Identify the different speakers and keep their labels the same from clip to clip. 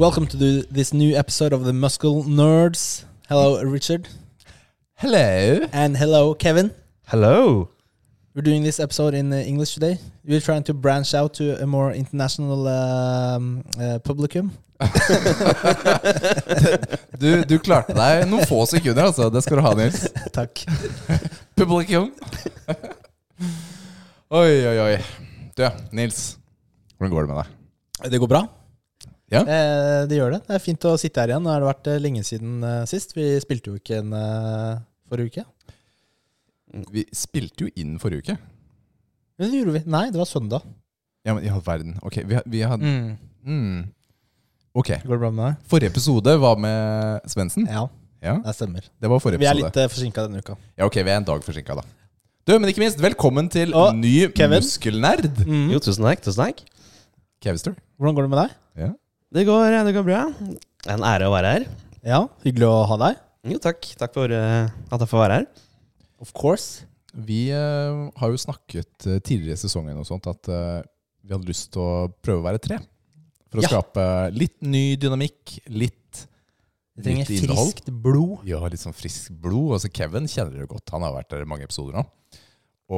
Speaker 1: Welcome to the, this new episode of the Muscle Nerds. Hello, Richard,
Speaker 2: Hello.
Speaker 1: and hello, Kevin.
Speaker 2: Hello.
Speaker 1: We're doing this episode in uh, English today. We're trying to branch out to a more international um, uh, publicum.
Speaker 2: Du, du klarte deg noen få sekunder, altså. Det skal du ha, Nils.
Speaker 1: Takk.
Speaker 2: Publikum. Oi, oi, oi. Du, Nils. Hvordan går det med deg?
Speaker 1: Det går bra.
Speaker 2: Ja.
Speaker 1: Eh, det gjør det. Det er fint å sitte her igjen. Nå har det vært eh, lenge siden eh, sist. Vi spilte jo ikke en eh, forrige uke.
Speaker 2: Vi spilte jo inn forrige uke.
Speaker 1: Men det gjorde vi. Nei, det var søndag.
Speaker 2: Ja, men i all verden. Ok, vi, har- vi hadde mm. Ok.
Speaker 1: Går det bra med deg?
Speaker 2: Forrige episode var med Svendsen.
Speaker 1: Ja,
Speaker 2: Ja,
Speaker 1: det stemmer.
Speaker 2: det var forrige
Speaker 1: Vi er
Speaker 2: episode.
Speaker 1: litt eh, forsinka denne uka.
Speaker 2: Ja, ok, vi er en dag forsinka, da. Du, men ikke minst, velkommen til
Speaker 1: Og
Speaker 2: ny
Speaker 1: Kevin.
Speaker 2: muskelnerd.
Speaker 1: Mm.
Speaker 3: Jo, tusen takk. tusen takk
Speaker 2: Kevster.
Speaker 1: Hvordan går det med deg?
Speaker 2: Ja.
Speaker 3: Det går, eh, det går bra. En ære å være her.
Speaker 1: Ja, hyggelig å ha deg.
Speaker 3: Jo, takk. Takk for eh, at jeg får være her.
Speaker 1: Of course.
Speaker 2: Vi eh, har jo snakket eh, tidligere i sesongen og sånt at eh, vi hadde lyst til å prøve å være tre. For å
Speaker 1: Ja.
Speaker 2: skape litt ny dynamikk, litt
Speaker 1: Vi trenger
Speaker 2: Litt innhold.
Speaker 1: friskt blod.
Speaker 2: ja, litt sånn friskt blod. Altså Kevin kjenner dere godt. Han har vært der i mange episoder nå.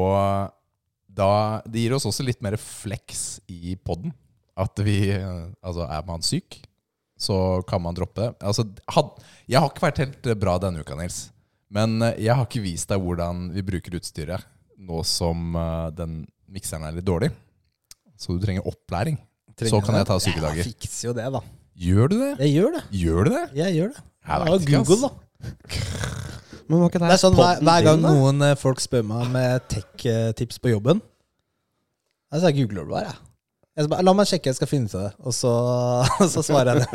Speaker 2: Og da, det gir oss også litt mer fleks i poden. At vi eh, Altså, er man syk, så kan man droppe det. Altså, had, jeg har ikke vært helt eh, bra denne uka, Nils. Men eh, jeg har ikke vist deg hvordan vi bruker utstyret nå som eh, den mikseren er litt dårlig. Så du trenger opplæring. så kan jeg ta sykedager.
Speaker 1: Jeg fikser jo det, da.
Speaker 2: Gjør du det?
Speaker 1: Jeg gjør det.
Speaker 2: Gjør du det?
Speaker 1: Jeg gjør det.
Speaker 2: Jeg
Speaker 1: Ja,
Speaker 2: vet ikke, ass.
Speaker 1: Google, da.
Speaker 3: Men var ikke
Speaker 1: Det er sånn hver,
Speaker 3: podden
Speaker 1: hver gang
Speaker 3: din, da?
Speaker 1: noen eh, folk spør meg om eh, tech-tips på jobben, da sier jeg googler det bare. jeg. Jeg så bare, La meg sjekke, jeg skal finne ut av det. Og så, så svarer jeg det.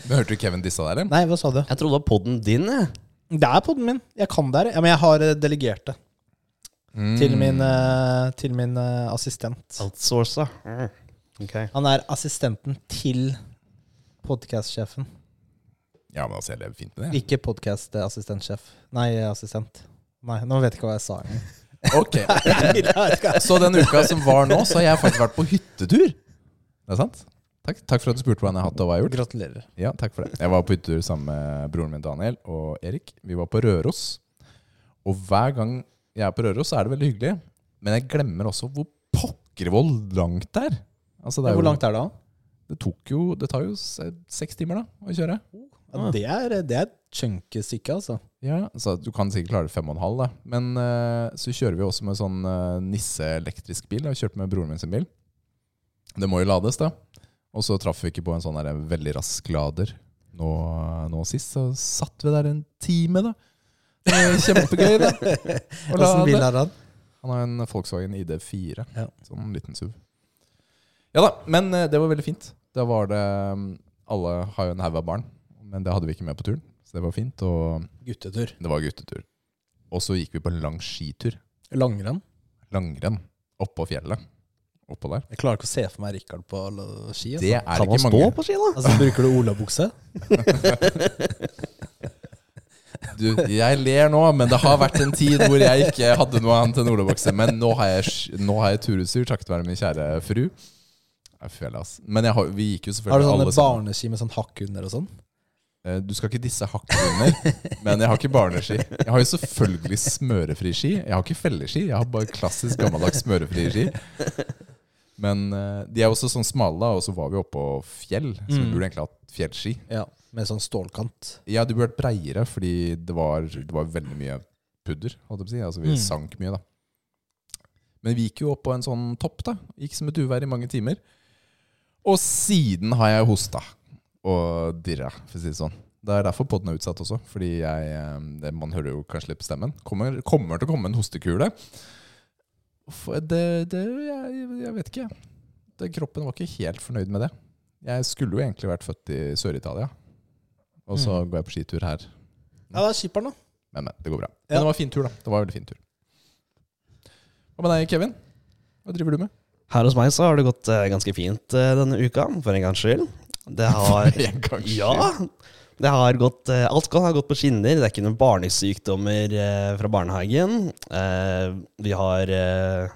Speaker 2: Men Hørte du Kevin dissa der? eller?
Speaker 1: Nei, hva sa du?
Speaker 3: Jeg trodde det var podden din, jeg.
Speaker 1: Det er poden min. Jeg kan det her. Ja, men jeg har eh, delegert det
Speaker 2: Mm.
Speaker 1: til min, eh, til min eh, assistent.
Speaker 3: Outsourca. Mm. Ok.
Speaker 1: Han er assistenten til podkast-sjefen.
Speaker 2: Ja, men altså, jeg lever fint med det.
Speaker 1: Ikke podkast-assistentsjef. Nei, assistent. Nei, nå vet jeg ikke hva jeg sa.
Speaker 2: Ok,
Speaker 1: engang.
Speaker 2: Så den uka som var nå, så har jeg faktisk vært på hyttetur. Det er sant? Takk, takk for at du spurte hvordan jeg har hatt det og hva jeg har gjort.
Speaker 1: Gratulerer.
Speaker 2: Ja, takk for det. Jeg var på hyttetur sammen med broren min Daniel og Erik. Vi var på Røros. Og hver gang jeg er på Røros, så er det veldig hyggelig. Men jeg glemmer også hvor pokker hvor langt det er. Altså, det, er
Speaker 1: Hvor
Speaker 2: jo,
Speaker 1: langt er det, da?
Speaker 2: det, tok jo, det tar jo se- seks timer da, å kjøre.
Speaker 1: Ja, det er, det er et chunky stykke, altså.
Speaker 2: Ja, så Du kan sikkert klare fem og en halv, da. Men eh, så kjører vi også med sånn eh, nisseelektrisk bil. Jeg kjørte med broren min sin bil. Det må jo lades, da. Og så traff vi ikke på en sånn der veldig rask lader nå, nå sist. Så satt vi der en time, da. Det var Kjempegøy, det. Å
Speaker 1: Åssen bil
Speaker 2: lade.
Speaker 1: er han?
Speaker 2: Han har en Volkswagen ID4.
Speaker 1: Ja.
Speaker 2: Sånn liten SUV. Ja da, men eh, det var veldig fint. Da var det mm, Alle har jo en haug av barn, men det hadde vi ikke med på turen. Så det var fint. og...
Speaker 1: Guttetur.
Speaker 2: Det var guttetur. Og så gikk vi på en lang skitur.
Speaker 1: Langrenn.
Speaker 2: Langrenn. Oppå fjellet. Oppå der.
Speaker 1: Jeg klarer ikke å se for meg Rikard på l- ski. Altså.
Speaker 2: Det er
Speaker 3: Kan
Speaker 2: det
Speaker 3: man
Speaker 2: ikke
Speaker 3: stå
Speaker 2: mange
Speaker 3: på ski, da?
Speaker 1: Altså, Bruker du olabukse?
Speaker 2: du, Jeg ler nå, men det har vært en tid hvor jeg ikke hadde noe annet enn olabukse. Men nå har jeg, sk- nå har jeg turutstyr, takket være min kjære fru. Jeg føler, ass. Men jeg har, vi gikk jo
Speaker 1: Har du
Speaker 2: selvfølgelig
Speaker 1: sånne
Speaker 2: alle sammen.
Speaker 1: barneski med sånn hakk under og sånn?
Speaker 2: Eh, Du skal ikke disse hakkhunder, men jeg har ikke barneski. Jeg har jo selvfølgelig smørefri ski. Jeg har ikke felleski, jeg har bare klassisk gammeldags smørefri ski. Men eh, de er også sånn smale, da, og så var vi oppå fjell, så vi
Speaker 1: Mm.
Speaker 2: burde egentlig hatt fjellski.
Speaker 1: Ja, Med sånn stålkant.
Speaker 2: Ja, de burde vært breiere, fordi det var, det var veldig mye pudder, holdt jeg på å si. Altså, vi
Speaker 1: Mm.
Speaker 2: sank mye, da. Men vi gikk jo opp på en sånn topp, da. Gikk som et uvær i mange timer. Og siden har jeg hosta og dirra, for å si det sånn. Det er derfor podden er utsatt også, fordi jeg eh, det, Man hører jo kanskje litt på stemmen. Kommer, kommer til å komme en hostekule. For det, det jeg, jeg vet ikke, jeg. Det- Kroppen var ikke helt fornøyd med det. Jeg skulle jo egentlig vært født i Sør-Italia, og så går jeg på skitur her.
Speaker 1: Ja, det er skipperen, da.
Speaker 2: Men, men det går bra.
Speaker 1: Ja.
Speaker 2: Men det var en fin tur, da. Det var en veldig fin tur. Hva med deg, Kevin? Hva driver du med?
Speaker 3: Her hos meg så har det gått eh, ganske fint eh, denne uka, for en gangs skyld. Det har Ja! Det har gått, eh, alt godt har gått på skinner. Det er ikke noen barnesykdommer eh, fra barnehagen. Eh, vi har eh,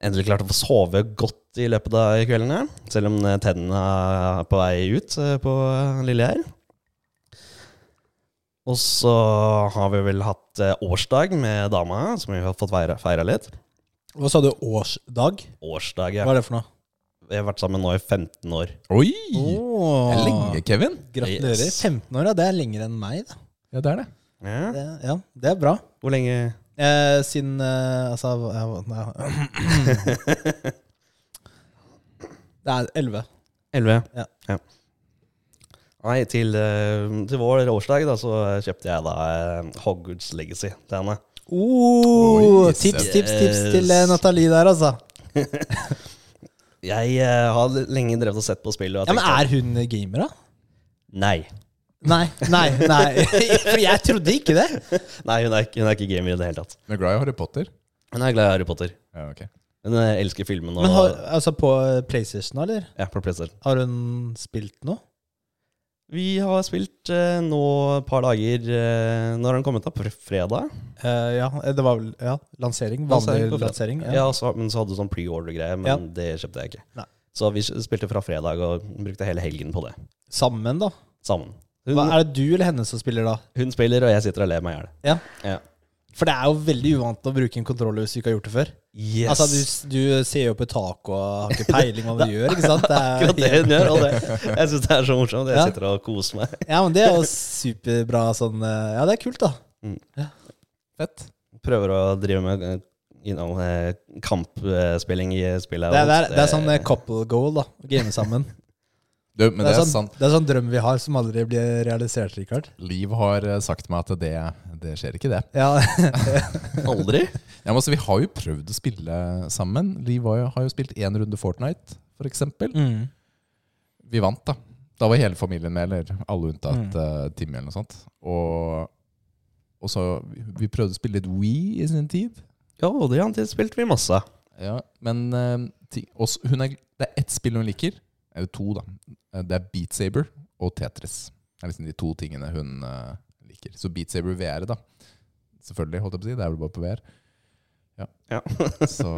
Speaker 3: endelig klart å få sove godt godt i løpet av kvelden, her, selv om eh, tennene er på vei ut eh, på eh, lille her. Og så har vi vel hatt eh, årsdag med dama, som vi har fått feira, feira litt.
Speaker 1: Hva sa du, årsdag?
Speaker 3: Årsdag, ja.
Speaker 1: Hva er det for noe?
Speaker 3: Vi har vært sammen nå i 15 år.
Speaker 2: Oi! Det er
Speaker 1: Oh,
Speaker 2: lenge, Kevin.
Speaker 1: gratulerer.
Speaker 3: Yes.
Speaker 1: 15 år, ja. Det er lenger enn meg. Da.
Speaker 2: Ja, det er det.
Speaker 3: Ja.
Speaker 1: Det, ja, det er bra.
Speaker 3: Hvor lenge
Speaker 1: Eh, siden eh, Altså hva- hva- hva- Det er 11.
Speaker 3: 11?
Speaker 1: Ja.
Speaker 3: Nei, til, eh, til vår årsdag da, så kjøpte jeg da eh, Hogwarts Legacy til henne.
Speaker 1: Oh,
Speaker 2: Oi,
Speaker 1: tips,
Speaker 3: se.
Speaker 1: tips, tips
Speaker 3: Yes.
Speaker 1: til eh, Nathalie der, altså.
Speaker 3: Jeg eh, har lenge drevet og sett på spillet. Og
Speaker 1: Ja, men
Speaker 3: tenkt
Speaker 1: Er hun gamer, da?
Speaker 3: at- Nei.
Speaker 1: Nei, nei, nei. For jeg trodde ikke det.
Speaker 3: Nei, hun er, ikke- hun er ikke gamer i det hele tatt.
Speaker 2: Med glad i Harry Potter.
Speaker 3: Hun er glad i Harry Potter.
Speaker 2: Ja, ok.
Speaker 3: Hun eh, elsker filmen og
Speaker 1: Men har, altså På PlayStation, eller?
Speaker 3: ja, på PlayStation.
Speaker 1: Har hun spilt noe?
Speaker 3: Vi har spilt eh, nå et par dager eh, Når har den kommet, da? På fredag?
Speaker 1: Eh, ja, det var vel ja, lansering.
Speaker 3: Lansering
Speaker 1: Vanlig
Speaker 3: på fredag.
Speaker 1: lansering.
Speaker 3: Ja,
Speaker 1: Ja.
Speaker 3: så, men så hadde du sånn pre-order-greie, men
Speaker 1: Ja.
Speaker 3: det kjøpte jeg ikke.
Speaker 1: Nei.
Speaker 3: Så vi spilte fra fredag og brukte hele helgen på det.
Speaker 1: Sammen, da.
Speaker 3: Sammen. Hun,
Speaker 1: Hva, er det du eller henne som spiller da?
Speaker 3: hun spiller, og jeg sitter og ler meg i hjel.
Speaker 1: Ja.
Speaker 3: Ja.
Speaker 1: For det er jo veldig uvant å bruke en kontroller hvis du ikke har gjort det før.
Speaker 3: Yes.
Speaker 1: Altså, du, du ser jo på taket og har ikke peiling hva du gjør, ikke sant? Det er,
Speaker 3: Akkurat det hun gjør. Og det, jeg syns det er så morsomt. Jeg
Speaker 1: Ja.
Speaker 3: sitter og koser meg.
Speaker 1: Ja, men det er jo superbra sånn eh, Ja, det er kult, da.
Speaker 2: Fett.
Speaker 3: Prøver å drive med eh, you know, eh, kampspilling i spillet.
Speaker 1: Det er, det er,
Speaker 3: og
Speaker 1: det er sånn eh, couple goal, da. Å game sammen.
Speaker 2: Du, men det er,
Speaker 1: sånn,
Speaker 2: sant.
Speaker 1: det er sånn drøm vi har som aldri blir realisert, Rikard.
Speaker 2: Liv har eh, sagt meg at det, det skjer ikke, det.
Speaker 1: Ja,
Speaker 3: Aldri?
Speaker 2: Ja, men altså, Vi har jo prøvd å spille sammen. Liv har jo, har jo spilt én runde Fortnite, for eksempel.
Speaker 1: mm.
Speaker 2: Vi vant, da. Da var hele familien med, eller alle unntatt eh, Timmy eller noe sånt. Og, og så Vi prøvde å spille litt Wii i sin tid.
Speaker 3: Ja, og det har han spilt vi masse. av.
Speaker 2: Ja, men eh, ti- også, hun er, det er ett spill hun liker. Eller to, da. Eh, Det er Beat Saber og Tetris. Det er liksom de to tingene hun eh, liker. Så Beat Saber VR, da. Selvfølgelig, holdt jeg på å si. Det er vel bare på VR. Ja.
Speaker 3: Ja.
Speaker 2: så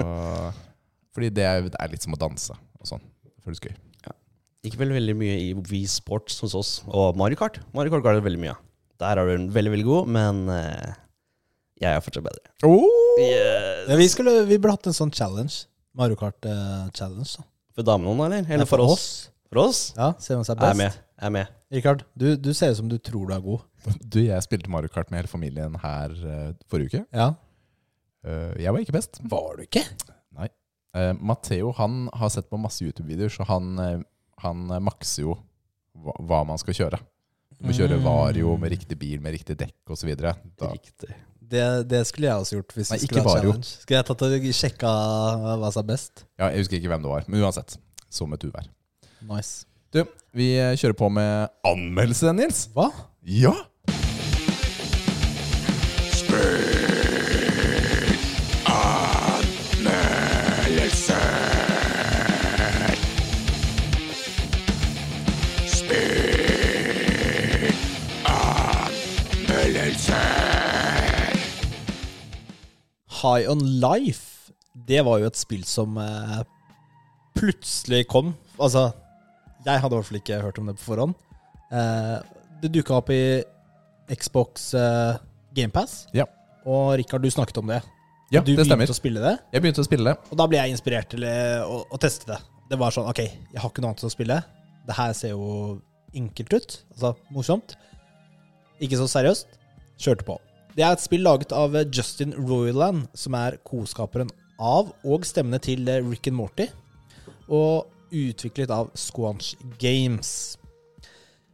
Speaker 2: Fordi det er, det er litt som å danse og sånn. Det føles gøy.
Speaker 3: Gikk vel veldig mye i V-sports hos oss. Og Mario Kart. Mario Kart ga det veldig mye av. Der er du veldig, veldig god, men eh, jeg er fortsatt bedre.
Speaker 1: Oh! ja vi, skulle, vi burde hatt en sånn challenge. Mario Kart-challenge. da
Speaker 3: For damene, da, eller?
Speaker 1: Nei,
Speaker 3: Eller for oss? For oss?
Speaker 1: Ja, Se hvem som er best.
Speaker 3: Jeg er med. Jeg er med.
Speaker 1: Rikard, du, du ser ut som du tror du er god.
Speaker 2: Du, jeg spilte Mario Kart med hele familien her eh, forrige uke.
Speaker 1: Ja
Speaker 2: Eh, jeg var ikke best.
Speaker 1: Var du ikke?
Speaker 2: Eh, Matteo han har sett på masse YouTube-videoer, så han, eh, han eh, makser jo hva, hva man skal kjøre. Du må kjøre
Speaker 1: Mm.
Speaker 2: Vario med riktig bil, med riktig dekk osv. Nei,
Speaker 3: Riktig.
Speaker 1: Det, det skulle jeg også gjort. Hvis
Speaker 2: Nei,
Speaker 1: det
Speaker 2: ikke
Speaker 1: skulle være
Speaker 2: Mario.
Speaker 1: challenge. Skulle jeg tatt og sjekka hva som er best?
Speaker 2: ja, jeg husker ikke hvem det var, men uansett. Som et uvær.
Speaker 1: Nice.
Speaker 2: Du, vi eh, kjører på med anmeldelse, Nils.
Speaker 1: Hva?
Speaker 2: Ja!
Speaker 1: High On Life, det var jo et spill som eh, plutselig kom. Altså, jeg hadde i hvert fall ikke hørt om det på forhånd. Eh, det dukka opp i Xbox eh, GamePass,
Speaker 2: Ja.
Speaker 1: og Rikard, du snakket om det.
Speaker 2: Ja,
Speaker 1: du
Speaker 2: det stemmer.
Speaker 1: begynte å spille det,
Speaker 2: Jeg begynte å spille det.
Speaker 1: og da ble jeg inspirert til eh, å, å teste det. Det var sånn, ok, jeg har ikke noe annet å spille. Det her ser jo enkelt ut, altså morsomt. Ikke så seriøst. Kjørte på. Det er et spill laget av eh, Justin Roiland, som er koskaperen av og stemmene til eh, Rick and Morty, og utviklet av Squanch Games.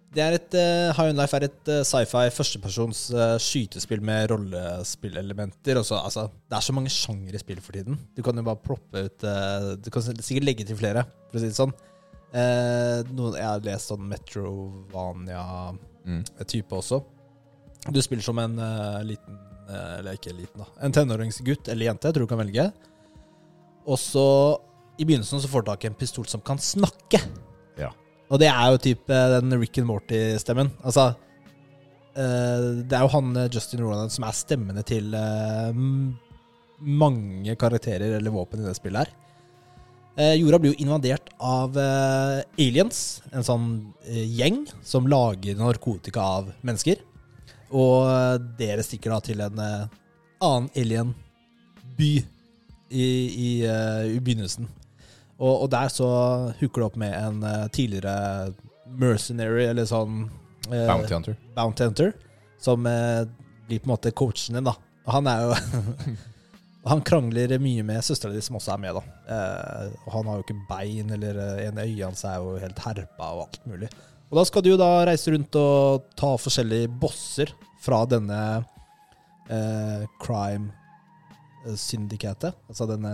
Speaker 1: Det er et, eh, High On Life er et eh, sci-fi førstepersons eh, skytespill med rollespillelementer. Også, altså, det er så mange sjangere i spill for tiden. Du kan jo bare ploppe ut eh, Du kan sikkert legge til flere, for å si det sånn. Eh, noen, jeg har lest sånn Metrovania eh,
Speaker 2: Mm.
Speaker 1: type også. Du spiller som en eh, liten eh, Eller ikke liten, da. En tenåringsgutt eller jente, jeg tror du kan velge. Og så, i begynnelsen, så får du tak i en pistol som kan snakke.
Speaker 2: Ja.
Speaker 1: Og det er jo typ eh, den Rick and Morty-stemmen. Altså eh, Det er jo han eh, Justin Roland som er stemmene til eh, m- mange karakterer eller våpen i det spillet her. Eh, jorda blir jo invadert av eh, aliens, en sånn eh, gjeng som lager narkotika av mennesker. Og eh, dere stikker da til en eh, annen alien-by i, i, eh, i begynnelsen. Og, og der så hooker det opp med en eh, tidligere mercenary, eller sånn eh,
Speaker 2: Bounty Hunter.
Speaker 1: Bounty Hunter, som eh, blir på en måte coachen din, da. Og han er jo Han krangler mye med søstera di, som også er med, da. Eh, og han har jo ikke bein, eller eh, en øye hans er jo helt herpa og alt mulig. Og da skal du jo da reise rundt og ta forskjellige bosser fra denne eh, crime eh, syndikatet, altså denne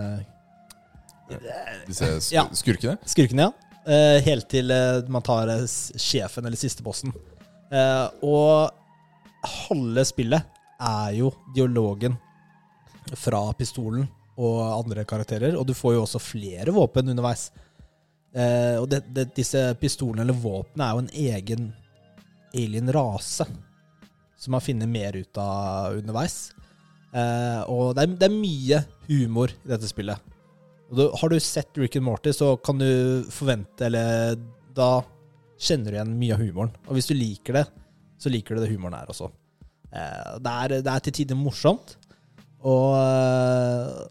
Speaker 2: Disse sk
Speaker 1: Ja.
Speaker 2: skurkene.
Speaker 1: Skurken, ja. Eh, helt til eh, man tar eh, s- sjefen eller siste bossen. Eh, og halve spillet er jo dialogen fra pistolen og andre karakterer, og du får jo også flere våpen underveis. Eh, og det, det, disse pistolene eller våpnene er jo en egen alien-rase som man finner mer ut av underveis. Eh, og det er, det er mye humor i dette spillet. Og du, har du sett Rick and Morty, så kan du forvente, eller da kjenner du igjen mye av humoren. Og hvis du liker det, så liker du det humoren her også. Eh, det, er, det er til tider morsomt, og eh,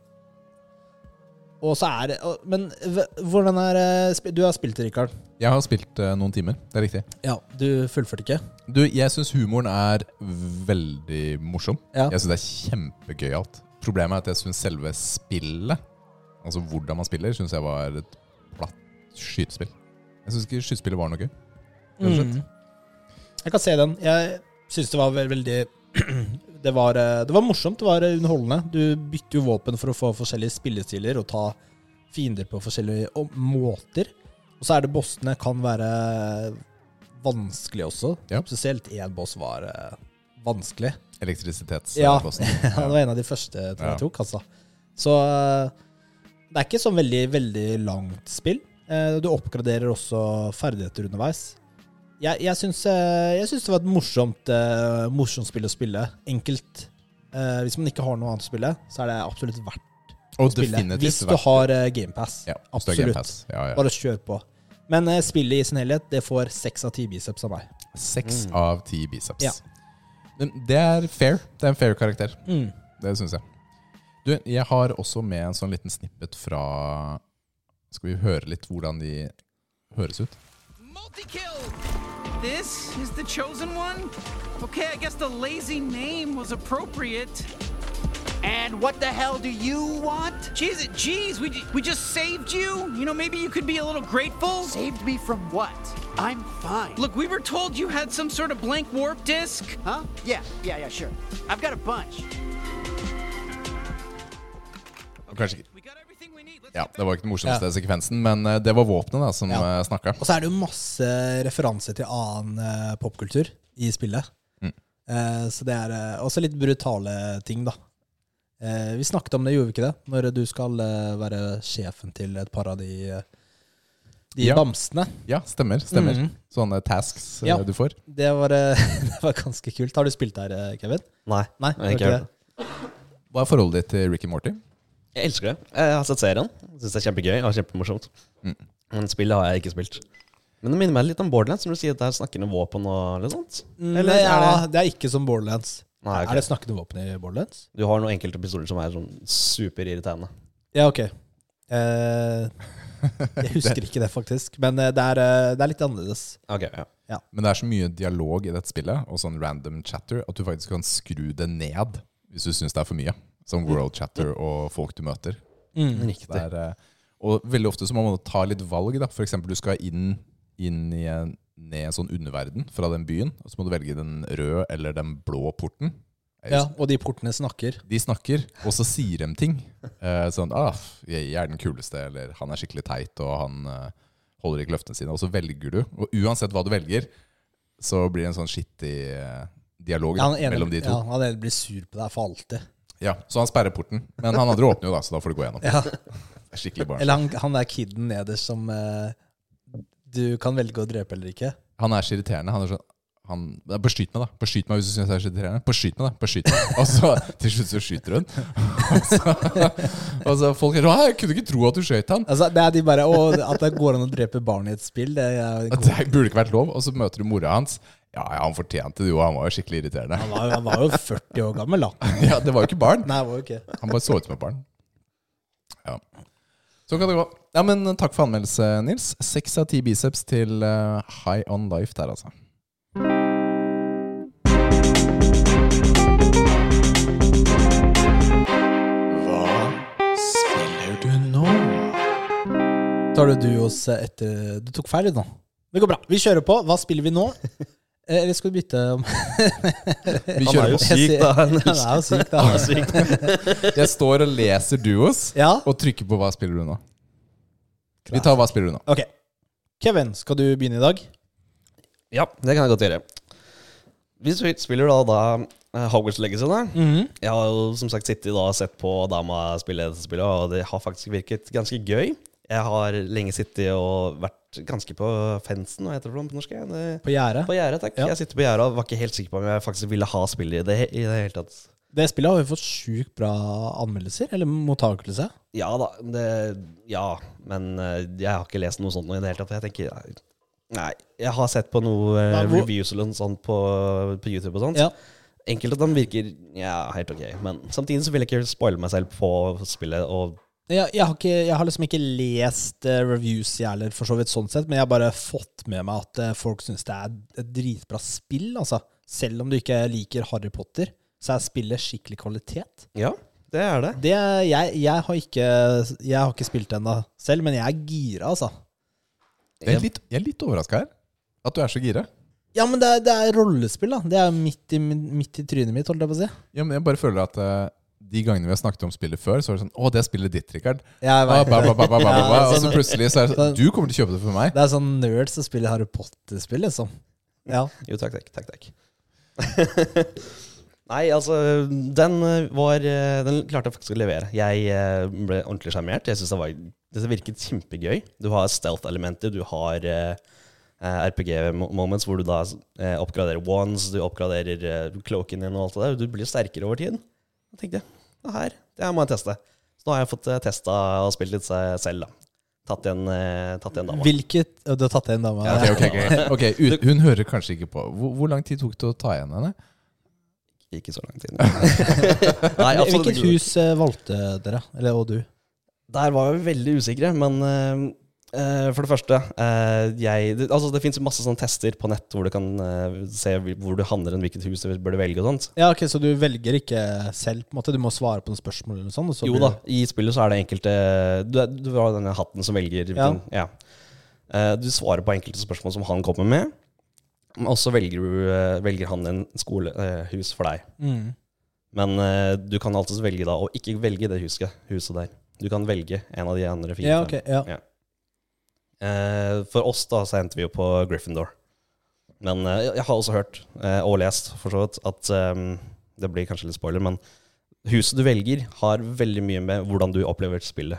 Speaker 1: Og så er det og- Men hv- hvordan er eh, sp- Du har spilt det, Rikard.
Speaker 2: Jeg har spilt eh, noen timer, det er riktig.
Speaker 1: Ja, du fullførte ikke?
Speaker 2: Du, jeg syns humoren er veldig morsom.
Speaker 1: Ja.
Speaker 2: Jeg syns det er kjempegøyalt. Problemet er at jeg syns selve spillet, altså hvordan man spiller, syns jeg var et platt skytespill. Jeg syns ikke skytespillet var noe gøy. Rett og slett.
Speaker 1: Mm. Jeg kan se den. Jeg syns det var vel- veldig det var, eh, det var morsomt, det var eh, underholdende. Du bytter jo våpen for å få forskjellige spillestiler og ta fiender på forskjellige om- måter. Og så er det bossene kan være vanskelige også.
Speaker 2: Ja.
Speaker 1: Spesielt én boss var eh, vanskelig. Ja.
Speaker 2: Elektrisitetsbossen.
Speaker 1: Ja, det var en av de første jeg tror jeg
Speaker 2: Ja.
Speaker 1: tok, altså. Så eh, det er ikke sånn veldig, veldig langt spill. Eh, Du oppgraderer også ferdigheter underveis. Jeg, jeg, syns, eh, jeg syns det var et morsomt, eh, morsomt spill å spille. Enkelt. Eh, Hvis man ikke har noe annet å spille, så er det absolutt verdt
Speaker 2: Og
Speaker 1: å spille.
Speaker 2: definitivt
Speaker 1: Hvis du
Speaker 2: verdt-
Speaker 1: har GamePass.
Speaker 2: ja, hvis du har
Speaker 1: absolutt.
Speaker 2: Game Pass. Ja, ja.
Speaker 1: Bare kjør på. Men eh, spillet i sin helhet, det får seks av ti biceps av meg.
Speaker 2: Seks
Speaker 3: Mm.
Speaker 2: av ti biceps.
Speaker 1: Ja.
Speaker 2: Men det er fair. Det er en fair karakter.
Speaker 1: Mm.
Speaker 2: Det syns jeg. Du, jeg har også med en sånn liten snippet fra Skal vi høre litt hvordan de høres ut?
Speaker 4: Multi-kill! This is the chosen one? Okay, I guess the lazy name was appropriate. And what the hell do you want? Jeez, jeez, we, we just saved you. You know, maybe you could be a little grateful.
Speaker 5: Saved me from what? I'm fine.
Speaker 4: Look, we were told you had some sort of blank warp disk.
Speaker 5: Huh? Yeah, yeah, yeah, sure. I've got a bunch.
Speaker 2: Kanskje ikke
Speaker 4: We got everything we need. Let's
Speaker 2: Ja,
Speaker 4: get back
Speaker 2: Det var ikke den morsomste sekvensen, men eh, det var våpenet da, som
Speaker 1: Ja.
Speaker 2: eh, snakka.
Speaker 1: Og så er det jo masse referanser til annen eh, popkultur i spillet. Eh, så det er eh, også litt brutale ting, da. Eh, vi snakket om det, gjorde vi ikke det? Når du skal eh, være sjefen til et par av de, eh, de
Speaker 2: Ja.
Speaker 1: bamsene.
Speaker 2: Ja, stemmer. stemmer.
Speaker 1: Mhm.
Speaker 2: Sånne tasks eh,
Speaker 1: Ja.
Speaker 2: du får.
Speaker 1: Det var, eh, det var ganske kult. Har du spilt der, eh, Kevin?
Speaker 3: Nei,
Speaker 1: Nei,
Speaker 3: jeg, har ikke
Speaker 1: har
Speaker 3: hørt det.
Speaker 2: Hva er forholdet ditt til Ricky Morty?
Speaker 3: jeg elsker det. Jeg har sett serien. Syns det er kjempegøy og kjempemorsomt.
Speaker 1: Mm.
Speaker 3: Men spillet har jeg ikke spilt. Men det minner meg litt om Borderlands, når du sier at det er snakkende våpen og litt sånt.
Speaker 1: Eller, Mm, ja, det... er ikke som Borderlands.
Speaker 3: Nei, ok.
Speaker 1: Er det snakkende våpen i Borderlands?
Speaker 3: Du har noen enkelte pistoler som er sånn superirriterende.
Speaker 1: Ja, ok. Eh, jeg husker ikke det, faktisk. Men eh, det, er, eh, det er litt annerledes.
Speaker 3: Ok, ja.
Speaker 2: Men det er så mye dialog i dette spillet, og sånn random chatter, at du faktisk kan skru det ned hvis du syns det er for mye. Som
Speaker 1: Mm.
Speaker 2: world chatter og folk du møter. Det
Speaker 3: Riktig.
Speaker 2: er, eh, og veldig ofte så må man ta litt valg. da. For eksempel du skal inn, inn i en, ned i en sånn underverden fra den byen, og så må du velge den røde eller den blå porten. Jeg
Speaker 1: Ja, og de portene snakker.
Speaker 2: De snakker, og så sier de ting. Eh, sånn ah, f- 'Jeg er den kuleste', eller 'Han er skikkelig teit', og 'han eh, holder ikke løftene sine'. Og så velger du. Og uansett hva du velger, så blir det en sånn skittig eh, dialog da,
Speaker 1: han ene,
Speaker 2: mellom de to.
Speaker 1: Ja, han ene blir sur på deg for alltid.
Speaker 2: Ja. Så han sperrer porten. Men han andre åpner jo, da, så da får du gå gjennom.
Speaker 1: Ja.
Speaker 2: Det er Skikkelig barn.
Speaker 1: Eller han, han der kiden nederst som eh, du kan velge å drepe eller ikke.
Speaker 2: Han er så irriterende. Han er sånn han «Nei, Bare skyt meg, da. Bare skyt meg hvis du syns jeg er så irriterende. Bare skyt meg, da. Bare skyt meg. Og så til slutt så skyter hun. Og så, og så folk er sånn «Hæ, Jeg kunne ikke tro at du skjøt han.
Speaker 1: Altså, det er de bare, å, At det går an å drepe barn i et spill, det er
Speaker 2: At det burde ikke vært lov. Og så møter du mora hans. Ja, ja, han fortjente det jo. Han var jo skikkelig irriterende.
Speaker 1: Han var, han var jo 40 år gammel, da.
Speaker 2: Ja, Det var jo ikke barn.
Speaker 1: Nei, han var jo ikke det.
Speaker 2: Han bare så ut som et barn. Ja. Sånn kan det gå. Ja, men Takk for anmeldelse, Nils. Seks av ti biceps til eh, High On Life der, altså.
Speaker 1: Tar du du oss etter Du tok feil, du, nå. Det går bra. Vi kjører på. Hva spiller vi nå? Eh, Eller skal vi bytte om
Speaker 2: Vi
Speaker 3: Han er
Speaker 2: kjører
Speaker 3: jo
Speaker 2: på.
Speaker 3: syk, da. Han
Speaker 1: Han er jo syk, da.
Speaker 3: er syk.
Speaker 2: Jeg står og leser duos
Speaker 1: Ja?
Speaker 2: og trykker på 'Hva spiller du nå?' Vi tar 'Hva spiller du nå?'
Speaker 1: Ok. Kevin, skal du begynne i dag?
Speaker 3: Ja, det kan jeg godt gjøre. Vi sp- spiller da, da eh, Hogwarts Legacy. Da. Jeg har jo som sagt sittet og sett på dama spille dette spillet, og det har faktisk virket ganske gøy. Jeg har lenge sittet og vært ganske på fensen, hva heter det for noe på norsk? jeg? Det-
Speaker 1: På gjerdet?
Speaker 3: På gjerdet, takk.
Speaker 1: Ja.
Speaker 3: Jeg sitter på gjerdet og var ikke helt sikker på om jeg faktisk ville ha spillet i det, he- i det hele tatt.
Speaker 1: Det spillet har jo fått sjukt bra anmeldelser, eller mottakelse.
Speaker 3: Ja da, det, ja, men eh, jeg har ikke lest noe sånt nå i det hele tatt. for Jeg tenker, nei, nei, jeg har sett på noe eh,
Speaker 1: Nei, hvor-
Speaker 3: reviews eller noe sånt på, på YouTube og sånt.
Speaker 1: Ja.
Speaker 3: Enkelte av dem virker ja, helt ok, men samtidig så vil jeg ikke spoile meg selv på spillet. Og
Speaker 1: Jeg, jeg, har ikke, jeg har liksom ikke lest eh, reviews, jeg heller, for så vidt, sånn sett, men jeg har bare fått med meg at eh, folk syns det er et dritbra spill, altså. Selv om du ikke liker Harry Potter, så er spillet skikkelig kvalitet.
Speaker 3: ja, det er det.
Speaker 1: Det, jeg, jeg, har ikke, jeg har ikke spilt det ennå selv, men jeg er gira, altså.
Speaker 2: Jeg er litt, jeg er litt overraska her. At du er så gira.
Speaker 1: Ja, men det er, det er rollespill, da. Det er midt i, midt i trynet mitt, holdt jeg på å si.
Speaker 2: Ja, men jeg bare føler at eh, de gangene vi har snakket om spillet før, så er det sånn 'Å, det spillet ditt, Rikard'.
Speaker 1: Jeg
Speaker 2: Ah,
Speaker 1: vet
Speaker 2: ba, ba, ba, ba, ba, ba, ba.
Speaker 1: Ja,
Speaker 2: Og så
Speaker 1: sånn-
Speaker 2: plutselig så er det sånn
Speaker 1: sånn-
Speaker 2: 'Du kommer til å kjøpe det for meg'.
Speaker 1: Det er sånn nerds som spiller Harry Potter-spill, liksom. Ja.
Speaker 3: Jo, takk, takk. takk, takk. Nei, altså, den eh, var eh, Den klarte jeg faktisk å levere. Jeg eh, ble ordentlig sjarmert. Jeg synes det var Det virket kjempegøy. Du har stealth-elementer, du har eh, RPG-moments hvor du da eh, oppgraderer wands, du oppgraderer eh, cloaken din og alt det der. og Du blir sterkere over tid. Da tenkte jeg det her det her må jeg teste. Så nå har jeg fått eh, testa og spilt litt se- selv, da. Tatt igjen, eh, tatt igjen dama.
Speaker 1: Hvilket Å, Du har tatt en dame.
Speaker 3: Ja,
Speaker 2: Ok, ok, ok. ok ut, Hun hører kanskje ikke på. Hvor, hvor lang tid tok det å ta igjen henne?
Speaker 3: Ikke så lang tid. Nei, absolutt
Speaker 1: Hvilket
Speaker 3: ikke.
Speaker 1: hus eh, valgte dere, eller og du?
Speaker 3: Der var vi veldig usikre, men eh, eh, for det første eh, jeg, det, altså Det fins masse sånne tester på nett hvor du kan eh, se hvil- hvor du handler enn hvilket hus du burde velge og sånt.
Speaker 1: Ja, ok, Så du velger ikke selv, på en måte? Du må svare på noen spørsmål eller noe sånt? og så
Speaker 3: Jo
Speaker 1: blir
Speaker 3: da,
Speaker 1: det-
Speaker 3: i spillet så er det enkelte Du, er- du har denne hatten som velger hvilken- ja. Eh, Du svarer på enkelte spørsmål som han kommer med, og så velger, du, eh, velger han en skolehus for deg.
Speaker 1: Mm.
Speaker 3: Men eh, du kan alltid velge da å ikke velge det huset, huset der. Du kan velge en av de andre fire.
Speaker 1: Ja,
Speaker 3: fem.
Speaker 1: ok. Ja.
Speaker 3: Eh, for oss da, så endte vi jo på Gryffindor. Men eh, jeg har også hørt, eh, og lest for så vidt, at eh, det blir kanskje litt spoiler, men huset du velger har veldig mye med hvordan du opplever spillet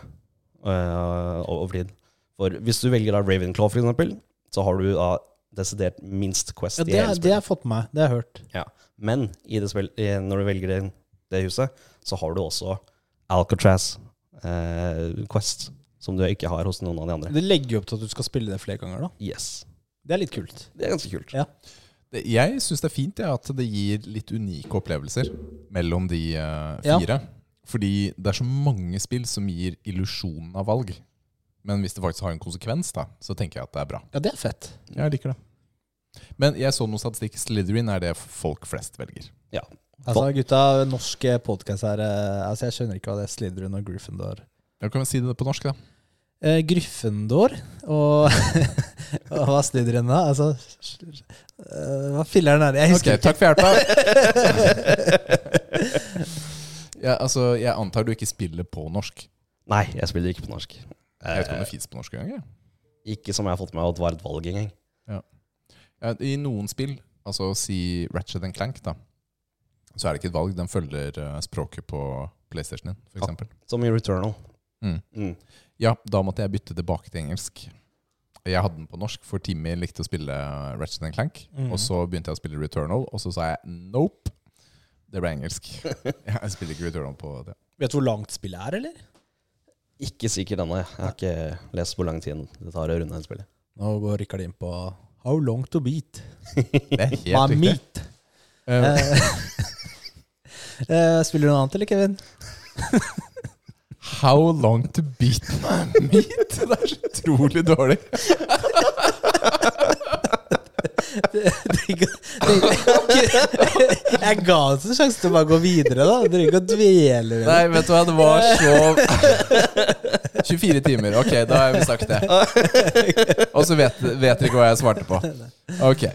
Speaker 3: eh, over tid. For hvis du velger da Ravenclaw for eksempel, så har du da desidert minst quest
Speaker 1: ja
Speaker 3: i
Speaker 1: det,
Speaker 3: hele
Speaker 1: er- det
Speaker 3: spillet.
Speaker 1: har jeg fått med meg. Det har jeg hørt.
Speaker 3: Men i det spill, i, når du velger det, det huset, så har du også Alcatraz eh, quest, som du ikke har hos noen av de andre.
Speaker 1: Det legger jo opp til at du skal spille det flere ganger, da.
Speaker 3: Yes.
Speaker 1: Det er litt kult.
Speaker 3: Det er ganske kult.
Speaker 2: Det, jeg syns det er fint ja, at det gir litt unike opplevelser mellom de eh,
Speaker 1: Ja.
Speaker 2: fire. Fordi det er så mange spill som gir illusjonen av valg. Men hvis det faktisk har en konsekvens, da, så tenker jeg at det er bra.
Speaker 1: Ja, det er fett.
Speaker 2: Jeg liker det. Men jeg så noen statistikk. Slytherin er det folk flest velger.
Speaker 1: Altså, gutta, norske podkast her eh, Altså, jeg skjønner ikke hva det er Slidrun og Gryffindor
Speaker 2: Da kan vi si det på norsk, da.
Speaker 1: eh, Gryffindor og, og hva Slidrun da? Altså eh, Hva filleren er det? Jeg
Speaker 2: Ok,
Speaker 1: husker
Speaker 2: takk for hjelpa. ja, altså, jeg antar du ikke spiller på norsk.
Speaker 3: Nei, jeg spiller ikke på norsk.
Speaker 2: Jeg vet ikke om
Speaker 3: Eh,
Speaker 2: det fins på norsk engang. jeg.
Speaker 3: Ikke som jeg har fått med meg at det var et valg engang.
Speaker 2: Ja, I noen spill, altså si Ratchet and Clank, da, så er det ikke et valg. Den følger eh, språket på PlayStation din,
Speaker 3: Ja.
Speaker 2: f.eks.
Speaker 3: Som i Returnal.
Speaker 2: Mm.
Speaker 3: Mm.
Speaker 2: Ja, da måtte jeg bytte tilbake til engelsk. Jeg hadde den på norsk, for Timmy likte å spille Ratchet Clank. Og så begynte jeg å spille Returnal, og så sa jeg nope. Det ble engelsk. Jeg spiller ikke Returnal på det.
Speaker 1: Vet du hvor langt spillet er, eller?
Speaker 3: Ikke sikkert ennå. Jeg har ikke lest hvor lang tid det tar å runde det spillet.
Speaker 1: Nå går Rikard inn på How long to beat?
Speaker 2: Det er helt
Speaker 1: My
Speaker 2: riktig.
Speaker 1: meat.
Speaker 2: Eh,
Speaker 1: Eh, spiller du noe annet, eller, Kevin?
Speaker 2: how long to beat my meat? Det er så utrolig dårlig.
Speaker 1: Jeg ga oss en sjanse til å bare gå videre, da. Du trenger ikke å dvele ved det.
Speaker 2: Nei, vet du hva, det var så 24 timer. Ok, da har vi sagt det. Og så vet, vet dere ikke hva jeg svarte på. Ok.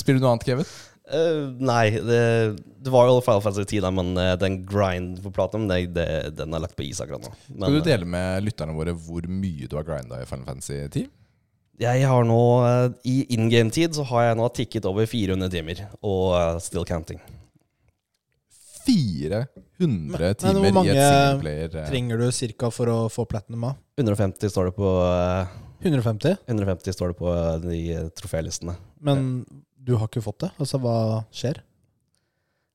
Speaker 2: Spiller du noe annet, Kevin?
Speaker 3: Eh, nei, det, det var jo Final Fantasy 10, da, men eh, den grind på Platinum, det, det, den er lagt på is akkurat nå. Men,
Speaker 2: Skal du dele med lytterne våre hvor mye du har grinda i Final Fantasy 10?
Speaker 3: eh, Jeg har nå, eh, i in game-tid, så har jeg nå tikket over 400 timer, og eh, still counting.
Speaker 2: 400 timer
Speaker 1: hvor mange
Speaker 2: i et singleplayer. eh,
Speaker 1: Trenger du ca. for å få platinum av?
Speaker 3: 150 står det på, eh,
Speaker 1: 150?
Speaker 3: 150 står det på eh, de eh, trofélistene.
Speaker 1: Men du har ikke fått det? Altså, hva skjer?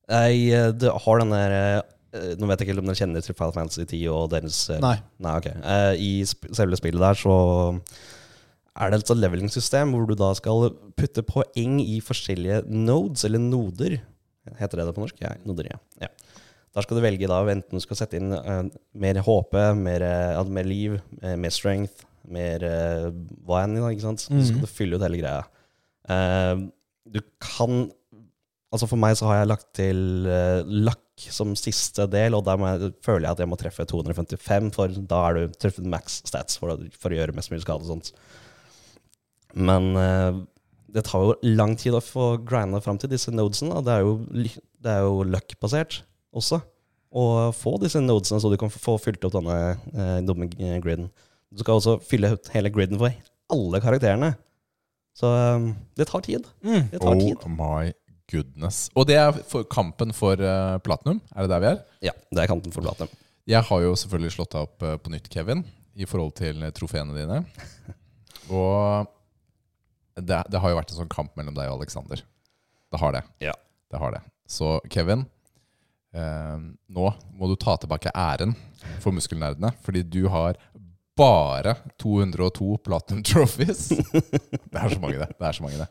Speaker 3: Jeg eh, det har den der eh, Nå vet jeg ikke om dere kjenner til Final Fantasy 10 og deres eh,
Speaker 1: Nei.
Speaker 3: Nei, ok. Eh, I sp selve spillet der så er det et sånt leveling-system hvor du da skal putte poeng i forskjellige nodes, eller noder. Heter det det på norsk? Ja, noder, ja. ja. Der skal du velge da, enten du skal sette inn eh, mer HP, mer, eh, altså mer liv, eh, mer strength, mer eh, hva enn, da, ikke sant? Så skal du fylle ut hele greia. Eh, du kan Altså For meg så har jeg lagt til eh, lakk som siste del, og der må jeg, føler jeg at jeg må treffe 255, for da er du treffet max stats for å, for å gjøre mest mulig skade og sånt. Men eh, det tar jo lang tid å få grinda fram til disse nodesene, og det er jo, li- det er jo luck-basert også. Å få disse nodesene, så du kan få fylt opp denne eh, dumme eh, griden. Du skal også fylle ut hele griden for alle karakterene. Så eh, det tar tid. Det tar tid.
Speaker 2: Oh my goodness. Og det er for kampen for eh, platinum? Er det der vi er?
Speaker 3: Ja, det er kanten for platinum.
Speaker 2: Jeg har jo selvfølgelig slått deg opp eh, på nytt, Kevin, i forhold til eh, trofeene dine. Og det, det har jo vært en sånn kamp mellom deg og Aleksander. Det har det.
Speaker 3: Ja.
Speaker 2: Det har det. Så Kevin, eh, nå må du ta tilbake æren for muskelnerdene, fordi du har bare 202 platinum trophies. Det er så mange, det. det, er så mange det.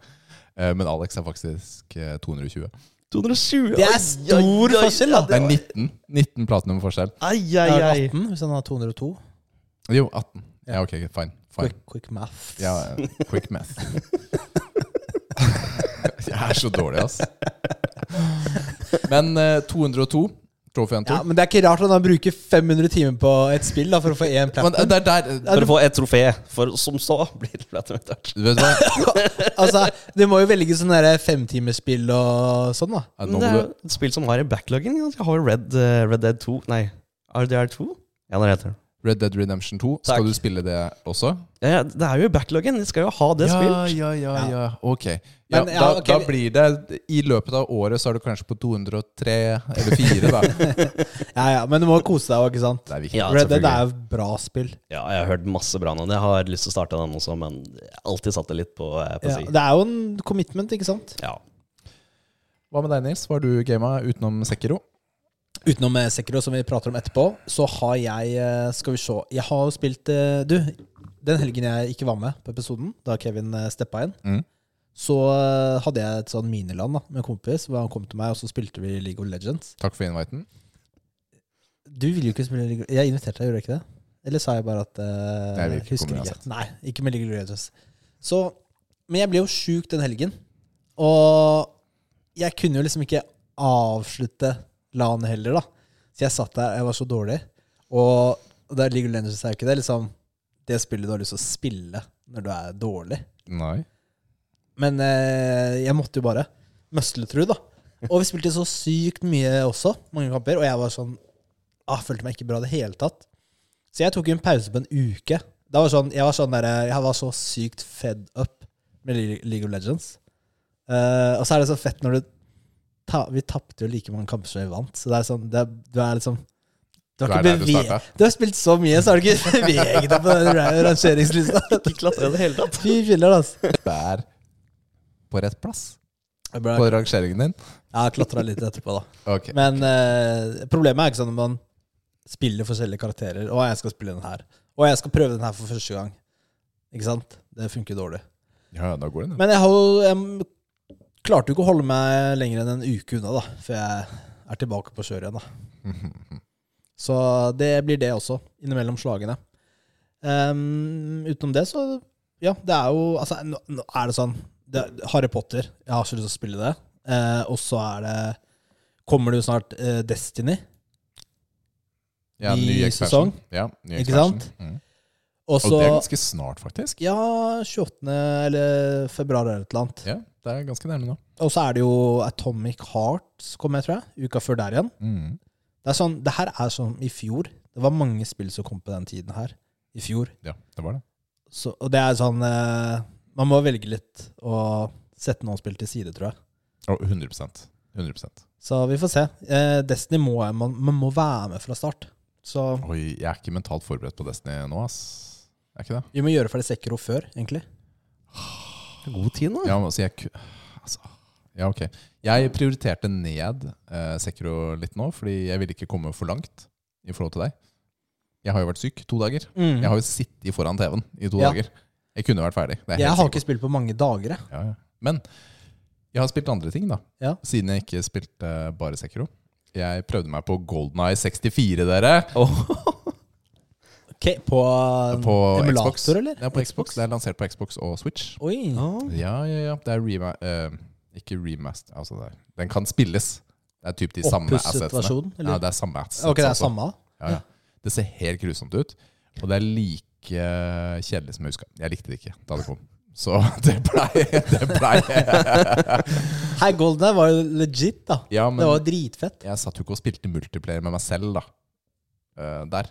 Speaker 2: Eh, Men Alex er faktisk eh, 220.
Speaker 3: 220.
Speaker 1: Det er stor forskjell, da!
Speaker 2: Det er 19, 19 platinum forskjell.
Speaker 3: Ai,
Speaker 1: Det
Speaker 3: ai,
Speaker 1: er
Speaker 3: ai.
Speaker 1: 18, hvis han har 202.
Speaker 2: Jo, 18. Ja, ok, fine. fine.
Speaker 1: Quick, quick math.
Speaker 2: Ja, quick math. Jeg er så dårlig, ass. Men eh, 202 trofeen
Speaker 1: Ja,
Speaker 2: to.
Speaker 1: men det er ikke rart at han bruker 500 timer på et spill da, for å få én
Speaker 2: Men eh,
Speaker 1: platinum.
Speaker 2: det er der
Speaker 3: For å få et trofé, for som så blir det platinum etter hvert.
Speaker 2: Vet du hva?
Speaker 1: Altså, Du må jo velge sånn derre femtimersspill og sånn, da.
Speaker 2: Ja,
Speaker 3: Men
Speaker 2: Nå
Speaker 3: Det
Speaker 2: må
Speaker 3: er
Speaker 2: du
Speaker 3: jo et spill som har i backloggen. ikke sant? Jeg har jo Red, eh, Red Dead 2 Nei, RDR2? Ja, det heter det.
Speaker 2: Red Dead Redemption 2. Skal
Speaker 3: Takk.
Speaker 2: du spille det også?
Speaker 3: Ja, ja, Det er jo i backloggen. De skal jo ha det spilt.
Speaker 2: ja, ja, ja. Ok. Ja,
Speaker 1: Men, ja,
Speaker 2: da,
Speaker 1: ok,
Speaker 2: da
Speaker 1: vi-
Speaker 2: blir det I løpet av året så er du kanskje på 203 eller 4, da.
Speaker 1: Ja, ja, Men du må kose deg òg, ikke sant?
Speaker 2: Det er viktig.
Speaker 3: Ja,
Speaker 1: Red Dead
Speaker 2: selvfølgelig.
Speaker 1: er jo bra spill.
Speaker 3: Ja, jeg har hørt masse bra nå. Jeg har lyst til å starte den også, men jeg har alltid satt det litt på, eh, på
Speaker 1: Ja,
Speaker 3: si.
Speaker 1: det er jo en commitment, ikke sant?
Speaker 3: Ja.
Speaker 2: Hva med deg, Nils? Hva har du gama utenom Sekiro?
Speaker 1: Utenom eh, Sekiro, som vi prater om etterpå, så har jeg eh, Skal vi se. Jeg har jo spilt eh, Du, den helgen jeg ikke var med på episoden, da Kevin eh, steppa inn,
Speaker 2: Mm.
Speaker 1: så eh, hadde jeg et sånn miniland da, med en kompis, hvor han kom til meg, og så spilte vi League of Legends.
Speaker 2: Takk for inviten.
Speaker 1: Du ville jo ikke spille League of Jeg inviterte deg, gjorde jeg ikke det? Eller sa jeg bare at eh,
Speaker 2: Nei, jeg vil ikke
Speaker 1: husker
Speaker 2: komme
Speaker 1: ikke. Nei, ikke med League of Legends. Så, men jeg ble jo sjuk den helgen. Og jeg kunne jo liksom ikke avslutte LAN heller, da. Så jeg satt der, jeg var så dårlig. Og, og der League of Legends er jo ikke det. Liksom, det spillet du har lyst til å spille når du er dårlig.
Speaker 2: Nei.
Speaker 1: Men eh, jeg måtte jo bare møsle, tru, da. Og vi spilte så sykt mye også, mange kamper, og jeg var sånn ah, Følte meg ikke bra i det hele tatt. Så jeg tok jo en pause på en uke. Det var sånn, jeg, var sånn der, jeg var så sykt fed up med Le- League of Legends. Eh, og så er det så fett når du ta, Vi tapte jo like mange kamper som vi vant, så det er sånn det, er- Du er liksom Du har
Speaker 2: Du er
Speaker 1: ikke
Speaker 2: der du
Speaker 1: beveg...
Speaker 2: startet.
Speaker 1: Du har spilt så mye, så har du ikke beveget deg på den ra- rangeringslista.
Speaker 3: klatra i det hele tatt.
Speaker 1: Fy filler, altså.
Speaker 2: Vær på rett plass
Speaker 1: Jeg
Speaker 2: på rangeringen din.
Speaker 1: har klatra litt etterpå, da.
Speaker 2: Ok.
Speaker 1: Men eh, problemet er ikke sånn at man spiller forskjellige karakterer. Og jeg skal spille den her. Og jeg skal prøve den her for første gang. Ikke sant? Det funker dårlig.
Speaker 2: Ja, da går det ned.
Speaker 1: Men jeg, har, jo- jeg klarte jo ikke å holde meg lenger enn en uke unna, da. Før jeg er tilbake på kjøret igjen, da. Så det blir det også, innimellom slagene. Ehm, utenom det, så Ja, det er jo Altså, nå, nå er det sånn det, Harry Potter, jeg har ikke lyst til å spille det. Eh, og så er det Kommer det jo snart eh, Destiny.
Speaker 2: Ja, ny
Speaker 1: i
Speaker 2: expansion.
Speaker 1: sesong.
Speaker 2: Ja, ny
Speaker 1: Ikke
Speaker 2: expansion.
Speaker 1: sant?
Speaker 2: Mm.
Speaker 1: Og
Speaker 2: Og det er
Speaker 1: så
Speaker 2: ganske snart, faktisk.
Speaker 1: Ja, 28. eller februar eller et eller annet.
Speaker 2: Ja, det er ganske nærme nå.
Speaker 1: Og så er det jo Atomic Hearts kommer jeg, tror jeg. Uka før der igjen.
Speaker 2: Mm.
Speaker 1: Det er sånn, det her er som i fjor. Det var mange spill som kom på den tiden her. I fjor.
Speaker 2: Ja, det var det.
Speaker 1: Så, og det er sånn eh, Man må velge litt og sette noen spill til side, tror jeg.
Speaker 2: Å, 100 100
Speaker 1: Så vi får se. Eh, Destiny må jeg, man, man må være med fra start. Så
Speaker 2: Oi, jeg er ikke mentalt forberedt på Destiny nå, ass. Jeg er ikke det?
Speaker 1: vi må gjøre ferdig Sekiro før, egentlig.
Speaker 3: God tid nå.
Speaker 2: Ja, men altså, jeg ku- altså, ja, ok. Jeg prioriterte ned eh, Sekro litt nå, fordi jeg ville ikke komme for langt i forhold til deg. Jeg har jo vært syk to dager. Jeg har jo sittet foran TV-en i to
Speaker 1: Mm. Ja.
Speaker 2: dager. Jeg kunne vært ferdig. Det er jeg
Speaker 1: Jeg
Speaker 2: helt
Speaker 1: har
Speaker 2: sikker
Speaker 1: ikke spilt på mange dager, jeg.
Speaker 2: på. ja, ja. Men jeg har spilt andre ting, da.
Speaker 1: Ja.
Speaker 2: Siden jeg ikke spilte eh, bare Sekro. Jeg prøvde meg på Golden Eye 64, dere.
Speaker 1: Ok, På, eh,
Speaker 2: På
Speaker 1: emulator,
Speaker 2: Xbox.
Speaker 1: eller?
Speaker 2: Ja, på Xbox. Det er lansert på Xbox og Switch.
Speaker 1: Oi.
Speaker 2: Ja, ja, ja. Det er rema... eh, ikke remaster, altså det er, Den kan spilles. Det er typ de samme
Speaker 1: Oppusset
Speaker 2: assetsene.
Speaker 1: versjon, eller?
Speaker 2: Ja, det er samme assets.
Speaker 1: Ok, det er
Speaker 2: altså.
Speaker 1: samme.
Speaker 2: Ja, ja. Det ser helt grusomt ut, og det er like eh, kjedelig som jeg huska. Jeg likte det ikke da det kom. Så det blei det blei-
Speaker 1: Hei, Golden Eye var jo legit, da.
Speaker 2: Ja, men
Speaker 1: det var jo dritfett.
Speaker 2: jeg satt jo ikke og spilte multiplayer med meg selv, da. Eh, der.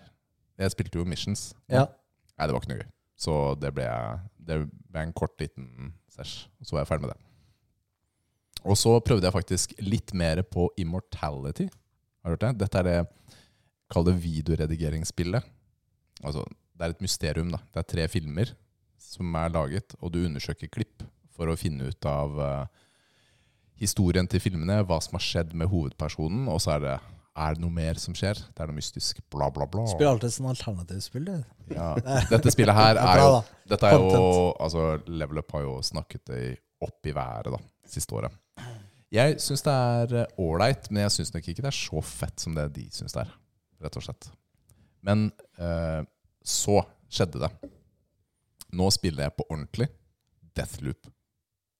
Speaker 2: Jeg spilte jo Missions.
Speaker 1: Ja.
Speaker 2: Nei, det var ikke noe gøy. Så det ble, det ble en kort liten sesj, og så var jeg ferdig med det. Og så prøvde jeg faktisk litt mer på Immortality. Har du hørt det? Dette er det Kall det videoredigeringsspillet. Altså, det er et mysterium, da. Det er tre filmer som er laget, og du undersøker klipp for å finne ut av eh, historien til filmene, hva som har skjedd med hovedpersonen, og så er det er det noe mer som skjer? Det er noe mystisk. Bla, bla, bla.
Speaker 1: Spiller alltid sånn alternativspill, det.
Speaker 2: Ja. Dette spillet her
Speaker 1: er
Speaker 2: er jo,
Speaker 1: bra,
Speaker 2: dette er jo
Speaker 1: Content.
Speaker 2: altså, Level Up har jo snakket det opp i været da, siste året. Jeg syns det er ålreit, men jeg syns nok ikke det er så fett som det de syns det er. Rett og slett. Men eh, så skjedde det. Nå spiller jeg på ordentlig Deathloop.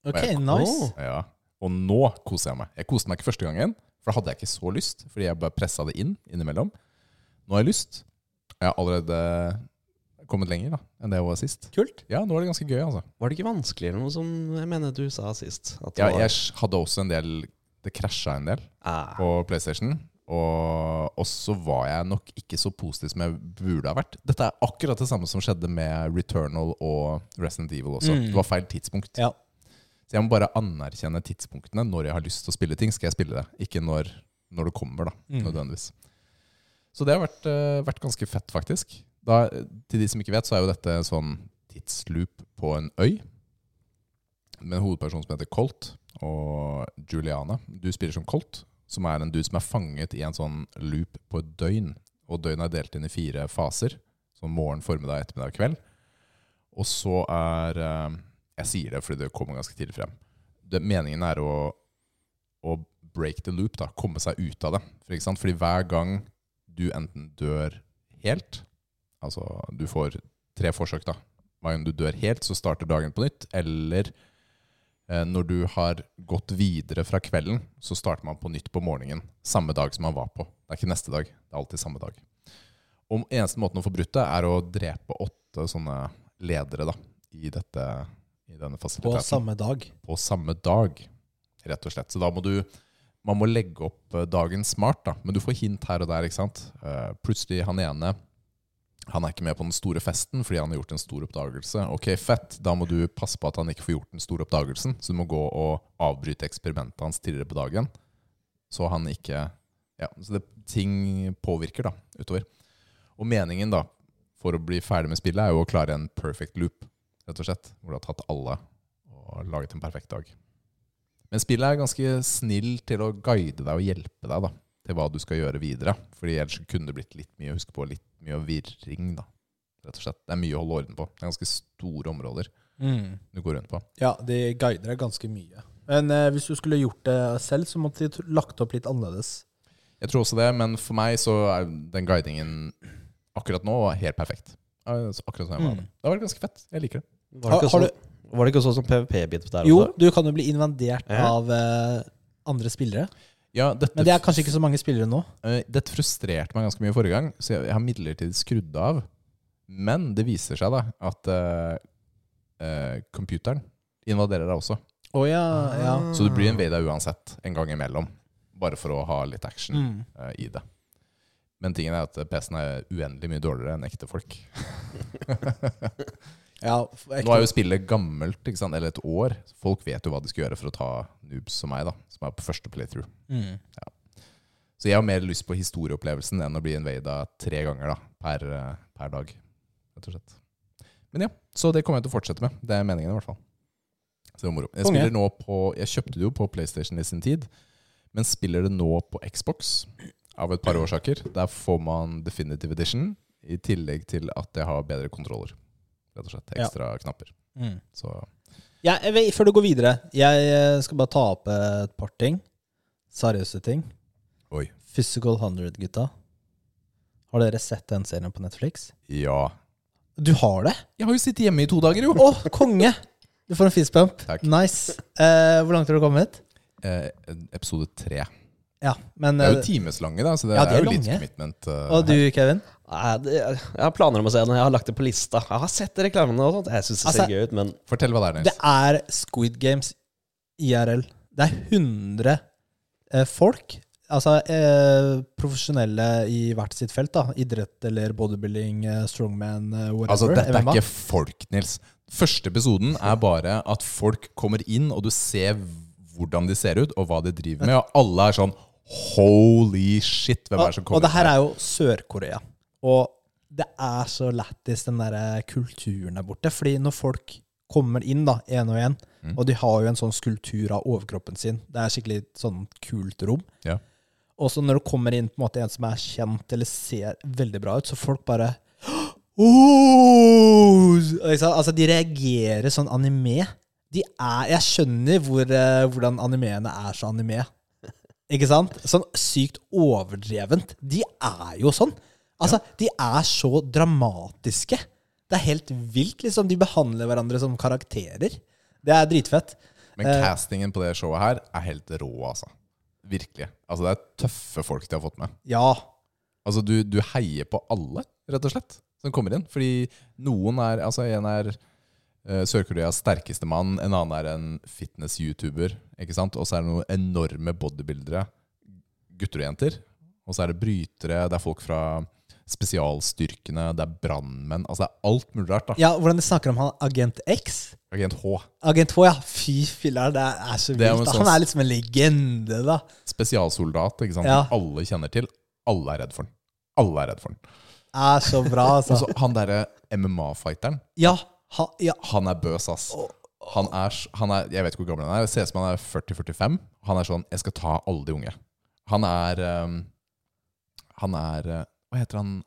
Speaker 1: Ok,
Speaker 2: Og jeg-
Speaker 1: nice.
Speaker 2: Ja. Og nå koser jeg meg. Jeg koste meg ikke første gangen, for da hadde jeg ikke så lyst. Fordi jeg bare pressa det inn innimellom. Nå har jeg lyst. Jeg har allerede kommet lenger da, enn det jeg var sist.
Speaker 1: Kult.
Speaker 2: Ja, nå er det ganske gøy, altså.
Speaker 3: Var det ikke vanskeligere noe som jeg mener du sa sist? At det
Speaker 2: Ja,
Speaker 3: var-
Speaker 2: jeg sj- hadde også en del Det krasja en del
Speaker 3: Ah.
Speaker 2: på PlayStation. Og og så var jeg nok ikke så positiv som jeg burde ha vært. Dette er akkurat det samme som skjedde med Returnal og Resident Evil også. Det var feil tidspunkt.
Speaker 1: Ja.
Speaker 2: Så jeg må bare anerkjenne tidspunktene. Når jeg har lyst til å spille ting, skal jeg spille det. Ikke når, når det kommer, da, nødvendigvis. Så det har vært, eh, vært ganske fett, faktisk. Da, til de som ikke vet, så er jo dette en sånn tidsloop på en øy. Med en hovedperson som heter Colt, og Juliane. Du spiller som Colt, som er en dude som er fanget i en sånn loop på et døgn. Og døgnet er delt inn i fire faser. Sånn morgen, formiddag, ettermiddag, kveld. Og så er eh, Jeg sier det fordi det kommer ganske tidlig frem. Det, meningen er å, å break the loop, da. Komme seg ut av det. For, ikke sant? Fordi hver gang du enten dør helt, altså du får tre forsøk, da. Hver gang du dør helt, så starter dagen på nytt. Eller eh, når du har gått videre fra kvelden, så starter man på nytt på morgenen. Samme dag som man var på. Det er ikke neste dag. Det er alltid samme dag. Og eneste måten å få brutt det, er å drepe åtte sånne ledere da, i, dette, i denne
Speaker 1: På
Speaker 2: fasiliteten.
Speaker 1: samme dag.
Speaker 2: på samme dag, rett og slett. Så da må du man må legge opp eh, dagen smart, da. men du får hint her og der. ikke sant? Eh, Plutselig han ene han er ikke med på den store festen fordi han har gjort en stor oppdagelse. Ok, fett. Da må du passe på at han ikke får gjort den store oppdagelsen. Så du må gå og avbryte eksperimentet hans tidligere på dagen, så han ikke Ja, så det, ting påvirker da, utover. Og meningen da, for å bli ferdig med spillet, er jo å klare en perfect loop, rett og slett. Hvor du har tatt alle og laget en perfekt dag. Men spillet er ganske snill til å guide deg og hjelpe deg da, til hva du skal gjøre videre. Fordi ellers så kunne det blitt litt mye å huske på, litt mye virring da, rett og slett. Det er mye å holde orden på. Det er ganske store områder
Speaker 1: Mm.
Speaker 2: du går rundt på.
Speaker 1: Ja, de guider deg ganske mye. Men eh, hvis du skulle gjort det selv, så måtte de t- lagt opp litt annerledes.
Speaker 2: Jeg tror også det, men for meg så er den guidingen akkurat nå helt perfekt. Altså, Akkurat sånn jeg var.
Speaker 1: Mm.
Speaker 2: Det har vært ganske fett. Jeg liker det.
Speaker 3: Var det ikke,
Speaker 1: Har- har
Speaker 3: sånn, var det ikke sånn som PVP-bit der
Speaker 1: Jo,
Speaker 3: også?
Speaker 1: du kan jo bli invadert
Speaker 3: Ja.
Speaker 1: av eh, andre spillere.
Speaker 2: Ja, dette,
Speaker 1: Men det er kanskje ikke så mange spillere nå.
Speaker 2: eh, dette frustrerte meg ganske mye forrige gang, så jeg, jeg har midlertidig skrudd av. Men det viser seg da at eh, eh, computeren invaderer deg også.
Speaker 1: Å ja, ja.
Speaker 2: Så du blir invada uansett, en gang imellom. Bare for å ha litt action
Speaker 1: Mm.
Speaker 2: eh, i det. Men tingen er at PC-en er uendelig mye dårligere enn ekte folk.
Speaker 1: ja f-
Speaker 2: Nå er
Speaker 1: ekte.
Speaker 2: jo spillet gammelt, ikke sant? eller et år. Folk vet jo hva de skal gjøre for å ta noobs som meg, da, som er på første playthrough.
Speaker 1: Mm.
Speaker 2: Så jeg har mer lyst på historieopplevelsen enn å bli invada tre ganger da, per, eh, per dag. Rett og slett. Men ja, så det kommer jeg til å fortsette med. Det er meningen, i hvert fall. Så det var moro. Jeg,
Speaker 1: Konge.
Speaker 2: spiller nå på, jeg kjøpte det jo på PlayStation i sin tid, men spiller det nå på Xbox av et par årsaker. Der får man Definitive Edition, i tillegg til at jeg har bedre kontroller. Rett og slett.
Speaker 1: Ja.
Speaker 2: Ekstra knapper.
Speaker 1: Mm.
Speaker 2: Så
Speaker 1: Ja, jeg vet, før du går videre, jeg eh, skal bare ta opp eh, et par ting. Seriøse ting.
Speaker 2: Oi.
Speaker 1: Physical 100, gutta. Har dere sett den serien på Netflix?
Speaker 2: Ja.
Speaker 1: Du har det?
Speaker 2: Jeg har jo sittet hjemme i to dager, jo!
Speaker 1: Å, konge! Du får en fistbump.
Speaker 2: Takk.
Speaker 1: Nice. Eh, hvor langt har du kommet?
Speaker 2: Eh, episode tre.
Speaker 1: Ja, men
Speaker 2: Det er jo
Speaker 1: eh,
Speaker 2: timeslange, da, så det,
Speaker 1: Ja, de
Speaker 2: er,
Speaker 1: er
Speaker 2: jo litt
Speaker 1: lange.
Speaker 2: commitment. eh,
Speaker 1: Og du, Kevin?
Speaker 3: Nei, det, jeg har planer om å se den. Jeg har lagt det på lista. Jeg har sett reklamene og sånt. Jeg syns det
Speaker 1: Altså-
Speaker 3: ser gøy ut, men
Speaker 2: her. Fortell hva det er,
Speaker 1: Det
Speaker 2: Nils.
Speaker 1: er Squid Games IRL. Det er 100 eh, folk, altså eh, profesjonelle i hvert sitt felt, da. Idrett eller bodybuilding, eh, strongman, eh, whatever.
Speaker 2: Altså, dette er
Speaker 1: MMA.
Speaker 2: ikke folk, Nils. Første episoden er bare at folk kommer inn, og du ser hvordan de ser ut, og hva de driver med, og alle er sånn Holy shit, hvem er det som
Speaker 1: Og
Speaker 2: kommer
Speaker 1: det her
Speaker 2: ut
Speaker 1: er jo Sør-Korea. Og det er så lættis, den der eh, kulturen der borte. Fordi når folk kommer inn, da, én og én,
Speaker 2: Mm.
Speaker 1: og de har jo en sånn skulptur av overkroppen sin, det er skikkelig sånn kult rom.
Speaker 2: Ja.
Speaker 1: Og så når det kommer inn på en måte en som er kjent eller ser veldig bra ut, så folk bare «Åh!» Ikke sant? Altså, de reagerer sånn anime. De er, jeg skjønner hvor, eh, hvordan animeene er så anime. Ikke sant? Sånn sykt overdrevent. De er jo sånn. Altså, de er så dramatiske. Det er helt vilt, liksom. De behandler hverandre som karakterer. Det er dritfett.
Speaker 2: Men
Speaker 1: Eh.
Speaker 2: castingen på det showet her er helt rå, altså. Virkelig. Altså, det er tøffe folk de har fått med.
Speaker 1: Ja.
Speaker 2: Altså, du, du heier på alle, rett og slett, som kommer inn. Fordi noen er Altså, en er eh, Sør-Koreas sterkeste mann, en annen er en fitness-YouTuber, ikke sant? Og så er det noen enorme bodybuildere, gutter og jenter. Og så er det brytere, det er folk fra spesialstyrkene, det er brannmenn. Altså, det er alt mulig rart, da.
Speaker 1: ja. Hvordan de snakker om han Agent X?
Speaker 2: Agent H.
Speaker 1: Agent H, ja. Fy filler'n, det er så
Speaker 2: Det er jo
Speaker 1: vilt. da.
Speaker 2: en sånn-
Speaker 1: Han er liksom en legende, da.
Speaker 2: Spesialsoldat, ikke sant?
Speaker 1: Ja.
Speaker 2: Som alle kjenner til. Alle er redd for den. Alle er redd for den.
Speaker 1: Er så bra,
Speaker 2: Og
Speaker 1: altså.
Speaker 2: så han derre MMA-fighteren.
Speaker 1: Ja. Ha, ja.
Speaker 2: Han er bøs, ass. Han er, s- han er, jeg vet ikke hvor gammel han er. Det ser ut som han er 40-45. Han er sånn 'Jeg skal ta alle de unge'. Han er ehm, Han er eh, Hva heter han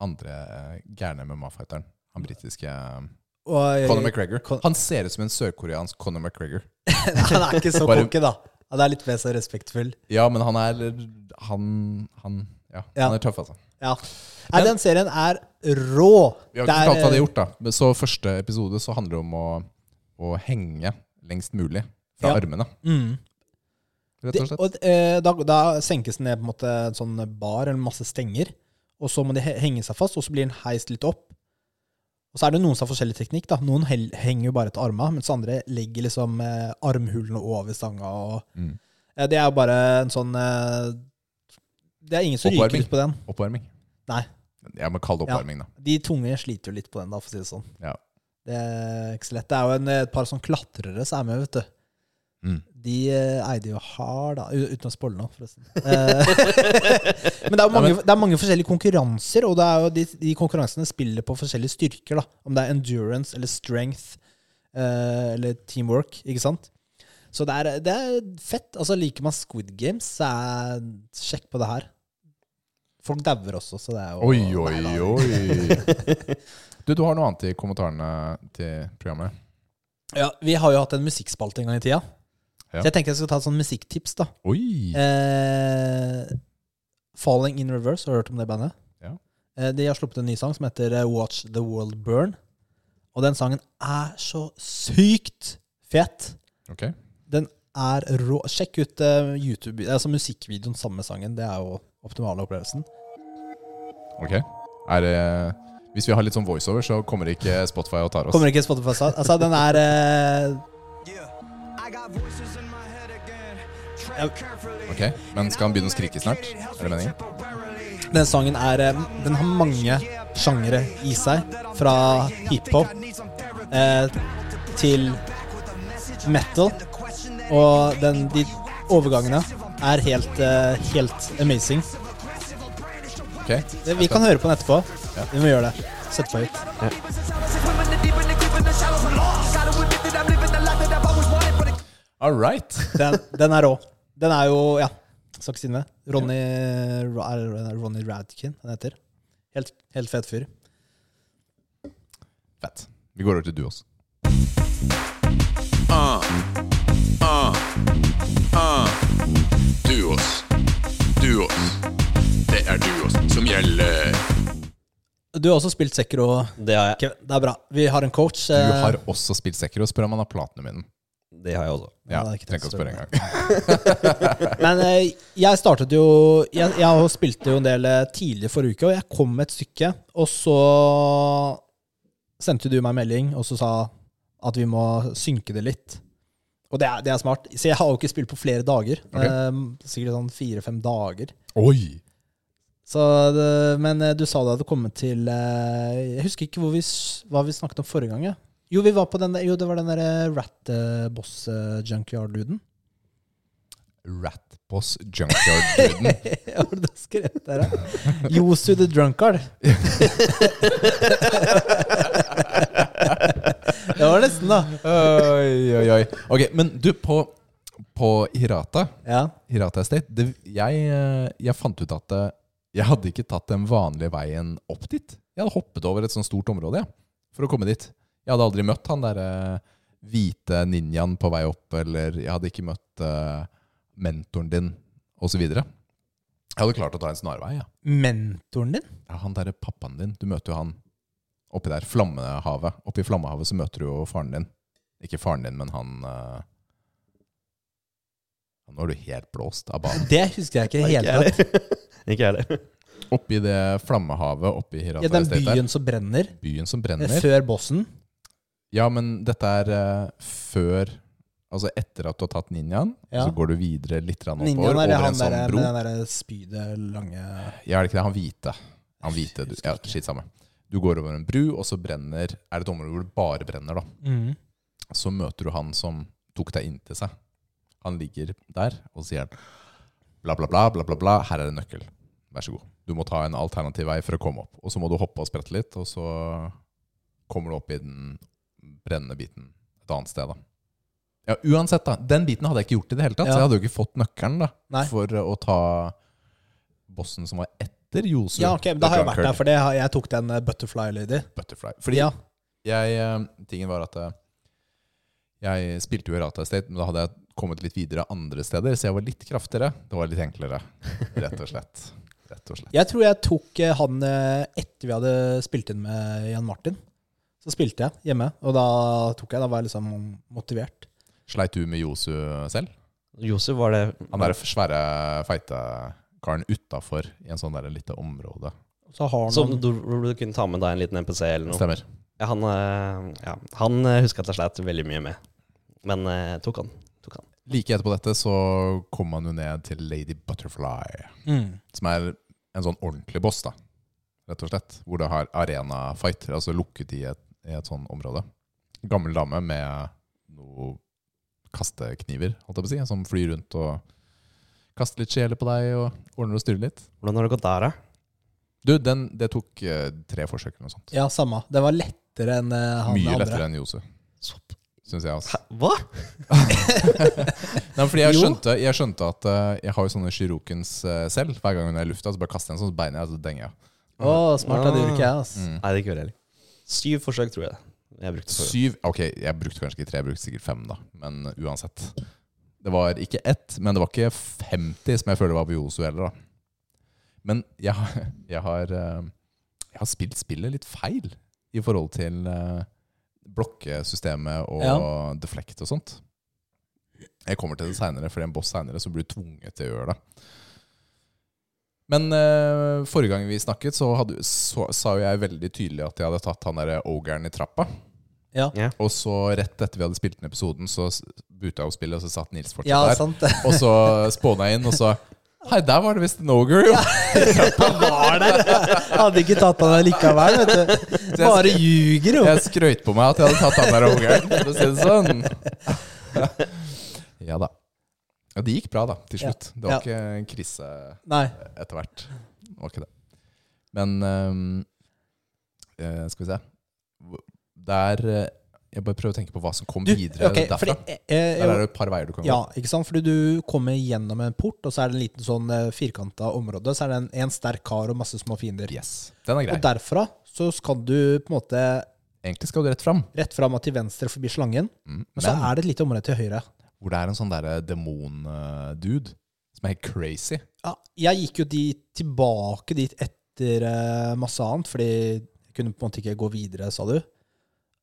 Speaker 2: andre eh, gærne MMA-fighteren? Han britiske eh,
Speaker 1: Og,
Speaker 2: Conor McGregor.
Speaker 1: Con-
Speaker 2: Han ser ut som en sørkoreansk Conor McGregor.
Speaker 1: han er ikke så
Speaker 2: Bare-
Speaker 1: konke, da. Han er litt mer så respektfull.
Speaker 2: Ja, men han er Han, han, ja,
Speaker 1: Ja.
Speaker 2: han er tøff, altså.
Speaker 1: Ja. Nei, den serien er rå.
Speaker 2: Vi har
Speaker 1: Det
Speaker 2: ikke
Speaker 1: er, eh,
Speaker 2: fortalt hva de har gjort, da. Men Så første episode så handler det om å, å henge lengst mulig fra
Speaker 1: Ja.
Speaker 2: armene.
Speaker 1: Mm.
Speaker 2: Rett
Speaker 1: De,
Speaker 2: og slett.
Speaker 1: og eh, da, da senkes den ned på en måte en sånn bar eller masse stenger, og så må de he- henge seg fast, og så blir den heist litt opp. Og så er det noen som har forskjellig teknikk. da. Noen hel, henger jo bare til arma, mens andre legger liksom eh, armhulene over stanga. og
Speaker 2: Mm.
Speaker 1: Eh, Det er jo bare en sånn eh, Det er ingen som ryker
Speaker 2: Oppvarming.
Speaker 1: ut på den.
Speaker 2: Oppvarming.
Speaker 1: Nei.
Speaker 2: Ja, men kall det
Speaker 1: Ja.
Speaker 2: oppvarming, da.
Speaker 1: De tunge sliter jo litt på den, da, for å si det sånn.
Speaker 2: Ja.
Speaker 1: Det er ikke så lett. Det er jo en, et par sånn klatrere som er med, vet du.
Speaker 2: Mm.
Speaker 1: de eh, eide jo hard, da. u- Uten å spoile nå, forresten. Eh, men det er, jo mange, det er mange forskjellige konkurranser, og det er jo de, de konkurransene spiller på forskjellige styrker. da Om det er endurance eller strength eh, eller teamwork, ikke sant? Så det er, det er fett. Altså Liker man Squid Games, så er, sjekk på det her. Folk dauer også, så det er jo
Speaker 2: Oi,
Speaker 1: Nei, da.
Speaker 2: oi, oi. Du, du har noe annet i kommentarene til programmet.
Speaker 1: Ja, Vi har jo hatt en musikkspalte en gang i tida.
Speaker 2: Ja.
Speaker 1: Så jeg tenkte jeg skulle ta et sånt musikktips. da
Speaker 2: Oi!
Speaker 1: eh, Falling in Reverse, har du hørt om det bandet?
Speaker 2: Ja.
Speaker 1: Eh, de har sluppet en ny sang som heter eh, Watch the World Burn. Og den sangen er så sykt fet.
Speaker 2: Ok.
Speaker 1: Den er rå. Sjekk ut eh, YouTube, altså musikkvideoen sammen med sangen. Det er jo optimale opplevelsen.
Speaker 2: ok. Er det Hvis vi har litt sånn voiceover, så kommer ikke Spotify og tar oss.
Speaker 1: Kommer ikke Spotify sa- Altså, den er eh,
Speaker 2: Ok, Men skal han begynne å skrike snart? Er det meningen?
Speaker 1: Den sangen er eh, Den har mange sjangere i seg. Fra hiphop eh, til metal. Og den, de overgangene er helt, eh, helt amazing.
Speaker 2: Ok.
Speaker 1: Det, vi kan høre på den etterpå. Vi må gjøre det. Sett på hit.
Speaker 2: All right.
Speaker 1: Den, den er rå. Den er jo Ja, skal ikke si det. Ronny, Ra- er det Ronny Radkin han heter. Helt, helt fet fyr.
Speaker 2: Fett. Vi går over til du også.
Speaker 6: Ah. Duos. Duos. Det er duos som gjelder.
Speaker 1: Du har også spilt Sekro.
Speaker 3: Det har jeg.
Speaker 1: Kevin. Det er bra. Vi har en coach.
Speaker 2: Du
Speaker 1: eh,
Speaker 2: har også spilt Sekiro. Spør om han har platinum i den.
Speaker 3: Det har jeg også.
Speaker 2: Ja,
Speaker 1: det er ikke
Speaker 2: trenger ikke å
Speaker 1: det
Speaker 2: spørre engang.
Speaker 1: Men eh, jeg startet jo Jeg, jeg spilte jo en del eh, tidlig forrige uke, og jeg kom med et stykke. Og så sendte du meg melding og så sa at vi må synke det litt. Og det er, det er smart. Så jeg har jo ikke spilt på flere dager.
Speaker 2: Ok.
Speaker 1: Eh, sikkert sånn fire-fem dager.
Speaker 2: Oi!
Speaker 1: Så det, men eh, du sa det hadde kommet til eh, Jeg husker ikke hvor vi, s- hva vi snakket om forrige gang. Ja. Jo, vi var på den der, eh, jo, det var den derre eh, Rat-boss-junkyard-luden.
Speaker 2: Ratboss Junkyard-duden.
Speaker 1: Hva var det du skrev der, da? Yosu the drunkard. det var nesten, da.
Speaker 2: oi, oi, oi. Ok, men du, på, på Hirata,
Speaker 1: Ja.
Speaker 2: Hirata Estate det, jeg, eh, jeg fant ut at eh, jeg hadde ikke tatt den vanlige veien opp dit. Jeg hadde hoppet over et sånt stort område ja, for å komme dit. Jeg hadde aldri møtt han derre hvite ninjaen på vei opp, eller jeg hadde ikke møtt eh, mentoren din, osv. Jeg hadde klart å ta en snarvei. Ja.
Speaker 1: Mentoren din?
Speaker 2: Ja, han derre pappaen din, du møter jo han oppi der, Flammehavet. Oppi Flammehavet så møter du jo faren din. Ikke faren din, men han eh, Nå er du helt blåst av banen.
Speaker 1: Det husker jeg ikke i det hele tatt.
Speaker 3: Ikke jeg heller.
Speaker 2: Oppi det Flammehavet oppi Hirata
Speaker 1: Ja, den
Speaker 2: Estate der.
Speaker 1: byen som brenner,
Speaker 2: Byen som
Speaker 1: eh,
Speaker 2: brenner.
Speaker 1: før bossen.
Speaker 2: Ja, men dette er eh, før Altså etter at du har tatt ninjaen,
Speaker 1: Ja.
Speaker 2: så går du videre litt grann oppover,
Speaker 1: Ninjaen er
Speaker 2: over en
Speaker 1: han
Speaker 2: sånn
Speaker 1: der eh,
Speaker 2: bro.
Speaker 1: med den derre spydet lange
Speaker 2: Ja, er det ikke det? Han hvite. Han hvite, du, ja, Skitt samme. Du går over en bru, og så brenner Er det et område hvor det bare brenner, da?
Speaker 1: Mhm.
Speaker 2: så møter du han som tok deg inn til seg. Han ligger der og sier bla, bla, bla, bla, bla, bla. Her er en nøkkel. Vær så god. Du må ta en alternativ vei for å komme opp. Og så må du hoppe og sprette litt, og så kommer du opp i den brennende biten et annet sted, da. Ja, uansett, da. Den biten hadde jeg ikke gjort i det hele tatt.
Speaker 1: Ja.
Speaker 2: Så jeg hadde jo ikke fått nøkkelen da,
Speaker 1: Nei.
Speaker 2: for å ta bossen som var etter Yosu.
Speaker 1: Ja, ok, men da har jeg vært der, for det har, jeg tok den eh, Butterfly Lady.
Speaker 2: Butterfly.
Speaker 1: Fordi,
Speaker 2: Fordi
Speaker 1: ja.
Speaker 2: jeg, eh, tingen var at eh, jeg spilte jo i Rata Estate, men da hadde jeg kommet litt videre andre steder, så jeg var litt kraftigere. Det var litt enklere, rett og slett. Rett og slett.
Speaker 1: Jeg tror jeg tok eh, han eh, etter vi hadde spilt inn med Jan Martin. Så spilte jeg hjemme, og da tok jeg, da var jeg liksom motivert.
Speaker 2: Sleit du med Josu selv?
Speaker 3: Josef var det
Speaker 2: Han der svære, feite karen utafor i en sånn der lite område.
Speaker 1: Så har
Speaker 3: Som
Speaker 1: han
Speaker 3: du, hvor du kunne ta med deg en liten NPC eller noe.
Speaker 2: Stemmer.
Speaker 3: Ja, han eh, ja, han eh, husker at jeg sleit veldig mye med. Men eh, tok han. Tok han.
Speaker 2: Like etterpå dette så kom han jo ned til Lady Butterfly,
Speaker 1: mm.
Speaker 2: som er en sånn ordentlig boss, da. Rett og slett. Hvor det har arena-fight, altså lukket i et, i et sånn område. Gammel dame med noe kastekniver, holdt jeg på å si, som flyr rundt og kaster litt sjeler på deg og ordner og styrer litt.
Speaker 3: Hvordan har det gått der, da?
Speaker 2: Du, den, det tok eh, tre forsøk eller noe sånt.
Speaker 1: Ja, samme. Det var lettere enn eh, han
Speaker 2: Mye
Speaker 1: andre.
Speaker 2: lettere enn Jose, syns jeg. Altså.
Speaker 3: Hva?
Speaker 2: Nei, fordi jeg
Speaker 1: Jo.
Speaker 2: skjønte, jeg skjønte at eh, jeg har jo sånne Shirokens eh, selv. Hver gang hun er i lufta, så bare kaster jeg en sånn, så beiner jeg, og så denger jeg.
Speaker 1: Å, smart. da, Det gjorde ikke jeg, altså.
Speaker 2: Mm.
Speaker 3: Nei, det gjør jeg heller. Syv forsøk, tror jeg. Jeg brukte forrige.
Speaker 2: Syv Ok, jeg brukte kanskje ikke tre, jeg brukte sikkert fem, da. Men uansett. Det var ikke ett, men det var ikke 50 som jeg føler var på Josu heller, da. Men jeg, har- jeg har eh, Jeg har spilt spillet litt feil i forhold til eh, blokkesystemet og
Speaker 1: Ja.
Speaker 2: deflect og sånt. Jeg kommer til det seinere, fordi en boss seinere så blir du tvunget til å gjøre det. Men eh, forrige gang vi snakket, så, hadde, så sa jo jeg veldig tydelig at jeg hadde tatt han derre ogeren i trappa.
Speaker 1: Ja.
Speaker 2: Og så rett etter vi hadde spilt den episoden, så s- buta jeg opp spillet, og så satt Nils fortsatt
Speaker 1: Ja,
Speaker 2: der.
Speaker 1: sant det.
Speaker 2: Og så spåna jeg inn, og så Hei, der var det visst en ogre, jo!
Speaker 1: Han var der! Jeg hadde ikke tatt han der likevel, vet du.
Speaker 2: Så jeg
Speaker 1: Bare
Speaker 2: sk-
Speaker 1: ljuger, jo.
Speaker 2: Jeg skrøyt på meg at jeg hadde tatt han der ogeren, for å si det sånn. Ja da. Ja, det gikk bra, da, til
Speaker 1: Ja.
Speaker 2: slutt. Det var
Speaker 1: Ja.
Speaker 2: ikke en krise
Speaker 1: Nei.
Speaker 2: etter hvert. Det var ikke det. Men ehm, eh, Skal vi se Hvor- Der eh, Jeg bare prøver å tenke på hva som kom
Speaker 1: Du,
Speaker 2: videre
Speaker 1: ok,
Speaker 2: derfra.
Speaker 1: fordi eh, eh,
Speaker 2: Der er det et par veier du kan gå.
Speaker 1: Ja, ikke sant? Fordi du kommer gjennom en port, og så er det en liten sånn eh, firkanta område. Så er det en, en sterk kar og masse små fiender.
Speaker 2: Yes. Den er grei.
Speaker 1: Og derfra så skal du på en måte
Speaker 2: Egentlig skal du rett fram.
Speaker 1: rett fram og til venstre forbi slangen,
Speaker 2: Mm,
Speaker 1: men så
Speaker 2: men
Speaker 1: er det et lite område til høyre.
Speaker 2: hvor det er en sånn derre demon-dude som er helt crazy.
Speaker 1: Ja, jeg gikk jo de tilbake dit etter eh, masse annet, fordi jeg kunne på en måte ikke gå videre, sa du.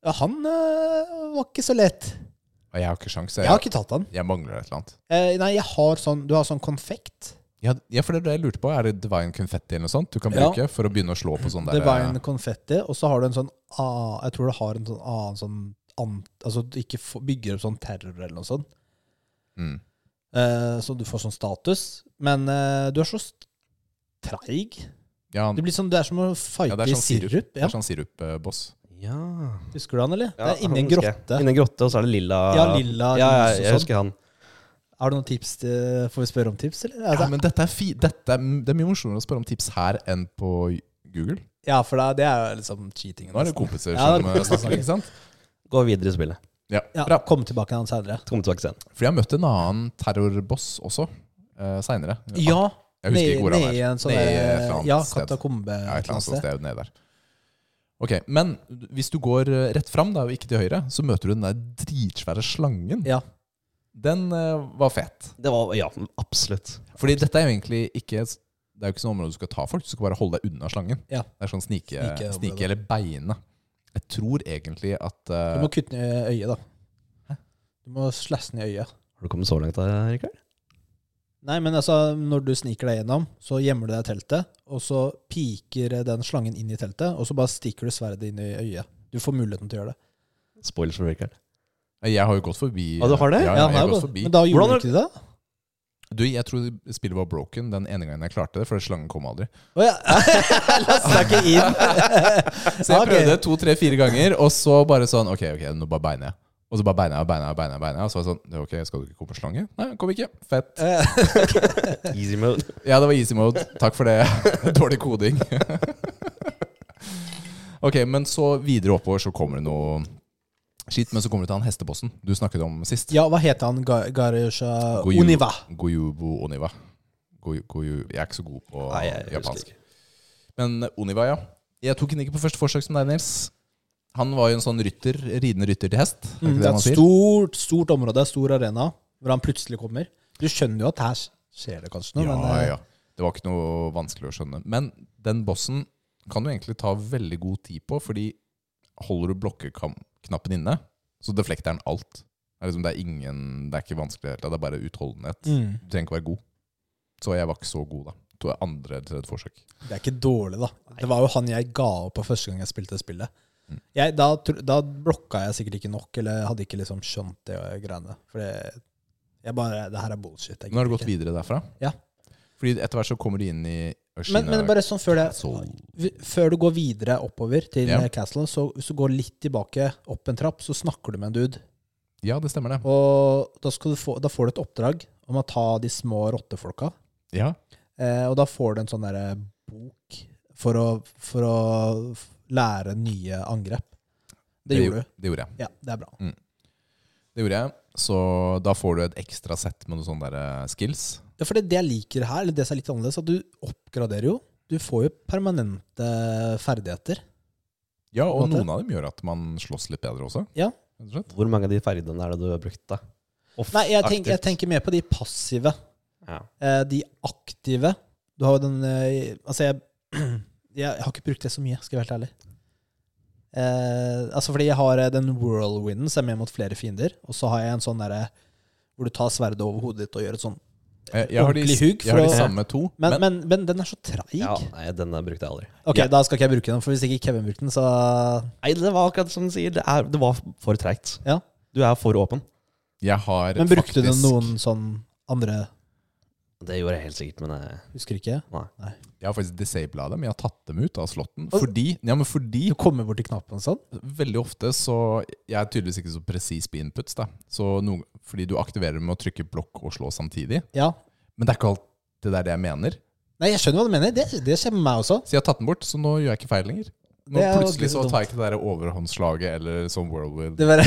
Speaker 1: Ja, han eh, var ikke så lett.
Speaker 2: Og jeg har ikke sjans.
Speaker 1: Jeg har
Speaker 2: Jeg,
Speaker 1: ikke tatt han.
Speaker 2: jeg mangler et eller annet.
Speaker 1: Eh, nei, jeg har sånn Du har sånn konfekt.
Speaker 2: Ja, ja, for det er det jeg lurte på. Er det divine confetti eller noe sånt du kan
Speaker 1: Ja.
Speaker 2: bruke for å begynne å slå på sånn
Speaker 1: Det
Speaker 2: der
Speaker 1: var en konfetti, og så har du en sånn ah, Jeg tror du har en sånn annen sånn ant, Altså du ikke får- bygger opp sånn terror eller noe sånt.
Speaker 2: mm.
Speaker 1: Eh, så du får sånn status. Men eh, du er så st- treig.
Speaker 2: ja,
Speaker 1: Det, blir sånn, det er som å fighte
Speaker 2: ja, det er sånn
Speaker 1: i sirup.
Speaker 2: sirup. Det
Speaker 1: Ja.
Speaker 2: er sånn sirup-boss.
Speaker 3: Ja.
Speaker 1: Husker du han, eller? det er inni en
Speaker 3: han husker jeg.
Speaker 1: grotte.
Speaker 3: Inni en grotte, og så er det lilla
Speaker 1: Ja, lilla
Speaker 3: Ja,
Speaker 1: lys
Speaker 3: jeg,
Speaker 1: og
Speaker 3: jeg
Speaker 1: sånn.
Speaker 3: husker han.
Speaker 1: Har du noen tips til Får vi spørre om tips, eller?
Speaker 2: Ja,
Speaker 1: Altså,
Speaker 2: men dette er fi dette er, det er mye morsommere å spørre om tips her enn på Google.
Speaker 1: ja, for da- det er jo liksom cheating.
Speaker 2: Nå er det
Speaker 1: nesten.
Speaker 2: kompiser
Speaker 1: Ja, det er
Speaker 2: som eh,
Speaker 1: kompiser som
Speaker 2: snakker, ikke sant?
Speaker 3: Gå videre i spillet.
Speaker 2: Ja,
Speaker 1: Ja,
Speaker 2: bra.
Speaker 1: Kom tilbake til han senere.
Speaker 3: Kom tilbake sen.
Speaker 2: For jeg har møtt en annen terrorboss også, uh, seinere.
Speaker 1: Ja,
Speaker 2: Jeg husker ikke hvor han er.
Speaker 1: nede i en sånn
Speaker 2: Nede i et
Speaker 1: der-
Speaker 2: eller annet
Speaker 1: Ja,
Speaker 2: sted.
Speaker 1: katakombe.
Speaker 2: Ja, et eller annet sånt
Speaker 1: sted.
Speaker 2: sted nede der. Ok, Men hvis du går eh, rett fram da, og ikke til høyre, så møter du den der dritsvære slangen.
Speaker 1: Ja.
Speaker 2: Den eh, var fet.
Speaker 3: Det var Ja, absolutt.
Speaker 2: Fordi dette er jo egentlig ikke Det er jo ikke sånn område du skal ta folk, du skal bare holde deg unna slangen.
Speaker 1: Ja.
Speaker 2: Det er sånn snike, snike,
Speaker 1: Snike-
Speaker 2: eller beine. Jeg tror egentlig at eh,
Speaker 1: Du må kutte ned øyet, da. Du må slasse ned øyet.
Speaker 3: Har du kommet så langt da, Rikard?
Speaker 1: Nei, men altså, når du sniker deg gjennom, så gjemmer du deg i teltet, og så piker den slangen inn i teltet, og så bare stikker du sverdet inn i øyet. Du får muligheten til å gjøre det.
Speaker 3: Spoilers for Rikard.
Speaker 2: Jeg har jo gått forbi.
Speaker 3: Ah, du har det?
Speaker 2: Ja,
Speaker 1: Ja,
Speaker 2: ja, jeg
Speaker 1: nei,
Speaker 2: har gått
Speaker 1: da-
Speaker 2: forbi.
Speaker 1: men da gjorde
Speaker 3: Hvordan-
Speaker 1: du ikke det? da?
Speaker 2: Du, jeg tror spillet var broken den ene gangen jeg klarte det, for slangen kom aldri.
Speaker 1: Å ja. Lasta deg ikke inn.
Speaker 2: Så jeg
Speaker 1: Ok.
Speaker 2: prøvde to, tre, fire ganger, og så bare sånn Ok, ok, nå bare beiner jeg. Og så bare beina jeg, beina jeg, beina jeg. beina jeg, Og så var det sånn Ok, skal du ikke komme på slange? Nei, kom ikke. Fett.
Speaker 3: Easy mode.
Speaker 2: Ja, det var easy mode. Takk for det. Dårlig koding. ok, men så videre oppover så kommer det noe skitt. Men så kommer det til han hestebossen du snakket om sist.
Speaker 1: ja, hva heter han? Ga- Garusha
Speaker 2: Goyu-
Speaker 1: Oniva.
Speaker 2: Goyubo Oniva. Goyu, goyu. Jeg er ikke så god på
Speaker 3: Nei, jeg husker
Speaker 2: japansk.
Speaker 3: ikke.
Speaker 2: Men Oniva, ja. Jeg tok den ikke på første forsøk som deg, Nils. Han var jo en sånn rytter, ridende rytter til hest.
Speaker 1: Mm,
Speaker 2: Er ikke
Speaker 1: det
Speaker 2: det
Speaker 1: er
Speaker 2: man
Speaker 1: et
Speaker 2: sier?
Speaker 1: stort, stort område, stor arena, hvor han plutselig kommer. Du skjønner jo at her skjer det kanskje noe,
Speaker 2: Ja,
Speaker 1: men eh,
Speaker 2: ja. Det var ikke noe vanskelig å skjønne. Men den bossen kan du egentlig ta veldig god tid på, fordi holder du blokkeknappen inne, så deflekter den alt. Det er, liksom, det er ingen Det er ikke vanskelig i det hele tatt, det er bare utholdenhet.
Speaker 1: mm,
Speaker 2: Du trenger ikke være god. Så jeg var ikke så god, da. Tror jeg andre eller tredje forsøk.
Speaker 1: det er ikke dårlig, da. Det var jo han jeg ga opp på første gang jeg spilte det spillet.
Speaker 2: Mm.
Speaker 1: Jeg, da, tro- da blokka jeg sikkert ikke nok, eller hadde ikke liksom skjønt det og greiene. For det, jeg bare Det her er bullshit. jeg
Speaker 2: Nå har du
Speaker 1: gidder
Speaker 2: gått
Speaker 1: ikke.
Speaker 2: videre derfra?
Speaker 1: Ja.
Speaker 2: Fordi etter hvert så kommer du inn i Kina.
Speaker 1: Men, men bare sånn før det
Speaker 2: Castle.
Speaker 1: vi- Før du går videre oppover til
Speaker 2: Ja.
Speaker 1: eh, Castle, så hvis du går litt tilbake opp en trapp, så snakker du med en dude.
Speaker 2: Ja, det stemmer det.
Speaker 1: Og da, skal du få, da får du et oppdrag om å ta de små rottefolka.
Speaker 2: Ja.
Speaker 1: Eh, og da får du en sånn derre bok for å, for å f- lære nye angrep. Det gjorde du.
Speaker 2: gjo- Det gjorde jeg.
Speaker 1: Ja, det er bra.
Speaker 2: Det gjorde jeg. Så da får du et ekstra sett med noen sånne der eh, skills.
Speaker 1: Ja, for det, det jeg liker her, eller det som er litt annerledes, at du oppgraderer jo. Du får jo permanente ferdigheter.
Speaker 2: Ja,
Speaker 1: På
Speaker 2: og
Speaker 1: en måte.
Speaker 2: noen av dem gjør at man slåss litt bedre også.
Speaker 1: Ja.
Speaker 2: rett og slett.
Speaker 3: Hvor mange av de ferdene er det du har brukt, da? Off-
Speaker 1: Nei, jeg, tenk, jeg
Speaker 3: aktivt.
Speaker 1: tenker mer på de passive.
Speaker 3: Ja.
Speaker 1: Eh, de aktive. Du har jo den eh, Altså, jeg, jeg har ikke brukt det så mye, skal jeg være helt ærlig. Eh, altså fordi jeg har eh, den whirlwinden som er med mot flere fiender, og så har jeg en sånn derre hvor du tar sverdet over hodet ditt og gjør et sånn.
Speaker 2: Jeg, jeg, har, de,
Speaker 1: Ordentlig hugg
Speaker 2: jeg har
Speaker 1: for å-
Speaker 2: de samme to.
Speaker 1: Men, men, men den er så treig.
Speaker 3: ja, nei, denne brukte jeg aldri.
Speaker 1: Ok, da skal ikke jeg bruke den, for hvis ikke Kevin brukte den, så
Speaker 3: Nei, det var akkurat som du sier. Det, er, det var for treigt.
Speaker 1: Ja.
Speaker 3: Du er for åpen.
Speaker 2: Jeg har
Speaker 1: Men brukte
Speaker 2: faktisk,
Speaker 1: du noen sånn andre
Speaker 3: Det gjorde jeg helt sikkert, men eh, jeg,
Speaker 1: Husker ikke.
Speaker 2: Jeg har faktisk disabla dem. Jeg har tatt dem ut av slåtten.
Speaker 1: Og-
Speaker 2: Fordi, ja, men fordi
Speaker 1: Du kommer bort til knappen og sånn.
Speaker 2: veldig ofte så Jeg er tydeligvis ikke så presis på inputs. Da. Så noen, fordi du aktiverer dem med å trykke blokk og slå samtidig.
Speaker 1: Ja.
Speaker 2: Men det er ikke alt det der jeg mener.
Speaker 1: Nei, jeg skjønner hva du mener. Det, det skjer med meg også.
Speaker 2: Så jeg har tatt den bort, så nå gjør jeg ikke feil lenger. Nå
Speaker 1: Det er jo
Speaker 2: plutselig så
Speaker 1: dumt.
Speaker 2: tar jeg ikke det der overhåndslaget eller sånn whirlwind.
Speaker 1: Det var,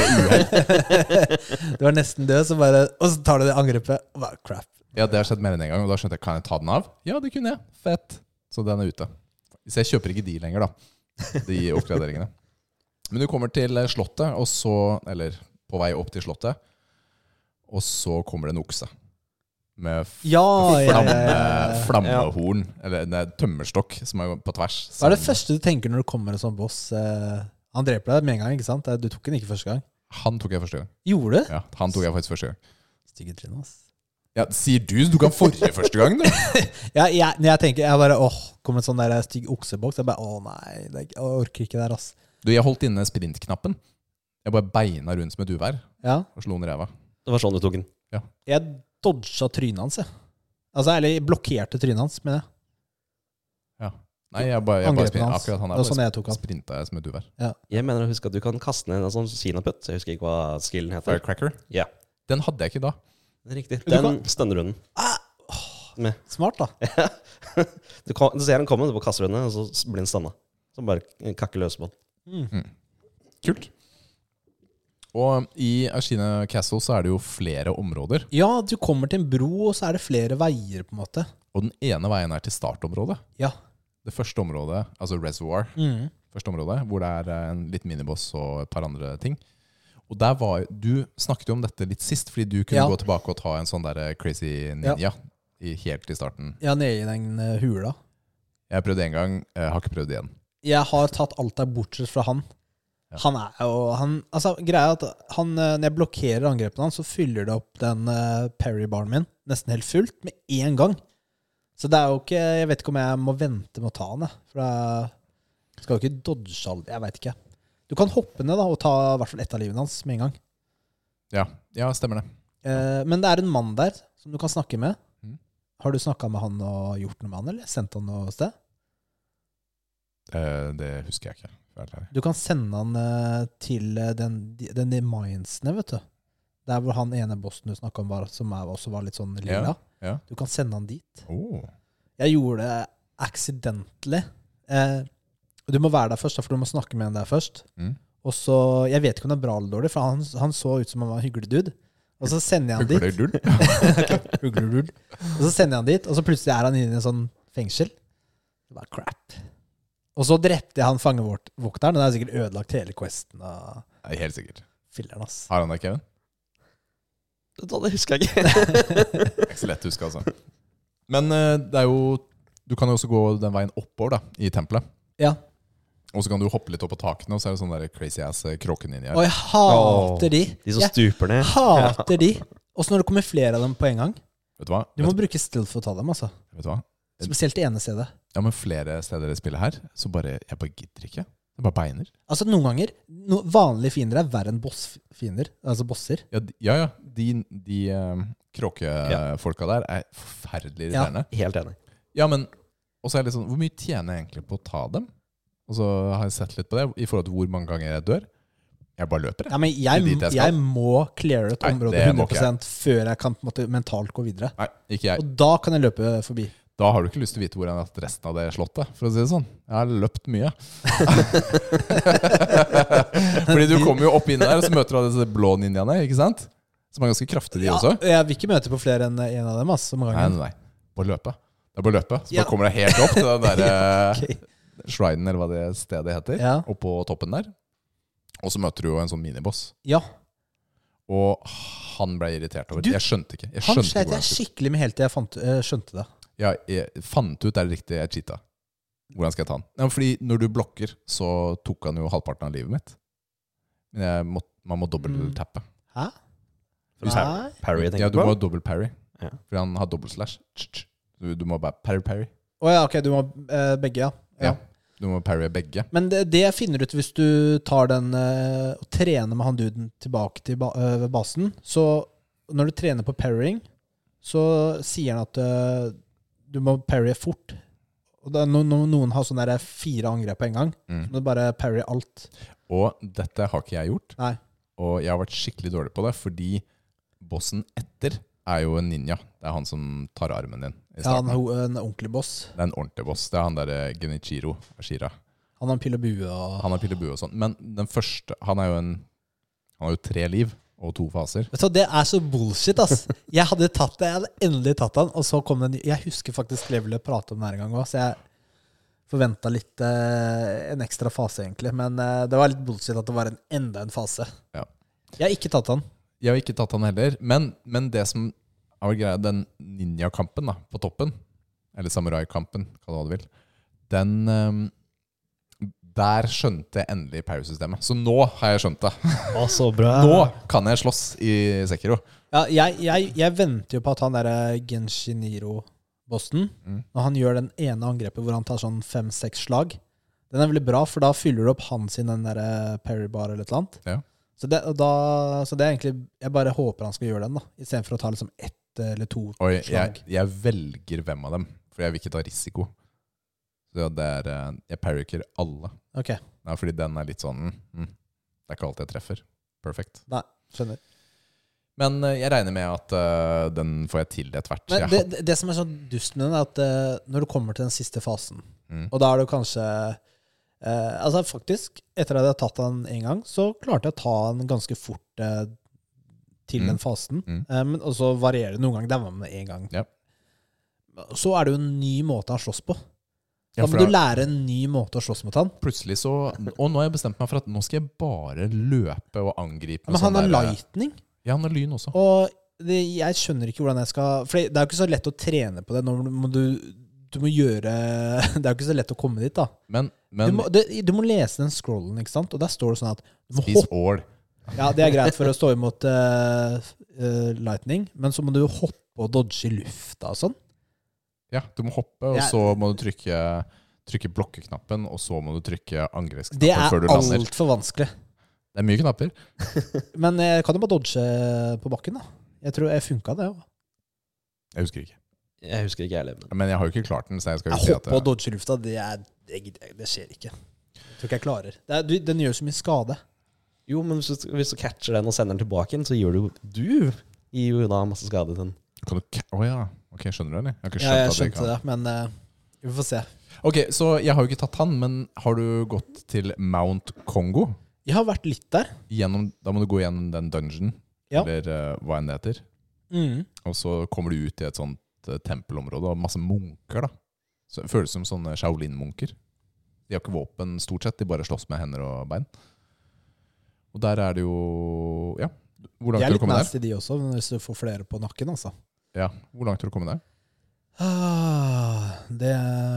Speaker 1: du var nesten død, så bare, og så tar du det angrepet. Og bare, crap.
Speaker 2: Ja, det har skjedd mer enn en gang, og da skjønte jeg kan jeg ta den av. Ja, det kunne jeg. Fett. Så den er ute. Så jeg kjøper ikke de lenger, da. De oppgraderingene. Men du kommer til eh, slottet, og så Eller på vei opp til slottet, og så kommer det en okse. Med f-
Speaker 1: Ja, ja,
Speaker 2: flamme,
Speaker 1: ja, ja.
Speaker 2: flammehorn. Eller nei, tømmerstokk, som er på tvers.
Speaker 1: Hva er det
Speaker 2: som-
Speaker 1: første du tenker når du kommer som boss? Eh, Han dreper deg med en gang, ikke sant? Eh, Du tok den ikke første gang.
Speaker 2: Han tok jeg første gang.
Speaker 1: Gjorde du?
Speaker 2: Ja, han tok jeg faktisk første gang.
Speaker 1: Stygge trinn, ass.
Speaker 2: Ja, Sier du som tok han forrige første gang, du?
Speaker 1: Ja, jeg, når jeg tenker, jeg bare, åh, kommer en sånn der stygg okseboks. Jeg bare, åh nei, det, er ikke- jeg orker ikke der, ass.
Speaker 2: Du, jeg holdt inne sprintknappen. Jeg bare beina rundt som et uvær
Speaker 1: Ja.
Speaker 2: og slo den i ræva.
Speaker 3: det var sånn du tok den.
Speaker 1: Jeg dodja trynet hans, jeg. Altså, eller jeg blokkerte trynet hans, mener jeg.
Speaker 2: Nei, jeg bare, jeg bare
Speaker 1: Angrepene
Speaker 2: sprinter.
Speaker 1: hans.
Speaker 2: Akkurat han
Speaker 1: Det
Speaker 2: der
Speaker 1: var sånn jeg tok han.
Speaker 2: sprinta jeg som et uvær.
Speaker 3: Jeg mener å huske at du kan kaste ned en sånn kinaputt. Jeg husker ikke hva skillen heter.
Speaker 2: Firecracker?
Speaker 3: Ja.
Speaker 2: Den hadde jeg ikke da.
Speaker 3: Det er Riktig.
Speaker 1: Du kan-
Speaker 3: Den stønnerunden.
Speaker 1: Smart, da.
Speaker 3: Du, kan- du ser den komme du på kasserunde, og så blir den stanna. Så bare kakke løs på den.
Speaker 2: Kult. Og i Ashina Castle så er det jo flere områder.
Speaker 1: Ja, du kommer til en bro, og så er det flere veier, på en måte.
Speaker 2: Og den ene veien er til startområdet.
Speaker 1: Ja.
Speaker 2: Det første området, altså Reservoir,
Speaker 1: Mhm.
Speaker 2: første området, hvor det er eh, en liten miniboss og et par andre ting. Og der var jo- Du snakket jo om dette litt sist, fordi du kunne
Speaker 1: Ja.
Speaker 2: gå tilbake og ta en sånn der crazy ninja i, helt i starten.
Speaker 1: Ja, nede i den eh, hula.
Speaker 2: Jeg prøvde én gang, jeg har ikke prøvd igjen.
Speaker 1: jeg har tatt alt der bortsett fra han. Han er jo han, altså, Greia er at han, eh, når jeg blokkerer angrepene hans, så fyller det opp den eh, Perry-baren min nesten helt fullt med én gang. Så det er jo ikke Jeg vet ikke om jeg må vente med å ta han, jeg. For jeg skal jo ikke dodge alt Jeg veit ikke. Du kan hoppe ned da og ta i hvert fall ett av livene hans med en gang.
Speaker 2: Ja, ja stemmer det.
Speaker 1: Eh, men det er en mann der som du kan snakke med.
Speaker 2: Mhm.
Speaker 1: Har du snakka med han og gjort noe med han, eller sendt han noe sted?
Speaker 2: Eh, det husker jeg ikke. for å være ærlig.
Speaker 1: Du kan sende han eh, til eh, den, de- den i Mainsene, vet du. Der hvor han ene bossen du snakka om, var, som er, også var litt sånn lilla.
Speaker 2: ja.
Speaker 1: Du kan sende han dit.
Speaker 2: Oh.
Speaker 1: Jeg gjorde det accidentally. Eh, og du må være der først, da, for du må snakke med han der først.
Speaker 2: Mm.
Speaker 1: Og så, Jeg vet ikke om det er bra eller dårlig, for han, han så ut som han var en hyggelig dude. Og så sender jeg han dit.
Speaker 2: Hugler dull.
Speaker 1: Huglerud. Og så sender jeg han dit, og så plutselig er han inne i en sånn fengsel. Det var crap. Og så drepte jeg han fangevokteren, og det har sikkert ødelagt hele questen. Og
Speaker 2: Nei, Helt sikkert.
Speaker 1: Filler'n, ass.
Speaker 2: Har han det, Kevin?
Speaker 3: Det det husker jeg ikke.
Speaker 2: Det er Ikke så lett å huske, altså. Men eh, det er jo Du kan jo også gå den veien oppover, da, i tempelet.
Speaker 1: Ja.
Speaker 2: Og så kan du hoppe litt opp på takene, og så er det sånn der crazy ass kråkeninja.
Speaker 1: Og jeg hater de.
Speaker 3: De som
Speaker 1: Jeg
Speaker 3: stuper ned.
Speaker 1: hater de. Også når det kommer flere av dem på en gang.
Speaker 2: Vet du hva?
Speaker 1: Du må
Speaker 2: Vet,
Speaker 1: bruke stealth for å ta dem, altså.
Speaker 2: vet du hva?
Speaker 1: Spesielt det ene stedet.
Speaker 2: Ja, men flere steder i spillet her, så bare Jeg bare gidder ikke. Jeg bare beiner.
Speaker 1: Altså, noen ganger no, Vanlige fiender er verre enn bossfiender. Altså bosser.
Speaker 2: Ja, de- ja. ja. De, de eh, kråkefolka der er forferdelig
Speaker 1: Ja.
Speaker 2: irriterende.
Speaker 3: Helt enig.
Speaker 2: Ja, men Og så er det litt sånn Hvor mye tjener jeg egentlig på å ta dem? Og så har jeg sett litt på det i forhold til hvor mange ganger jeg dør. Jeg bare løper, jeg.
Speaker 1: Ja, men
Speaker 2: Det
Speaker 1: jeg,
Speaker 2: er dit jeg skal.
Speaker 1: jeg må cleare et
Speaker 2: Nei,
Speaker 1: område
Speaker 2: det
Speaker 1: 100
Speaker 2: må ikke jeg.
Speaker 1: før jeg kan på en måte, mentalt gå videre.
Speaker 2: Nei, ikke jeg.
Speaker 1: Og da kan jeg løpe forbi.
Speaker 2: Da har du ikke lyst til å vite hvor jeg har hatt resten av det slottet, for å si det sånn. Jeg har løpt mye. Fordi du kommer jo opp inn der, og så møter du alle disse blå ninjaene, ikke sant? Som er ganske kraftige, de også.
Speaker 1: Ja, jeg vil ikke møte på flere enn én en av dem. ass, om
Speaker 2: Nei,
Speaker 1: gangen.
Speaker 2: nei, nei. Bare løpe. Det er bare å løpe. Så
Speaker 1: Ja.
Speaker 2: bare kommer du helt opp til den eh, derre
Speaker 1: Ok.
Speaker 2: shrinen, eller hva det stedet heter,
Speaker 1: Ja.
Speaker 2: oppå toppen der. Og så møter du jo en sånn miniboss.
Speaker 1: ja,
Speaker 2: Og han ble irritert over
Speaker 1: Du,
Speaker 2: det. Jeg skjønte ikke. Jeg
Speaker 1: Han
Speaker 2: skjønte
Speaker 1: slet
Speaker 2: ikke
Speaker 1: jeg skikkelig med helt til jeg fant, eh, skjønte det.
Speaker 2: Ja, jeg fant ut det er riktig jeg cheata. Hvordan skal jeg ta han? Nei, fordi når du blokker, så tok han jo halvparten av livet mitt. Men jeg må, man må
Speaker 1: Mm.
Speaker 2: dobbelttappe.
Speaker 1: Hæ?
Speaker 3: Eller
Speaker 1: Nei.
Speaker 3: Parry, jeg tenker
Speaker 2: Ja, du må
Speaker 3: på.
Speaker 2: dobbelt parry.
Speaker 3: Ja.
Speaker 2: Fordi han har dobbelt slash. Tsk, tsk. Du, du må bare parry-parry.
Speaker 1: Å ja, ok, du må eh, begge, ja.
Speaker 2: Ja. Du må parry begge.
Speaker 1: Men det, det jeg finner ut hvis du tar den eh, og trener med han duden tilbake til ba eh, ved basen Så når du trener på parrying, så sier han at eh, du må parry fort. Og det er no no noen har sånne der fire angrep på en gang.
Speaker 2: Mm.
Speaker 1: Så må du bare parry alt.
Speaker 2: Og dette har ikke jeg gjort.
Speaker 1: Nei.
Speaker 2: Og jeg har vært skikkelig dårlig på det, fordi bossen etter er jo en ninja. Det er han som tar armen din. i
Speaker 1: Ja, han
Speaker 2: starten.
Speaker 1: er ho- en ordentlig boss.
Speaker 2: det er en ordentlig boss. Det er han derre Genichiro Ashira.
Speaker 1: Han har en pil og bue og
Speaker 2: Han har pil og bue og sånn. Men den første Han er jo en Han har jo tre liv og to faser.
Speaker 1: Vet du, hva, Det er så bullshit, ass. Jeg hadde tatt det, jeg hadde endelig tatt han, og så kom den Jeg husker faktisk levelet prate om det her en gang òg, så jeg forventa litt eh, en ekstra fase, egentlig. Men eh, det var litt bullshit at det var en, enda en fase.
Speaker 2: Ja.
Speaker 1: Jeg har ikke tatt han.
Speaker 2: Jeg har ikke tatt han heller. Men, men det som er greia, den ninjakampen da, på toppen, eller samuraikampen, kall det hva du vil, den ehm, Der skjønte jeg endelig Power-systemet. Så nå har jeg skjønt det.
Speaker 3: Å, så bra.
Speaker 2: Nå kan jeg slåss i Sekiro.
Speaker 1: Ja, jeg, jeg, jeg venter jo på at han derre Genshiniro-bossen
Speaker 2: Mm.
Speaker 1: Når han gjør den ene angrepet hvor han tar sånn fem-seks slag Den er veldig bra, for da fyller du opp han sin den derre Perry-bar eller et eller annet.
Speaker 2: Ja.
Speaker 1: Så, det, og da, så det er egentlig Jeg bare håper han skal gjøre den, da. Istedenfor å ta liksom ett eller to
Speaker 2: Oi, jeg,
Speaker 1: slag.
Speaker 2: jeg velger hvem av dem, for jeg vil ikke ta risiko. Så det er eh, Jeg parryker alle.
Speaker 1: Ok,
Speaker 2: Nei, fordi den er litt sånn mm, Det er ikke alltid jeg treffer. Perfect.
Speaker 1: nei, skjønner.
Speaker 2: Men eh, jeg regner med at eh, den får jeg til etter hvert.
Speaker 1: Men
Speaker 2: Jeg
Speaker 1: det,
Speaker 2: har-
Speaker 1: det- det som er så dust med den, er at eh, når du kommer til den siste fasen,
Speaker 2: Mm.
Speaker 1: og da er du kanskje eh, Altså faktisk, etter at jeg hadde tatt han én gang, så klarte jeg å ta han ganske fort eh, til
Speaker 2: Mm.
Speaker 1: den fasen.
Speaker 2: Mm.
Speaker 1: Eh, men, og så varierer det noen ganger. Der var man én gang.
Speaker 2: Ja.
Speaker 1: Så er det jo en ny måte han slåss på. Da
Speaker 2: Ja, for
Speaker 1: må du
Speaker 2: da-
Speaker 1: lære en ny måte å slåss mot han.
Speaker 2: plutselig så Og nå har jeg bestemt meg for at nå skal jeg bare løpe og angripe. med
Speaker 1: Men han
Speaker 2: sånn
Speaker 1: er
Speaker 2: der-
Speaker 1: lightning.
Speaker 2: Ja, han er lyn også.
Speaker 1: Og det, jeg skjønner ikke hvordan jeg skal For det er jo ikke så lett å trene på det. Når du, må du, du må gjøre Det er jo ikke så lett å komme dit, da.
Speaker 2: Men,
Speaker 1: Du
Speaker 2: men
Speaker 1: må, du, du må lese den scrollen, ikke sant? og der står det sånn at du må
Speaker 2: spis
Speaker 1: hoppe.
Speaker 2: ål.
Speaker 1: Ja, Det er greit for å stå imot eh, eh, lightning, men så må du hoppe og dodge i lufta og sånn.
Speaker 2: Ja, du må hoppe, og
Speaker 1: Jeg-
Speaker 2: så må du trykke Trykke blokkeknappen, og så må du trykke
Speaker 1: Det
Speaker 2: angrepsknappen
Speaker 1: er
Speaker 2: før du lander.
Speaker 1: altfor vanskelig.
Speaker 2: Det er mye knapper.
Speaker 1: Men jeg kan jo bare dodge på bakken, da. Jeg tror jeg funka, det òg.
Speaker 2: Jeg husker ikke.
Speaker 3: Jeg husker ikke jeg heller. men-
Speaker 2: Men jeg har jo ikke klart den, så jeg skal jo si at
Speaker 1: Hoppe og dodge i lufta, det, er, det, gidder jeg- det skjer ikke. Jeg tror ikke jeg klarer. Det er, du, den gjør så mye skade.
Speaker 3: Jo, men hvis du, hvis du catcher den og sender den tilbake igjen, så gjør du Du gir jo da masse skade til den.
Speaker 2: Kan du ka- Å ja. Ok, skjønner du, eller? Jeg har
Speaker 1: Ja,
Speaker 2: ikke skjønt
Speaker 1: jeg
Speaker 2: at jeg kan
Speaker 1: skjønte det, men eh, vi får se.
Speaker 2: Ok, så jeg har jo ikke tatt han, men har du gått til Mount Kongo?
Speaker 1: Jeg har vært litt der.
Speaker 2: Gjennom, da må du gå gjennom den dungeon,
Speaker 1: Ja.
Speaker 2: eller eh, hva enn det heter. Og så kommer du ut i et sånt eh, tempelområde, og masse munker, da. Så det føles som sånne Shaolin-munker. De har ikke våpen stort sett, de bare slåss med hender og bein. Og der er det jo Ja, hvor
Speaker 1: De
Speaker 2: langt
Speaker 1: er
Speaker 2: har du
Speaker 1: litt
Speaker 2: kommet der?
Speaker 1: nasty, de også, men hvis du får flere på nakken, altså.
Speaker 2: Ja, hvor langt har du kommet der?
Speaker 1: Ah, Det er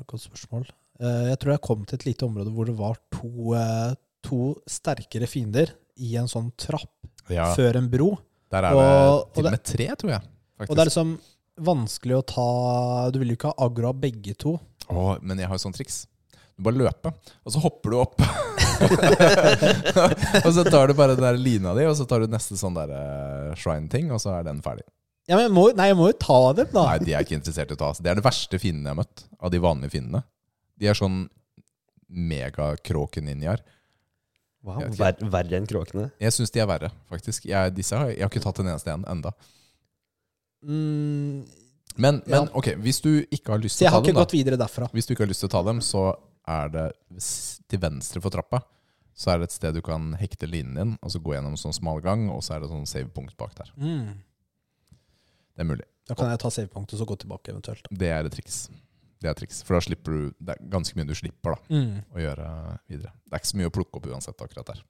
Speaker 1: et godt spørsmål. Eh, Jeg tror jeg kom til et lite område hvor det var to, eh, to sterkere fiender i en sånn trapp
Speaker 2: Ja,
Speaker 1: før en bro.
Speaker 2: Der er
Speaker 1: og-
Speaker 2: det
Speaker 1: og
Speaker 2: til og med tre, tror jeg. Faktisk.
Speaker 1: Og det er liksom vanskelig å ta Du vil jo ikke ha aggro av begge to.
Speaker 2: Åh, men jeg har jo sånn triks. Du bare løper, og så hopper du opp. og så tar du bare den der lina di, og så tar du neste sånn der eh, shrine-ting, og så er den ferdig.
Speaker 1: Ja, men jeg må, nei, jeg må jo ta dem, da.
Speaker 2: Nei, de er ikke interessert i å ta. altså. Det er det verste fiendene jeg har møtt, av de vanlige fiendene. De er sånn megakråkeninjaer.
Speaker 3: Wow, ver, verre enn kråkene.
Speaker 2: Jeg syns de er verre, faktisk. Jeg, disse har, jeg har ikke tatt en eneste en enda.
Speaker 1: Mm,
Speaker 2: Men, men
Speaker 1: Ja.
Speaker 2: ok, hvis du ikke har lyst
Speaker 1: så
Speaker 2: til
Speaker 1: jeg
Speaker 2: å
Speaker 1: har
Speaker 2: ta
Speaker 1: ikke
Speaker 2: dem,
Speaker 1: gått
Speaker 2: da,
Speaker 1: videre derfra.
Speaker 2: hvis du ikke har lyst til å ta dem, så er det s- til venstre for trappa. Så er det et sted du kan hekte linen din, og så gå gjennom en sånn smal gang, og så er det sånn save-punkt bak der. Det er mulig.
Speaker 1: Mm. Da kan jeg ta savepunktet og så gå tilbake, eventuelt.
Speaker 2: Det er et triks. Det er et triks, For da slipper du Det er ganske mye du slipper da
Speaker 1: Mm.
Speaker 2: å gjøre videre. Det er ikke så mye å plukke opp uansett akkurat der.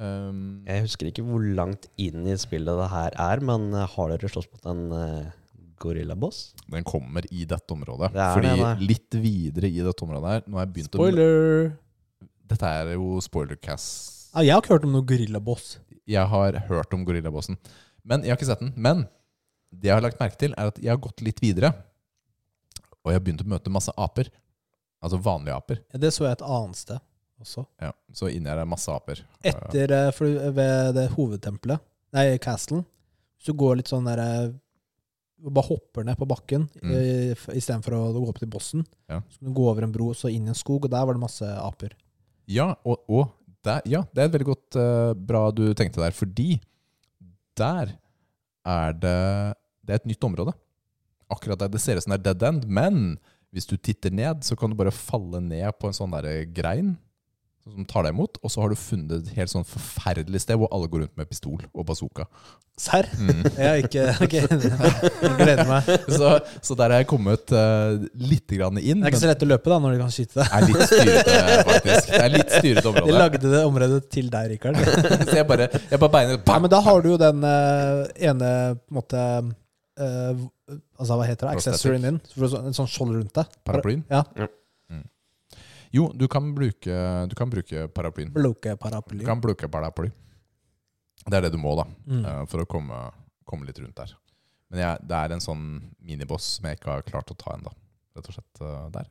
Speaker 2: Um,
Speaker 3: Jeg husker ikke hvor langt inn i spillet det her er, men eh, har dere slåss mot en eh, gorillaboss?
Speaker 2: den kommer i dette området.
Speaker 3: Det er
Speaker 2: fordi
Speaker 3: det, det.
Speaker 2: litt videre i dette området her Nå har jeg begynt å
Speaker 1: Spoiler!
Speaker 2: Dette er jo spoilercast.
Speaker 1: Ja, jeg har ikke hørt om noen gorillaboss.
Speaker 2: Jeg har hørt om Gorillabossen. Men jeg har ikke sett den. Men det jeg har lagt merke til, er at jeg har gått litt videre. Og jeg har begynt å møte masse aper. Altså vanlige aper.
Speaker 1: Ja, det så jeg et annet sted også.
Speaker 2: Ja, så inni her er masse aper.
Speaker 1: Etter eh, for ved det hovedtempelet, nei, castlen, så går litt sånn derre Bare hopper ned på bakken eh, f- i stedet istedenfor å gå opp til bossen.
Speaker 2: Mm. Ja.
Speaker 1: Så kan du gå over en bro og så inn i en skog, og der var det masse aper.
Speaker 2: Ja, og, og der, ja, det er et veldig godt eh, bra du tenkte der, fordi der er det Det er et nytt område. Akkurat der det ser ut som det er dead end, men hvis du titter ned, så kan du bare falle ned på en sånn der grein som tar deg imot, og så har du funnet et helt sånn forferdelig sted hvor alle går rundt med pistol og bazooka.
Speaker 1: Serr? Jeg har ikke Ok, jeg gleder meg. Det
Speaker 2: Så, så der har jeg kommet uh, litt grann inn.
Speaker 1: er ikke så
Speaker 2: men
Speaker 1: lett å løpe da når de kan skyte deg.
Speaker 2: det er litt styrete, faktisk. Det er litt styrete
Speaker 1: De
Speaker 2: område.
Speaker 1: lagde det området til deg, Rikard.
Speaker 2: Så jeg bare, jeg bare beiner
Speaker 1: Ja, men da har du jo den eh, ene på en måte eh, Altså, hva heter det?
Speaker 2: Prosthetic.
Speaker 1: Accessoryen din. For så- En sånn skjold rundt deg.
Speaker 2: Paraplyen? Mm.
Speaker 1: Ja.
Speaker 2: Jo, du kan bruke, du kan bruke paraplyen. Du
Speaker 1: Bloke-paraply. Mm.
Speaker 2: kan bruke paraply. Det er det du må, da, eh, for å komme, komme litt rundt der. Men jeg, det er en sånn miniboss som jeg ikke har klart å ta ennå, rett og slett eh, der.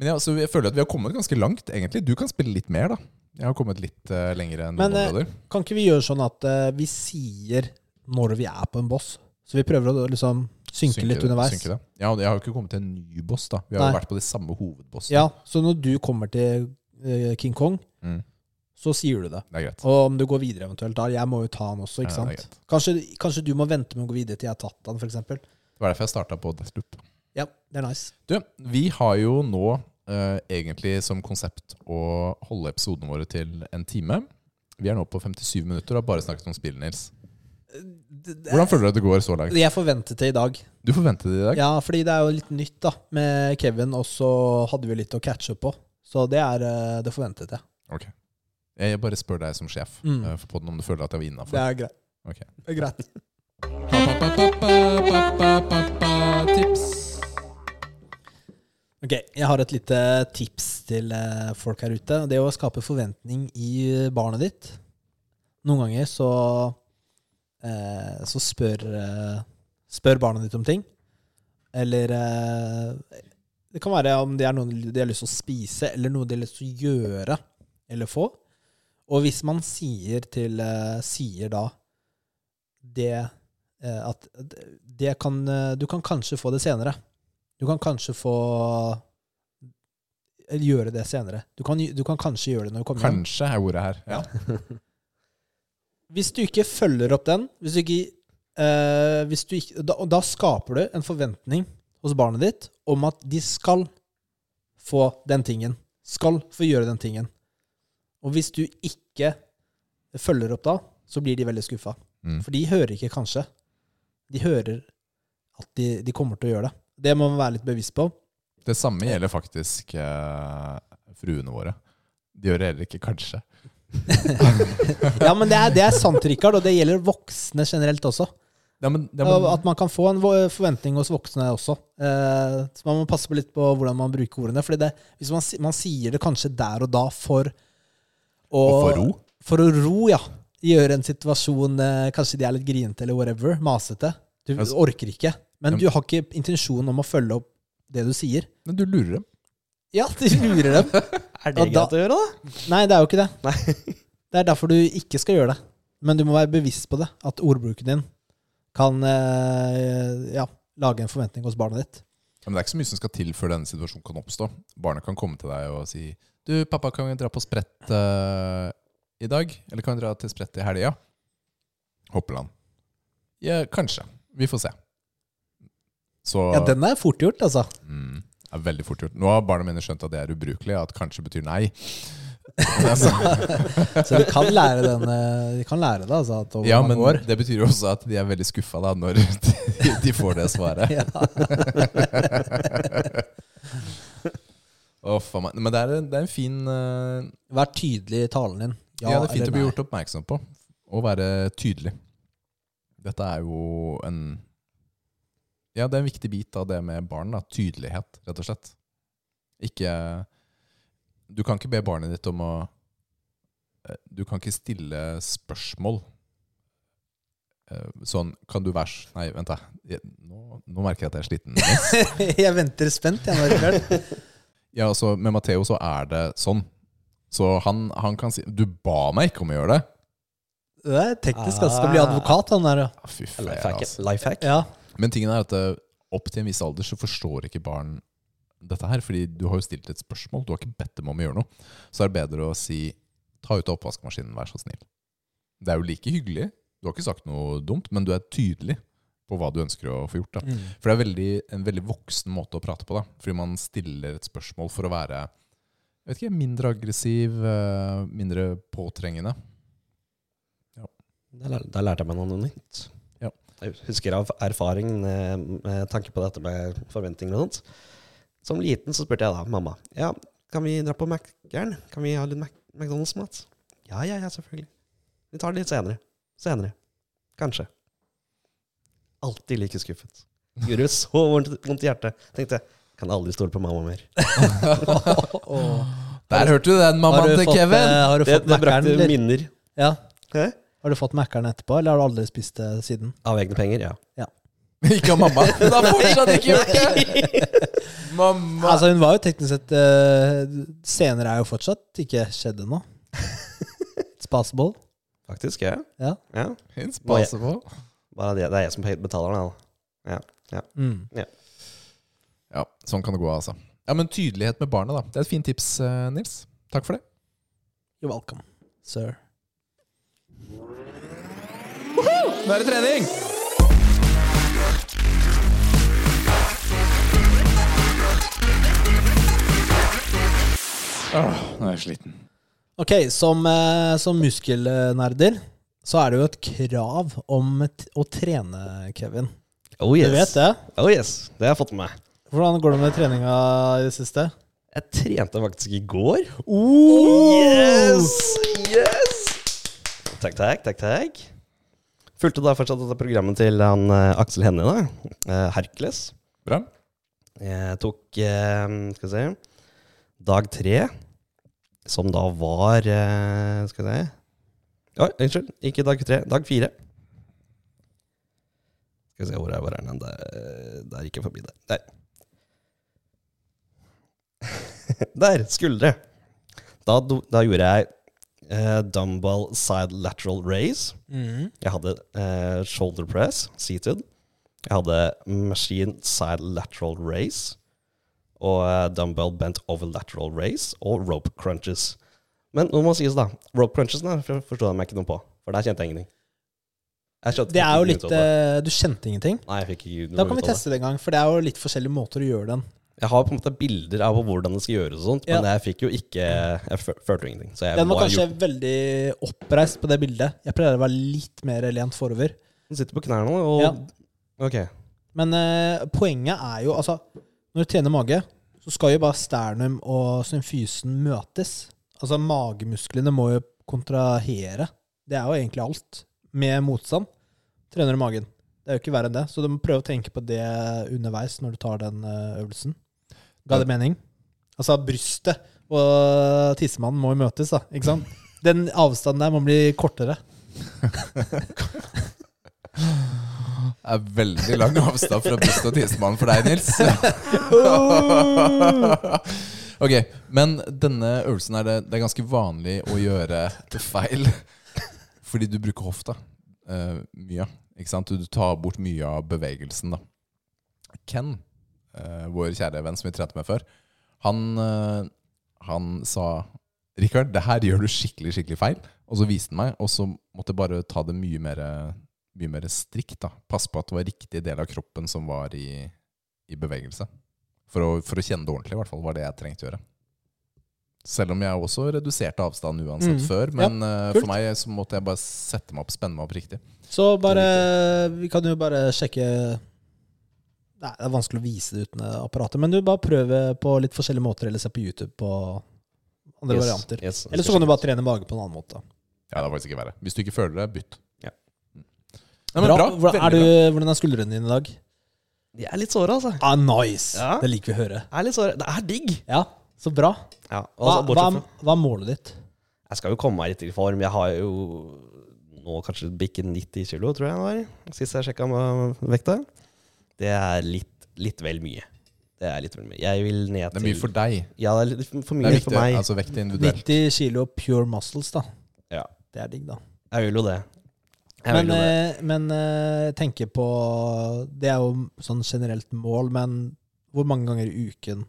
Speaker 2: Men jeg, altså, jeg føler at vi har kommet ganske langt, egentlig. Du kan spille litt mer, da. Jeg har kommet litt eh, lenger enn
Speaker 1: Men,
Speaker 2: noen
Speaker 1: eh,
Speaker 2: områder.
Speaker 1: Kan ikke vi gjøre sånn at eh, vi sier når vi er på en boss? Så vi prøver å liksom synke,
Speaker 2: Synker
Speaker 1: litt
Speaker 2: det-
Speaker 1: underveis.
Speaker 2: synker det. Ja, og jeg har jo ikke kommet til en ny boss, da. Vi har jo
Speaker 1: Nei.
Speaker 2: vært på de samme hovedbossene.
Speaker 1: Ja, så når du kommer til eh, King Kong,
Speaker 2: Mm.
Speaker 1: så sier du det.
Speaker 2: Det er greit.
Speaker 1: Og om du går videre eventuelt, da. Jeg må jo ta han også, ikke
Speaker 2: Ja, det er
Speaker 1: sant? Kanskje, kanskje du må vente med å gå videre til jeg har tatt han, f.eks.
Speaker 2: Det var derfor jeg starta på Deathloop.
Speaker 1: Ja, det er nice.
Speaker 2: Du, vi har jo nå eh, egentlig som konsept å holde episodene våre til en time. Vi er nå på 57 minutter og har bare snakket om spill, Nils. Hvordan føler du at det går så langt?
Speaker 1: Jeg forventet det i dag.
Speaker 2: Du forventet det i dag.
Speaker 1: Ja, fordi det er jo litt nytt da med Kevin, og så hadde vi litt å catche opp på. Så det er eh, det forventet jeg.
Speaker 2: Ok. Jeg bare spør deg som sjef
Speaker 1: Mm.
Speaker 2: eh, for podden om du føler at jeg var
Speaker 1: Det
Speaker 2: innafor.
Speaker 1: er greit.
Speaker 2: Ok.
Speaker 1: Det er greit. Ok, jeg har et lite tips til eh, folk her ute. Det er å skape forventning i barnet ditt. Noen ganger så eh, Så spør, eh, spør barnet ditt om ting. Eller eh, Det kan være om det er noe de har lyst til å spise, eller noe de har lyst til å gjøre eller få. Og hvis man sier til eh, Sier da det eh, at det kan eh, Du kan kanskje få det senere. Du kan kanskje få eller gjøre det senere. Du kan, du kan kanskje gjøre det når du kommer hjem.
Speaker 2: Kanskje er ordet her. Ja.
Speaker 1: Hvis du ikke følger opp den, hvis du ikke, eh, hvis du ikke da, og da skaper du en forventning hos barnet ditt om at de skal få den tingen. Skal få gjøre den tingen. Og hvis du ikke følger opp da, så blir de veldig skuffa.
Speaker 2: Mm.
Speaker 1: For de hører ikke kanskje. De hører at de, de kommer til å gjøre det. Det må man være litt bevisst på.
Speaker 2: Det samme gjelder faktisk eh, fruene våre. De gjør det heller ikke kanskje.
Speaker 1: Ja, men det er, det er sant, Rikard, og det gjelder voksne generelt også.
Speaker 2: Ja, men, ja,
Speaker 1: Og
Speaker 2: men,
Speaker 1: At man kan få en vo- forventning hos voksne også. Eh, så man må passe på litt på hvordan man bruker ordene. Fordi det, hvis man, si- man sier det kanskje der og da for å,
Speaker 2: Og for ro?
Speaker 1: For å ro, ja. Gjøre en situasjon eh, Kanskje de er litt grinete eller whatever. Masete. Du
Speaker 2: Altså-
Speaker 1: orker ikke. Men
Speaker 2: Ja.
Speaker 1: du har ikke intensjonen om å følge opp det du sier.
Speaker 2: men du lurer dem.
Speaker 1: Ja, du lurer dem.
Speaker 3: Er
Speaker 1: det greit
Speaker 3: å gjøre, da?
Speaker 1: Nei, det er jo ikke det.
Speaker 3: Nei.
Speaker 1: Det er derfor du ikke skal gjøre det. Men du må være bevisst på det, at ordbruken din kan eh, ja, lage en forventning hos barnet ditt.
Speaker 2: Ja, Men det er ikke så mye som skal til før denne situasjonen kan oppstå. Barnet kan komme til deg og si Du, pappa, kan vi dra på sprett eh, i dag? Eller kan vi dra til sprett i helga? Hoppeland. Ja, kanskje. Vi får se. Så
Speaker 1: Ja, den er fort gjort, altså.
Speaker 2: mm, er veldig fort gjort. Nå har barna mine skjønt at det er ubrukelig, at kanskje betyr nei. Altså,
Speaker 1: Så de kan lære, den, eh, de kan lære det, altså. At over
Speaker 2: ja,
Speaker 1: mange
Speaker 2: men
Speaker 1: år.
Speaker 2: det betyr jo også at de er veldig skuffa da, når de, de får det svaret.
Speaker 1: Ja.
Speaker 2: Å, faen meg. Men det er, en- det er en fin eh,
Speaker 1: Vær tydelig i talen din.
Speaker 2: Ja, det er fint
Speaker 1: eller
Speaker 2: å bli
Speaker 1: nei.
Speaker 2: gjort oppmerksom på. Og være tydelig. Dette er jo en Ja, det er en viktig bit av det med barn. da Tydelighet, rett og slett. Ikke Du kan ikke be barnet ditt om å eh, Du kan ikke stille spørsmål. Eh, Sånn Kan du være s- Nei, vent, da. Jeg- Nå, nå merker jeg at jeg er sliten.
Speaker 1: Jeg venter spent, jeg, nå i kveld.
Speaker 2: Ja, altså Med Matheo så er det sånn. Så han, han kan si Du ba meg ikke om å gjøre det.
Speaker 1: Det er teknisk, altså. Skal bli advokat, han der. ja.
Speaker 2: Ah, Fy flate,
Speaker 3: Lifehack.
Speaker 2: altså.
Speaker 3: Lifehack.
Speaker 1: Ja.
Speaker 2: Men tingen er at eh, opp til en viss alder så forstår ikke barn dette her, fordi du har jo stilt et spørsmål, du har ikke bedt dem om å gjøre noe. Så er det bedre å si ta ut av oppvaskmaskinen, vær så snill. Det er jo like hyggelig, du har ikke sagt noe dumt, men du er tydelig på hva du ønsker å få gjort. Da. For det er veldig, en veldig voksen måte å prate på, da. fordi man stiller et spørsmål for å være jeg vet ikke, mindre aggressiv, eh, mindre påtrengende.
Speaker 3: Der, lær- der lærte jeg meg noe nytt.
Speaker 2: Ja.
Speaker 3: Jeg husker av erfaring eh, med tanke på dette med forventninger og sånt. Som liten så spurte jeg da mamma Ja, kan vi dra på Mac-eren. Kan vi ha litt Mac McDonald's-mat. Ja, ja, ja, selvfølgelig. Vi tar det litt senere. Senere. Kanskje. Alltid like skuffet. Gjorde så vondt vondt i hjertet. Tenkte kan aldri stole på mamma mer.
Speaker 2: Der hørte du den,
Speaker 1: Har
Speaker 2: mammaen
Speaker 1: du
Speaker 2: til
Speaker 1: fått,
Speaker 2: Kevin!
Speaker 1: eh, har du
Speaker 3: Det,
Speaker 1: fått
Speaker 3: det
Speaker 1: Mac-eren,
Speaker 3: brakte
Speaker 1: eller?
Speaker 3: minner.
Speaker 1: Ja.
Speaker 3: Hæ?
Speaker 1: Har du fått Mac-eren etterpå, eller har du aldri spist det siden?
Speaker 3: Av egne penger, ja.
Speaker 2: Ikke av mamma. Hun har fortsatt ikke gjort det! Mamma
Speaker 1: Altså, hun var jo teknisk sett eh, Senere er jo fortsatt ikke skjedd ennå. Spaceball.
Speaker 3: Faktisk, ja.
Speaker 1: Ja.
Speaker 3: ja.
Speaker 2: Hun spaser på.
Speaker 3: Bare det, det er jeg som betaler den, da. Ja. ja.
Speaker 1: Mm.
Speaker 2: Ja, sånn kan det gå, altså. Ja, Men tydelighet med barna, da. Det er et fint tips, eh, Nils. Takk for det.
Speaker 1: You're welcome, sir.
Speaker 2: Nå er det trening! nå er jeg sliten.
Speaker 1: Ok, som, eh, som muskelnerder så er det jo et krav om et, å trene, Kevin.
Speaker 3: Oh
Speaker 1: Du
Speaker 3: yes.
Speaker 1: vet det?
Speaker 3: Oh yes, Det har jeg fått med meg.
Speaker 1: Hvordan går det med treninga i det siste?
Speaker 3: Jeg trente faktisk i går.
Speaker 1: Oh!
Speaker 3: Yes! Takk, takk, takk, takk. Fulgte da fortsatt dette programmet til han eh, Aksel Hennie, da. Eh, Hercules.
Speaker 2: Bra.
Speaker 3: Jeg tok eh, Skal vi se Dag tre, som da var eh, Skal vi se Oi, unnskyld. Ikke dag tre. Dag fire. Skal vi se, hvor er, hvor er den? Der, der gikk jeg forbi der. Der. der! Skuldre. Da, do- da gjorde jeg eh, dumbbell side lateral raise.
Speaker 2: Mm.
Speaker 3: Jeg hadde eh, shoulder press, seated. Jeg hadde machine side lateral raise og eh, dumbbell bent over lateral raise og rope crunches. Men nå må sies da, rope crunches der for- forstod jeg meg ikke noe på, for der kjente jeg ingenting. Jeg skjønte
Speaker 1: Det er jo
Speaker 3: ikke
Speaker 1: litt
Speaker 3: ut av det.
Speaker 1: eh, Du kjente ingenting?
Speaker 3: Nei, jeg fikk ikke
Speaker 1: Da kan
Speaker 3: ut
Speaker 1: vi
Speaker 3: av det.
Speaker 1: teste det en gang, for det er jo litt forskjellige måter å gjøre den.
Speaker 3: Jeg har på en måte bilder av hvordan det skal gjøres og sånt, men jeg fikk jo ikke Jeg fø- følte jo ingenting. Så jeg
Speaker 1: Den var
Speaker 3: bare
Speaker 1: kanskje veldig oppreist på det bildet. Jeg pleier å være litt mer lent forover.
Speaker 3: gjorde- sitter på knærne og
Speaker 1: Ja.
Speaker 3: Ok.
Speaker 1: Men eh, poenget er jo altså Når du trener mage, så skal jo bare sternum og symfysen møtes. Altså magemusklene må jo kontrahere. Det er jo egentlig alt. Med motstand trener du magen. Det er jo ikke verre enn det. Så du må prøve å tenke på det underveis når du tar den eh, øvelsen. Ga det mening? Altså brystet og tissemannen må jo møtes, da. Ikke sant? Den avstanden der må bli kortere.
Speaker 2: Det er veldig lang avstand fra bryst og tissemannen for deg, Nils. ok, men denne øvelsen er det, det er ganske vanlig å gjøre feil. Fordi du bruker hofta eh, mye. Ikke sant? Du tar bort mye av bevegelsen, da. Ken, eh, vår kjære venn som vi trente med før, han, eh, han sa Rikard, det her gjør du skikkelig, skikkelig feil. Og så viste han meg, og så måtte jeg bare ta det mye mer, mye mer strikt. da. Passe på at det var riktig del av kroppen som var i, i bevegelse. For å, for å kjenne det ordentlig, i hvert fall, var det jeg trengte å gjøre. Selv om jeg også reduserte avstanden uansett
Speaker 1: Mm.
Speaker 2: før.
Speaker 1: Ja,
Speaker 2: Men eh,
Speaker 1: kult.
Speaker 2: for meg så måtte jeg bare sette meg opp, spenne meg opp riktig.
Speaker 1: Så bare Vi kan jo bare sjekke Nei, det er vanskelig å vise det uten eh, apparatet, men du bare prøve på litt forskjellige måter, eller se på YouTube på andre
Speaker 3: Yes,
Speaker 1: varianter.
Speaker 3: yes, jeg
Speaker 1: Eller så
Speaker 3: skal
Speaker 1: kan du
Speaker 3: sjekke
Speaker 1: bare trene mage på en annen måte.
Speaker 2: Ja, det er faktisk ikke verre. Hvis du ikke føler det, bytt.
Speaker 3: Ja.
Speaker 2: Mm. Nei, men bra.
Speaker 1: Hvordan, er
Speaker 2: Veldig
Speaker 1: du,
Speaker 2: bra.
Speaker 1: hvordan er skuldrene dine i dag?
Speaker 3: ut. De er litt såra, altså.
Speaker 1: Ah, nice!
Speaker 3: Ja.
Speaker 1: Det liker vi å høre.
Speaker 3: Jeg Er litt såret. Det er digg.
Speaker 1: Ja, så bra.
Speaker 3: Ja,
Speaker 1: Hva,
Speaker 3: altså,
Speaker 1: hva,
Speaker 3: bortsett fra
Speaker 1: hva er målet ditt?
Speaker 3: Jeg skal jo komme meg litt i form. Jeg har jo nå kanskje bikket 90 kilo, tror jeg det var. Sist jeg sjekka med vekta. Det er litt, litt vel mye. Det er litt vel mye. Jeg vil ned til
Speaker 2: Det er mye for deg.
Speaker 3: Ja, det er litt for
Speaker 2: Det
Speaker 3: mye
Speaker 2: er viktig,
Speaker 3: for meg.
Speaker 2: altså vekt er individuelt.
Speaker 1: 90 kilo pure muscles, da.
Speaker 3: Ja.
Speaker 1: Det er digg, da.
Speaker 3: Jeg vil jo det. Jeg
Speaker 1: Men,
Speaker 3: vil jo det.
Speaker 1: eh, men eh, jeg tenker på Det er jo sånn generelt mål, men hvor mange ganger i uken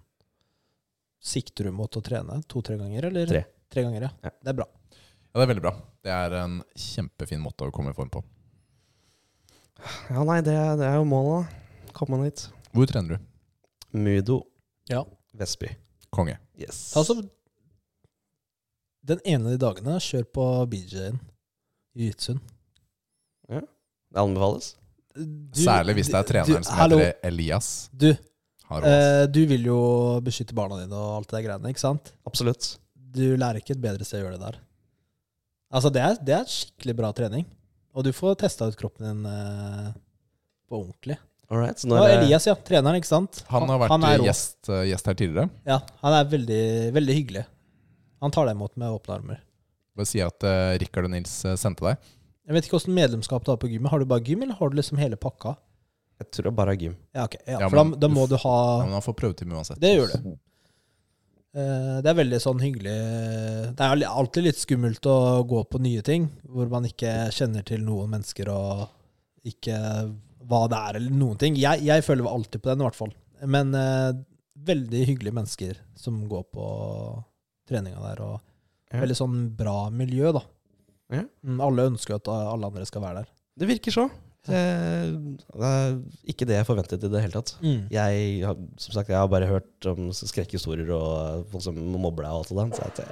Speaker 1: sikter du mot å trene? To-tre ganger, eller?
Speaker 3: Tre.
Speaker 1: ganger, ja.
Speaker 3: Ja.
Speaker 1: Det er bra.
Speaker 2: Ja, det er veldig bra. Det er en kjempefin måte å komme i form på.
Speaker 3: Ja, nei, det, er- det er jo målet, da. Komme meg dit.
Speaker 2: Hvor trener du?
Speaker 3: Mudo
Speaker 1: Ja.
Speaker 3: Vestby.
Speaker 2: Konge.
Speaker 3: Yes.
Speaker 1: Ta så Den ene av de dagene, kjør på BJ-en. Jiu-jitsuen.
Speaker 3: Det anbefales.
Speaker 1: Du-
Speaker 2: Særlig hvis det er
Speaker 1: du-
Speaker 2: treneren
Speaker 1: du-
Speaker 2: som
Speaker 1: hallo,
Speaker 2: heter Elias.
Speaker 1: Du,
Speaker 2: Han rår, ass.
Speaker 1: eh, du vil jo beskytte barna dine og alt det der greiene, ikke sant?
Speaker 3: Absolutt.
Speaker 1: Du lærer ikke et bedre sted å gjøre det der. Altså, det er, det er skikkelig bra trening. Og du får testa ut kroppen din eh, på ordentlig.
Speaker 3: All right. Så
Speaker 1: Det
Speaker 3: nå
Speaker 1: var
Speaker 3: er det
Speaker 1: Elias, ja. Treneren, ikke sant?
Speaker 2: han har
Speaker 1: han er
Speaker 2: vært
Speaker 1: rå.
Speaker 2: gjest, eh, gjest her tidligere.
Speaker 1: Ja, han er veldig, veldig hyggelig. Han tar deg imot med åpne armer.
Speaker 2: Bare si at eh, Rikard og Nils eh, sendte deg.
Speaker 1: Jeg vet ikke åssen medlemskap du har på gymmet. Har du bare gym, eller har du liksom hele pakka?
Speaker 3: Jeg tror jeg bare har gym.
Speaker 1: Ja, ok. Ja,
Speaker 2: Ja,
Speaker 1: for
Speaker 2: men-
Speaker 1: da, da må du ha
Speaker 2: Ja, men han får prøvetime uansett.
Speaker 1: Det gjør
Speaker 3: Mm.
Speaker 1: du. Eh, Det er veldig sånn hyggelig Det er alltid litt skummelt å gå på nye ting hvor man ikke kjenner til noen mennesker og ikke hva det er, eller noen ting. Jeg, jeg føler alltid på den, i hvert fall. Men eh, veldig hyggelige mennesker som går på treninga der, og
Speaker 3: Ja.
Speaker 1: veldig sånn bra miljø, da.
Speaker 3: Ja.
Speaker 1: Mm, Alle ønsker jo at alle andre skal være der.
Speaker 3: Det virker så. Det, det er ikke det jeg forventet i det hele tatt. Jeg har, som sagt, jeg har bare hørt om skrekkhistorier og folk som mobber deg og alt det der. Så at jeg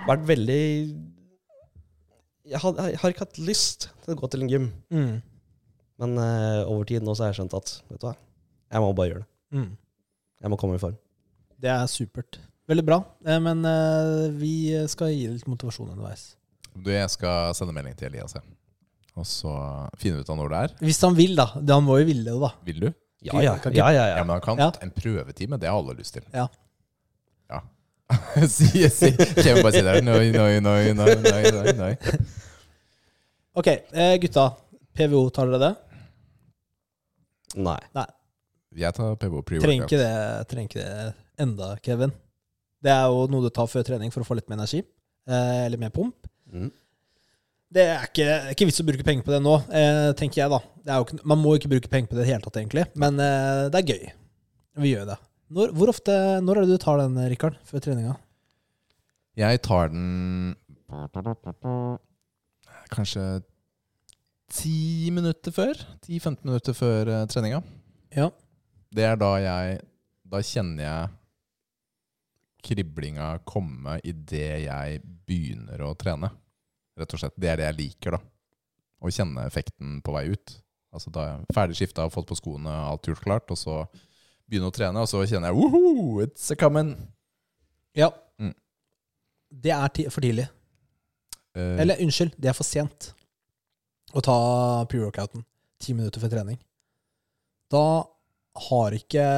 Speaker 3: har vært veldig jeg har, jeg har ikke hatt lyst til å gå til en gym,
Speaker 1: Mm.
Speaker 3: men eh, over tid nå så har jeg skjønt at vet du hva, jeg må bare gjøre det.
Speaker 1: Mm.
Speaker 3: Jeg må komme i form.
Speaker 1: Det er supert. Veldig bra. Eh, Men eh, vi skal gi litt motivasjon underveis.
Speaker 2: Du, jeg skal sende melding til Elias, jeg. Og så finne ut av når det er.
Speaker 1: Hvis han vil, da. Det- Han må jo ville det, da.
Speaker 2: Vil du?
Speaker 3: Ja, ja,
Speaker 1: Kan ikke-
Speaker 3: ja, ja,
Speaker 2: Ja,
Speaker 3: ja.
Speaker 2: men han kan
Speaker 1: Ja.
Speaker 2: en prøvetime. Det har alle lyst til.
Speaker 1: Ja.
Speaker 2: Ja. si, si. Kjem bare si det. Noi, noi, noi, noi, noi, noi, noi.
Speaker 1: Ok, eh, gutta. PVO, tar dere det?
Speaker 3: Nei.
Speaker 2: Jeg tar PBO
Speaker 1: Trenger ikke
Speaker 2: pre-workout.
Speaker 1: det, trenger ikke det enda, Kevin. Det er jo noe du tar før trening for å få litt mer energi. Eh, eller mer pump.
Speaker 3: Mm.
Speaker 1: Det er ikke, ikke vits å bruke penger på det nå, eh, tenker jeg, da. Det er jo ikke, man må ikke bruke penger på det i det hele tatt, egentlig. Men eh, det er gøy. Vi gjør det. Når, hvor ofte, når er det du tar den, Rikard? Før treninga?
Speaker 2: Jeg tar den kanskje 10 minutter før. 10-15 minutter før eh, treninga.
Speaker 1: Ja.
Speaker 2: Det er da jeg Da kjenner jeg kriblinga komme idet jeg begynner å trene. Rett og slett. Det er det jeg liker, da. Å kjenne effekten på vei ut. Altså da jeg er ferdig skifta, fått på skoene, alt gjort klart, og så begynne å trene, og så kjenner jeg Woohoo, it's a coming!
Speaker 1: Ja.
Speaker 2: Mm.
Speaker 1: Det er ti for tidlig.
Speaker 2: Eh,
Speaker 1: Eller unnskyld, det er for sent å ta pre-workouten ti minutter før trening. Da har ikke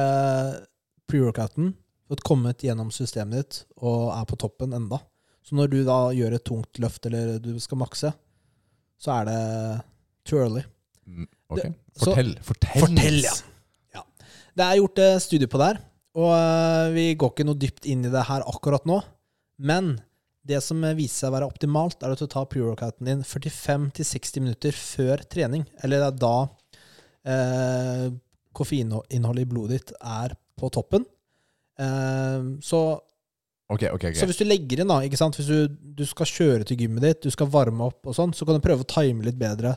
Speaker 1: pre-workouten fått kommet gjennom systemet ditt og er på toppen enda. Så når du da gjør et tungt løft eller du skal makse, så er det too early.
Speaker 2: Mm, Ok,
Speaker 1: Det- så-
Speaker 2: fortell. fortell.
Speaker 1: Fortell, ja. ja. Det er gjort eh, studier på det her, og eh, vi går ikke noe dypt inn i det her akkurat nå. Men det som eh, viser seg å være optimalt, er at du tar pre-workouten din 45-60 minutter før trening. Eller det er da eh, koffeininnholdet i blodet ditt er på toppen. Eh, så
Speaker 2: Ok, ok, ok.
Speaker 1: Så hvis du legger inn, da, ikke sant? hvis du, du skal kjøre til gymmet ditt, du skal varme opp og sånn, så kan du prøve å time litt bedre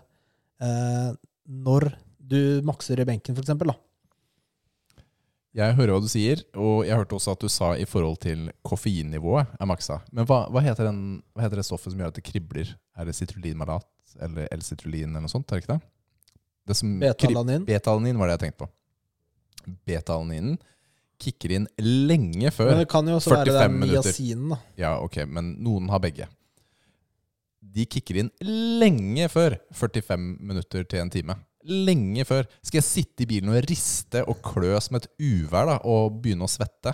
Speaker 1: eh, når du makser i benken, for eksempel. Da.
Speaker 2: Jeg hører hva du sier, og jeg hørte også at du sa i forhold til koffeinnivået er maksa. Men hva, hva, heter den, hva heter det stoffet som gjør at det kribler? Er det citrullinmalat eller L-citrulin eller noe sånt? Er det ikke det? det som krib-
Speaker 1: Betalanin.
Speaker 2: Betalanin var det jeg tenkte på. Betalaninen kicker inn lenge før.
Speaker 1: Men det kan jo også være
Speaker 2: 45
Speaker 1: den
Speaker 2: minutter.
Speaker 1: niacinen. Da.
Speaker 2: Ja, ok, men noen har begge. De kicker inn lenge før 45 minutter til en time. Lenge før. Skal jeg sitte i bilen og riste og klø som et uvær da, og begynne å svette?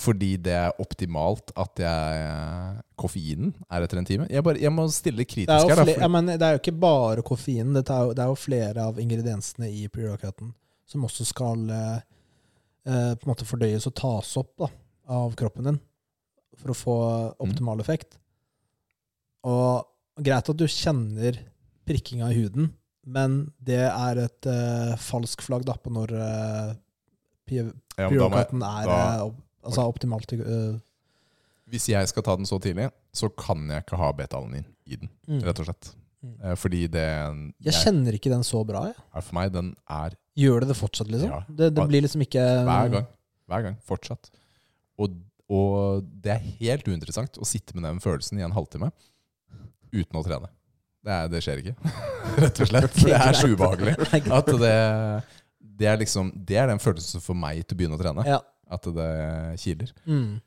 Speaker 2: Fordi det er optimalt at jeg eh, Koffeinen er etter en time? Jeg, bare, jeg må stille kritisk
Speaker 1: Det, er jo
Speaker 2: her. Da,
Speaker 1: fle-
Speaker 2: fordi-
Speaker 1: jeg mener, det er jo ikke bare koffeinen, dette er jo, det er jo flere av ingrediensene i pre-workouten som også skal eh, eh, på en måte fordøyes og tas opp da, av kroppen din for å få
Speaker 2: Mm.
Speaker 1: optimal effekt. Og greit at du kjenner prikkinga i huden, men det er et eh, falsk flagg da, på når eh, pre-
Speaker 2: Ja, men da må jeg-
Speaker 1: pre-workouten er
Speaker 2: da-
Speaker 1: eh, opp- altså, optimalt. eh,
Speaker 2: Hvis jeg skal ta den så tidlig, så kan jeg ikke ha betalanin i den,
Speaker 1: Mm.
Speaker 2: rett og slett.
Speaker 1: Mm.
Speaker 2: Eh, Fordi det
Speaker 1: jeg kjenner ikke den så bra, jeg.
Speaker 2: er for meg, den er
Speaker 1: Gjør det det fortsatt, liksom?
Speaker 2: Ja.
Speaker 1: Det, det blir liksom ikke
Speaker 2: Hver gang. Hver gang. Fortsatt. Og, og det er helt uinteressant å sitte med den følelsen i en halvtime uten å trene. Det, er, det skjer ikke, rett og slett. Det er så ubehagelig. At det, det, er liksom, det er den følelsen for meg til å begynne å trene.
Speaker 1: Ja.
Speaker 2: At det kiler.
Speaker 1: Mm.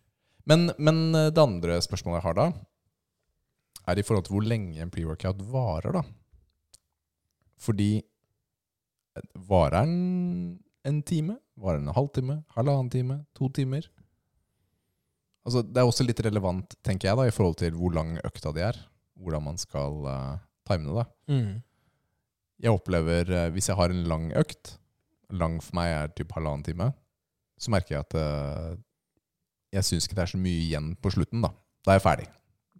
Speaker 2: Men, men eh, det andre spørsmålet jeg har da, er i forhold til hvor lenge en pre-workout varer, da. Fordi eh, varer den en time? Varer den en halvtime? Halvannen time? To timer? Altså, det er også litt relevant, tenker jeg, da, i forhold til hvor lang økta de er. Hvordan man skal eh, time det, da.
Speaker 1: Mm.
Speaker 2: Jeg opplever, eh, hvis jeg har en lang økt, lang for meg er typ halvannen time, så merker jeg at eh, jeg syns ikke det er så mye igjen på slutten, da. Da er jeg ferdig.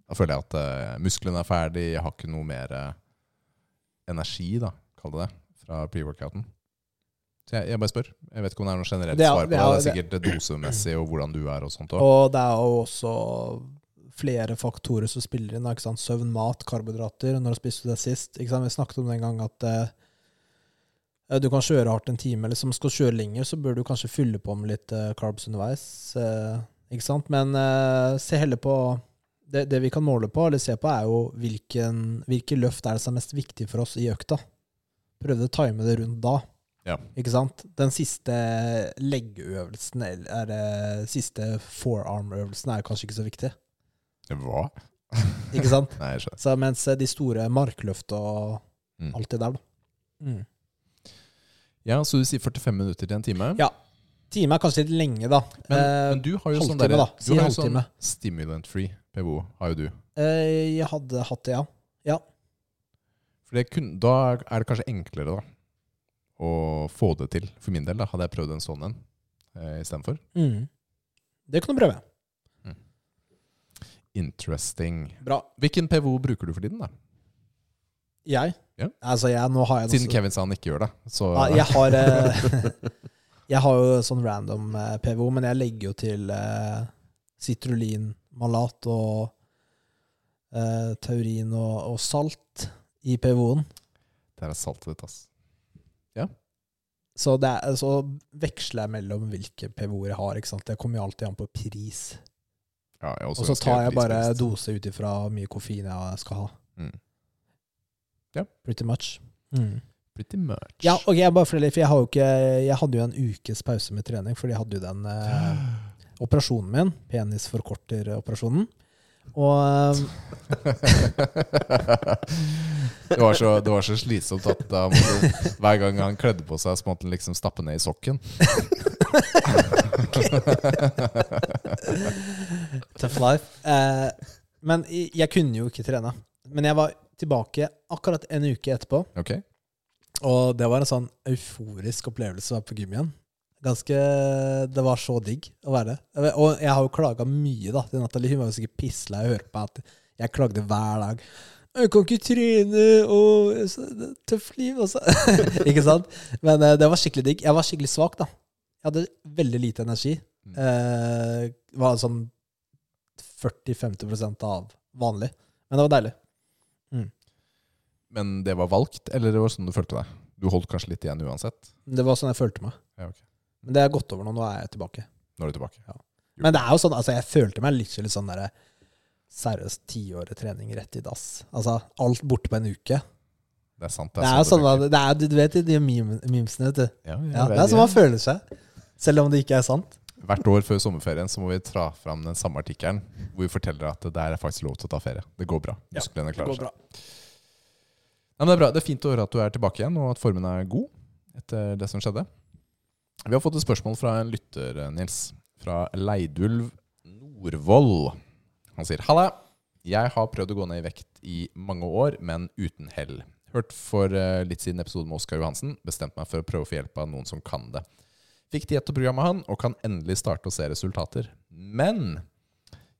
Speaker 2: Da føler jeg at eh, musklene er ferdig, jeg har ikke noe mer eh, energi, da, kall det det, fra pre-workouten. Så jeg, jeg bare spør. Jeg vet ikke om det er noe generelt
Speaker 1: Det er-
Speaker 2: svar på
Speaker 1: det
Speaker 2: det.
Speaker 1: er-
Speaker 2: Det er sikkert eh, dosemessig og hvordan du er og sånt òg.
Speaker 1: Og det er jo også flere faktorer som spiller inn. da, Ikke sant? Søvn, mat, karbohydrater. Når spiste du det sist? Ikke sant? Vi snakket om det en gang at eh, du kan kjøre hardt en time, eller som skal du kjøre lenger, så bør du kanskje fylle på med litt eh, carbs underveis. eh, ikke sant? Men eh, se heller på det, det vi kan måle på, eller se på, er jo hvilken, hvilke løft er det som er mest viktig for oss i økta. Prøvde å time det rundt da.
Speaker 2: Ja.
Speaker 1: Ikke sant? Den siste leggeøvelsen, eller er det siste forearm-øvelsen, er kanskje ikke så viktig.
Speaker 2: Hva?
Speaker 1: Ikke sant?
Speaker 2: Nei, jeg skjønner.
Speaker 1: Så mens eh, de store markløfta og
Speaker 2: Mm.
Speaker 1: alt det der, da. Mm.
Speaker 2: Ja, så du sier 45 minutter til en time?
Speaker 1: Ja. Time er kanskje litt lenge, da.
Speaker 2: Men,
Speaker 1: Eh,
Speaker 2: men du har jo sånn
Speaker 1: halvtime,
Speaker 2: derre-
Speaker 1: da.
Speaker 2: du
Speaker 1: Si
Speaker 2: har jo sånn
Speaker 1: halvtime.
Speaker 2: Stimulant free PVO har jo du.
Speaker 1: eh, jeg hadde hatt det, ja.
Speaker 2: For det kun, da er det kanskje enklere da, å få det til. For min del da, hadde jeg prøvd en sånn en eh, istedenfor.
Speaker 1: Mm. Det kunne du prøve.
Speaker 2: Interesting.
Speaker 1: Bra.
Speaker 2: Hvilken PVO bruker du for tiden, da?
Speaker 1: Jeg?
Speaker 2: Ja.
Speaker 1: Altså, jeg, nå har jeg noe
Speaker 2: Siden
Speaker 1: så-
Speaker 2: Kevin sa han ikke gjør det. Så
Speaker 1: Ah, Ja, jeg har eh, Jeg har jo sånn random eh, PVO, men jeg legger jo til eh, Citrulin, malat og eh, taurin og, og salt i PVO-en.
Speaker 2: det er saltet ditt, ass.
Speaker 1: Så, det er, så veksler jeg mellom hvilke PVO-er jeg har. ikke sant? Det kommer jo alltid an på pris.
Speaker 2: Ja, jeg er også
Speaker 1: Og så
Speaker 2: ganske
Speaker 1: tar jeg bare
Speaker 2: prisbevisst.
Speaker 1: dose ut ifra hvor mye koffein jeg skal ha.
Speaker 2: Mm. Ja.
Speaker 1: Pretty much. Mm.
Speaker 2: Pretty much.
Speaker 1: Ja, ok, jeg bare flere, for jeg, har jo ikke, jeg hadde jo en ukes pause med trening, fordi jeg hadde jo den eh, operasjonen min, penisforkorteroperasjonen. Og eh,
Speaker 2: det, var så, det var så slitsomt at da, måtte- hver gang han kledde på seg, så måtte han liksom stappe ned i sokken.
Speaker 1: Tough life. Eh, men i- jeg kunne jo ikke trene. Men jeg var tilbake akkurat en uke etterpå,
Speaker 2: Ok?
Speaker 1: og det var en sånn euforisk opplevelse å være på gym igjen. Ganske, Det var så digg å være der. Og jeg har jo klaga mye da til Natalie. Hun var jo sikkert pisslei av å høre på at jeg klagde hver dag. 'Jeg kan ikke trene', og så- det er tøft liv, altså. og så Ikke sant? Men eh, det var skikkelig digg. Jeg var skikkelig svak, da. Jeg hadde veldig lite energi. Eh, var sånn 40-50 av vanlig. Men det var deilig.
Speaker 2: Men det var valgt, eller det var sånn du følte deg? Du holdt kanskje litt igjen uansett?
Speaker 1: Det var sånn jeg følte meg.
Speaker 2: Ja, ok.
Speaker 1: Men det har gått over nå. Nå er jeg tilbake.
Speaker 2: Nå er du tilbake.
Speaker 1: Men det er jo sånn, altså jeg følte meg litt litt sånn derre Seriøst, tiåret trening rett i dass. Altså, alt borte på en uke.
Speaker 2: Det er sant.
Speaker 1: Det er jo sånn,
Speaker 2: det
Speaker 1: at- det er, du vet de meme- memesene, vet du. Ja,
Speaker 2: ja, jeg
Speaker 1: det
Speaker 2: vet
Speaker 1: er sånn man føler seg. Selv om det ikke er sant.
Speaker 2: Hvert år før sommerferien så må vi tra fram den samme artikkelen hvor vi forteller at det der er faktisk lov til å ta ferie. Det går bra. Musklene klarer seg. Nei, men det er bra. Det er fint å høre at du er tilbake igjen, og at formen er god etter det som skjedde. Vi har fått et spørsmål fra en lytter, eh, Nils. Fra Leidulv Nordvoll. Han sier Halla! Jeg har prøvd å gå ned i vekt i mange år, men uten hell. Hørt for eh, litt siden episoden med Oskar Johansen. Bestemte meg for å prøve å få hjelp av noen som kan det. Fikk diett og program av han, og kan endelig starte å se resultater. Men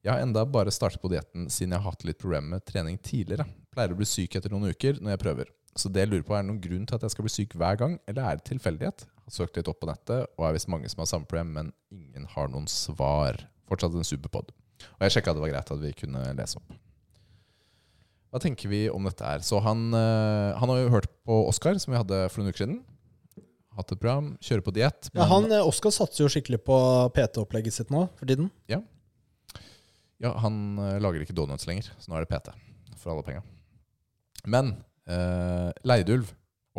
Speaker 2: jeg har enda bare startet på dietten siden jeg har hatt litt problemer med trening tidligere. Pleier å bli syk etter noen uker når jeg prøver. Så det jeg lurer på er det noen grunn til at jeg skal bli syk hver gang, eller er det tilfeldighet? Har søkt litt opp på nettet, og er visst mange som har samme problem, men ingen har noen svar. Fortsatt en superpod. Og jeg sjekka det var greit at vi kunne lese opp. Hva tenker vi om dette her? Så han, eh, han har jo hørt på Oskar, som vi hadde for noen uker siden. Hatt et program, kjører på diett.
Speaker 1: Ja, han, eh, Oskar satser jo skikkelig på PT-opplegget sitt nå for tiden.
Speaker 2: Ja, han eh, lager ikke donuts lenger, så nå er det PT for alle penga. Men eh, Leidulv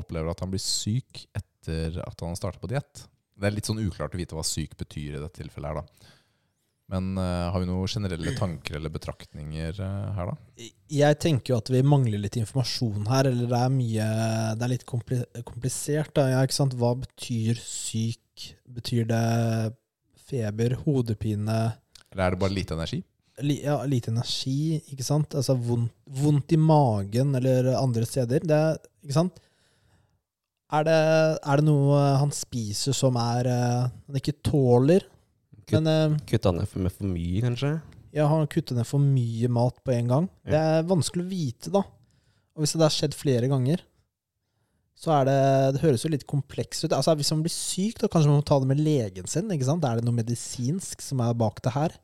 Speaker 2: opplever at han blir syk etter at han har starta på diett. Det er litt sånn uklart å vite hva syk betyr i dette tilfellet her, da. Men eh, har vi noen generelle tanker eller betraktninger eh, her, da?
Speaker 1: Jeg tenker jo at vi mangler litt informasjon her, eller det er mye Det er litt kompli komplisert, da. Ja, ikke sant? Hva betyr syk? Betyr det feber, hodepine,
Speaker 2: Eller er det bare lite energi?
Speaker 1: li ja, lite energi, ikke sant? Altså vondt, vondt i magen eller andre steder. Det, er- ikke sant? Er det, er det noe han spiser som er eh, han ikke tåler?
Speaker 3: Kutt.
Speaker 1: Men eh,
Speaker 3: Kutta ned for- med for mye, kanskje?
Speaker 1: Ja, han kuttet ned for mye mat på en gang. Det er vanskelig å vite, da. Og hvis det har skjedd flere ganger, så er det Det høres jo litt komplekst ut. Altså, Hvis man blir syk, da kanskje man må ta det med legen sin. ikke sant? Er det noe medisinsk som er bak det her?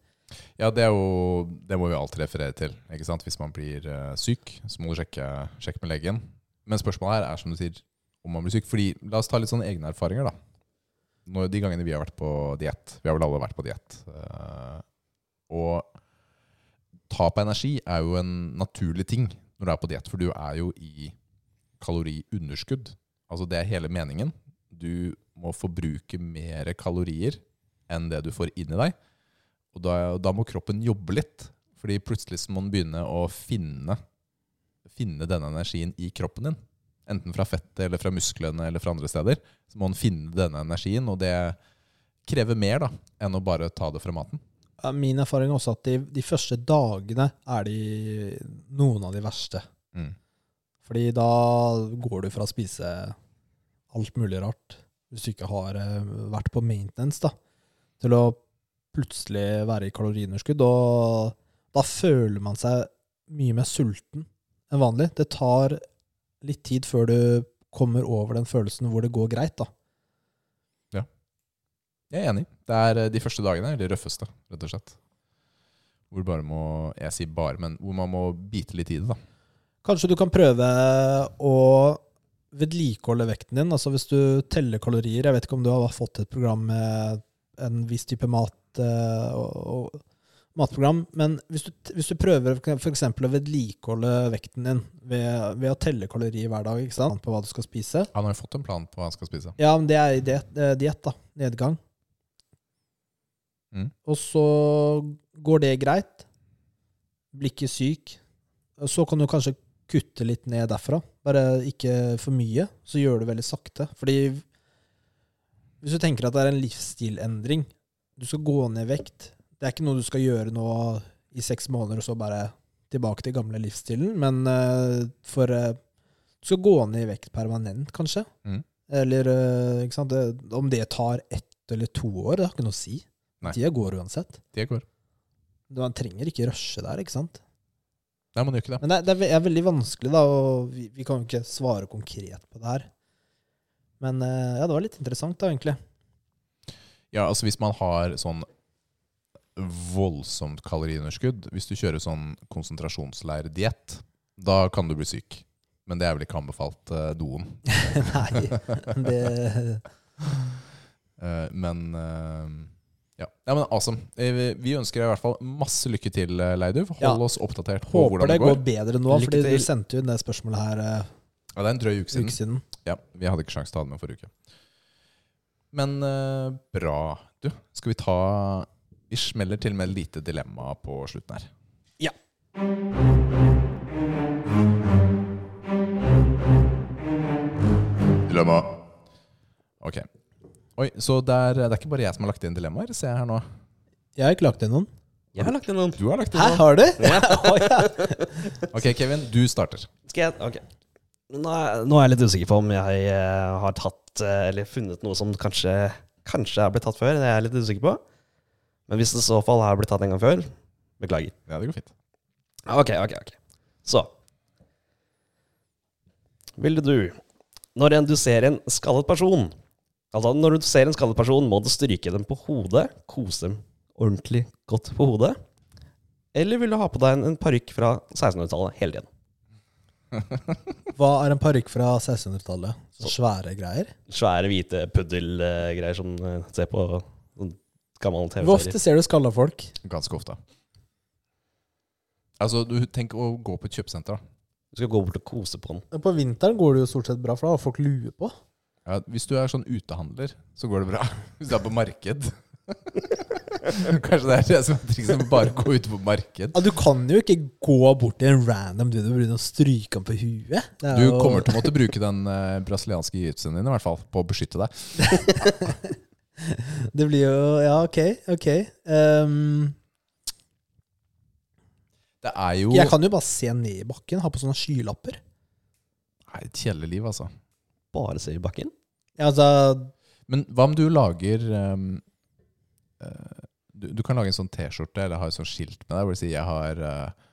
Speaker 2: Ja, det er jo Det må vi alltid referere til. Ikke sant? Hvis man blir eh, syk, så må du sjekke, sjekke med legen. Men spørsmålet her er som du sier, om man blir syk. Fordi, La oss ta litt sånne egne erfaringer, da. Når, de gangene vi har vært på diett. Vi har vel alle vært på diett. eh, og tap av energi er jo en naturlig ting når du er på diett, for du er jo i kaloriunderskudd. Altså det er hele meningen. Du må forbruke mer kalorier enn det du får inn i deg. Og da, da må kroppen jobbe litt. Fordi plutselig så må den begynne å finne, finne denne energien i kroppen din. Enten fra fettet eller fra musklene eller fra andre steder. Så må den finne denne energien, og det krever mer da, enn å bare ta det fra maten.
Speaker 1: Ja, Min erfaring er også at de, de første dagene er de noen av de verste.
Speaker 2: Mm.
Speaker 1: Fordi da går du fra å spise alt mulig rart, hvis du ikke har eh, vært på maintenance, da, til å plutselig være i kaloriunderskudd. Og da føler man seg mye mer sulten enn vanlig. Det tar litt tid før du kommer over den følelsen hvor det går greit, da.
Speaker 2: Jeg er enig. Det er eh, de første dagene er de røffeste, rett og slett. Hvor bare må, jeg sier bare, men hvor man må bite litt i det da.
Speaker 1: Kanskje du kan prøve å vedlikeholde vekten din. Altså hvis du teller kalorier Jeg vet ikke om du har fått et program med en viss type mat eh, og, og matprogram, men hvis du, hvis du prøver f.eks. å vedlikeholde vekten din ved, ved å telle kalorier hver dag ikke sant? på hva du skal spise
Speaker 2: Han har jo fått en plan på hva han skal spise.
Speaker 1: Ja, men det er i diet- eh, diett, da. Nedgang.
Speaker 2: Mm.
Speaker 1: Og så går det greit. Blir ikke syk. Så kan du kanskje kutte litt ned derfra. Bare ikke for mye. Så gjør du veldig sakte. Fordi hvis du tenker at det er en livsstilendring Du skal gå ned i vekt. Det er ikke noe du skal gjøre nå i seks måneder og så bare tilbake til gamle livsstilen. Men eh, for eh, Du skal gå ned i vekt permanent, kanskje.
Speaker 2: Mm.
Speaker 1: Eller eh, ikke sant? Det, om det tar ett eller to år, det har ikke noe å si.
Speaker 2: Nei.
Speaker 1: Tida går uansett.
Speaker 2: Det går.
Speaker 1: Du- Man trenger ikke rushe der, ikke sant?
Speaker 2: Nei, man gjør ikke det.
Speaker 1: Men det, er- det er ve- er veldig vanskelig, da, og vi, vi kan jo ikke svare konkret på det her. Men eh, ja, det var litt interessant, da, egentlig.
Speaker 2: Ja, altså hvis man har sånn voldsomt kaloriunderskudd Hvis du kjører sånn konsentrasjonsleirdiett, da kan du bli syk. Men det er vel ikke anbefalt eh, doen.
Speaker 1: Nei, det
Speaker 2: Eh, men eh, ja. ja, men awesome. Eh, vi- vi ønsker deg i hvert fall masse lykke til, eh, Leiduv. Hold
Speaker 1: Ja.
Speaker 2: oss oppdatert på
Speaker 1: Håper
Speaker 2: hvordan
Speaker 1: det
Speaker 2: det
Speaker 1: går
Speaker 2: går.
Speaker 1: bedre nå,
Speaker 3: Lykke
Speaker 1: fordi
Speaker 3: til.
Speaker 1: du sendte jo inn det spørsmålet her eh,
Speaker 2: Ja, det er en drøy uke
Speaker 1: en
Speaker 2: siden.
Speaker 1: uke siden.
Speaker 2: Ja, vi hadde ikke sjans til å ha det med forrige uke. Men eh, bra. Du, skal vi ta Vi smeller til med et lite dilemma på slutten her.
Speaker 1: Ja.
Speaker 6: Dilemma.
Speaker 2: Ok. Oi, så det er, det er ikke bare jeg som har lagt inn dilemmaer, ser jeg her nå.
Speaker 1: Jeg har ikke lagt inn noen.
Speaker 3: Jeg har lagt inn noen.
Speaker 2: Du har lagt inn
Speaker 1: Hæ,
Speaker 2: noen.
Speaker 1: har du?
Speaker 2: Ok, Kevin, du starter.
Speaker 3: Skal jeg Ok. Nå er, nå er jeg litt usikker på om jeg eh, har tatt eh, eller funnet noe som kanskje Kanskje er blitt tatt før. Det er jeg litt usikker på. Men hvis det i så fall har blitt tatt en gang før, beklager.
Speaker 2: Ja, det går fint.
Speaker 3: Ok, ok, ok. Så Ville du Når en- du ser en skallet person Altså, når du ser en skallet person, må du stryke dem på hodet, kose dem ordentlig godt på hodet. Eller vil du ha på deg en, en parykk fra 1600-tallet hele tiden?
Speaker 1: Hva er en parykk fra 1600-tallet? Så Svære greier.
Speaker 3: Svære, hvite puddelgreier som eh, ser på sånn gammel
Speaker 1: Hvor
Speaker 3: TV-serie.
Speaker 1: ofte ser du skalla folk?
Speaker 2: Ganske ofte. Altså, du tenk å gå på et kjøpesenter, da.
Speaker 3: Du skal gå bort og kose på den.
Speaker 1: På vinteren går det jo stort sett bra, for da har folk lue på.
Speaker 2: Ja, hvis du er sånn utehandler, så går det bra. Hvis du er på marked. Kanskje det er det som er trikset, bare gå ut på marked.
Speaker 1: Ja, du kan jo ikke gå bort til en random dude og begynne å stryke ham på huet. Det er
Speaker 2: Du
Speaker 1: jo-
Speaker 2: kommer til å måtte bruke den eh, brasilianske jiu-jitsuen din i hvert fall, på å beskytte deg.
Speaker 1: Det blir jo Ja, ok, ok. Ehm,
Speaker 2: Det er jo
Speaker 1: jeg kan jo bare se ned i bakken, ha på sånne skylapper.
Speaker 2: Nei, et kjedelig liv, altså.
Speaker 3: Bare se i bakken.
Speaker 1: Ja, altså,
Speaker 2: Men hva om du lager ehm, eh, du, du kan lage en sånn T-skjorte eller ha et sånt skilt med deg hvor det sier 'jeg har eh,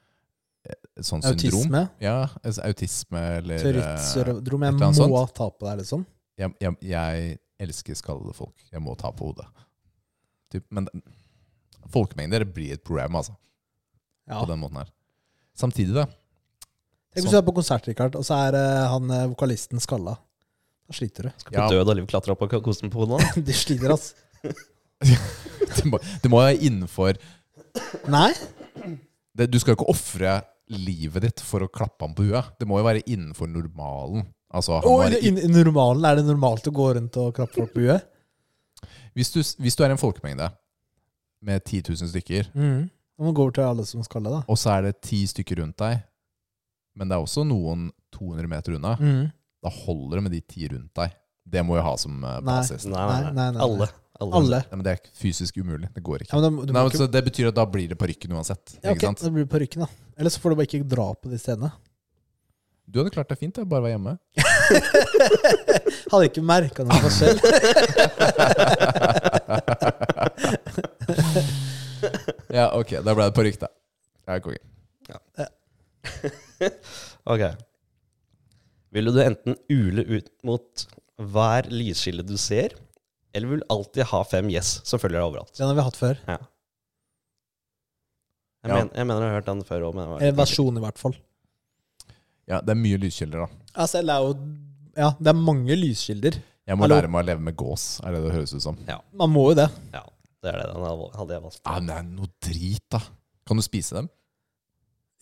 Speaker 2: et sånt syndrom'.
Speaker 1: autisme,
Speaker 2: Ja, altså autisme eller eh,
Speaker 1: Tourettes-syndrom
Speaker 2: et
Speaker 1: Jeg
Speaker 2: eller annet
Speaker 1: må
Speaker 2: sånt.
Speaker 1: ta på deg, liksom.
Speaker 2: jeg, jeg, jeg elsker skallede folk. Jeg må ta på hodet. Typ, men den- folkemengder blir et problem, altså.
Speaker 1: Ja.
Speaker 2: På den måten her. Samtidig, da.
Speaker 1: Tenk hvis du er på konsert, Richard, og så er eh, han eh, vokalisten skalla. Da sliter du.
Speaker 3: Skal på
Speaker 2: Ja.
Speaker 3: død og liv klatre opp og ko- kose den på hodet.
Speaker 1: Du sliter, ass.
Speaker 2: Det må, det må være innenfor
Speaker 1: Nei?
Speaker 2: det, Du skal jo ikke ofre livet ditt for å klappe ham på huet. Det må jo være innenfor normalen. Altså, han
Speaker 1: Oi,
Speaker 2: var
Speaker 1: det- i, i normalen, Er det normalt å gå rundt og klappe folk på huet?
Speaker 2: Hvis du, hvis du er en folkemengde med 10 000 stykker,
Speaker 1: Mm. Du må gå over til alle som er skalla, da.
Speaker 2: og så er det ti stykker rundt deg, men det er også noen 200 meter unna,
Speaker 1: Mm.
Speaker 2: da holder det med de ti rundt deg. Det må jeg ha som eh,
Speaker 1: Nei.
Speaker 2: basis.
Speaker 3: Nei, nei, nei.
Speaker 1: Nei, nei, nei.
Speaker 3: Alle. Alle.
Speaker 1: Alle.
Speaker 2: Nei, men det er fysisk umulig. Det går
Speaker 1: Ja,
Speaker 2: ikke.
Speaker 1: men da, du
Speaker 2: Nei,
Speaker 1: må
Speaker 2: men
Speaker 1: ikke
Speaker 2: så det betyr at da blir det parykken uansett.
Speaker 1: Ja, ok,
Speaker 2: Ikke sant?
Speaker 1: Da blir det parykken, da. Eller så får du bare ikke dra på de stedene.
Speaker 2: Du hadde klart deg fint, da, bare være hjemme.
Speaker 1: Hadde ikke merka noen forskjell.
Speaker 2: Ja, ok, da ble det parykk, da. Ja, konge.
Speaker 3: Ok. Ville du enten ule ut mot hver lyskilde du ser, eller vil du alltid ha fem yes som følger deg overalt?
Speaker 1: Den har vi hatt før.
Speaker 3: Jeg,
Speaker 2: Ja.
Speaker 3: men, jeg mener jeg har hørt den før òg, men jeg
Speaker 1: En
Speaker 3: var-
Speaker 1: Eh, versjon, i hvert fall.
Speaker 2: Ja, det er mye lyskilder, da.
Speaker 1: Altså, det er jo Ja, det er mange lyskilder.
Speaker 2: Jeg må
Speaker 1: Hallo?
Speaker 2: lære meg å leve med gås, er det det høres ut som.
Speaker 1: Man må jo det.
Speaker 3: Ja, det er det. Den hadde- hadde jeg valgt.
Speaker 2: Ja, men det er noe drit, da. Kan du spise dem?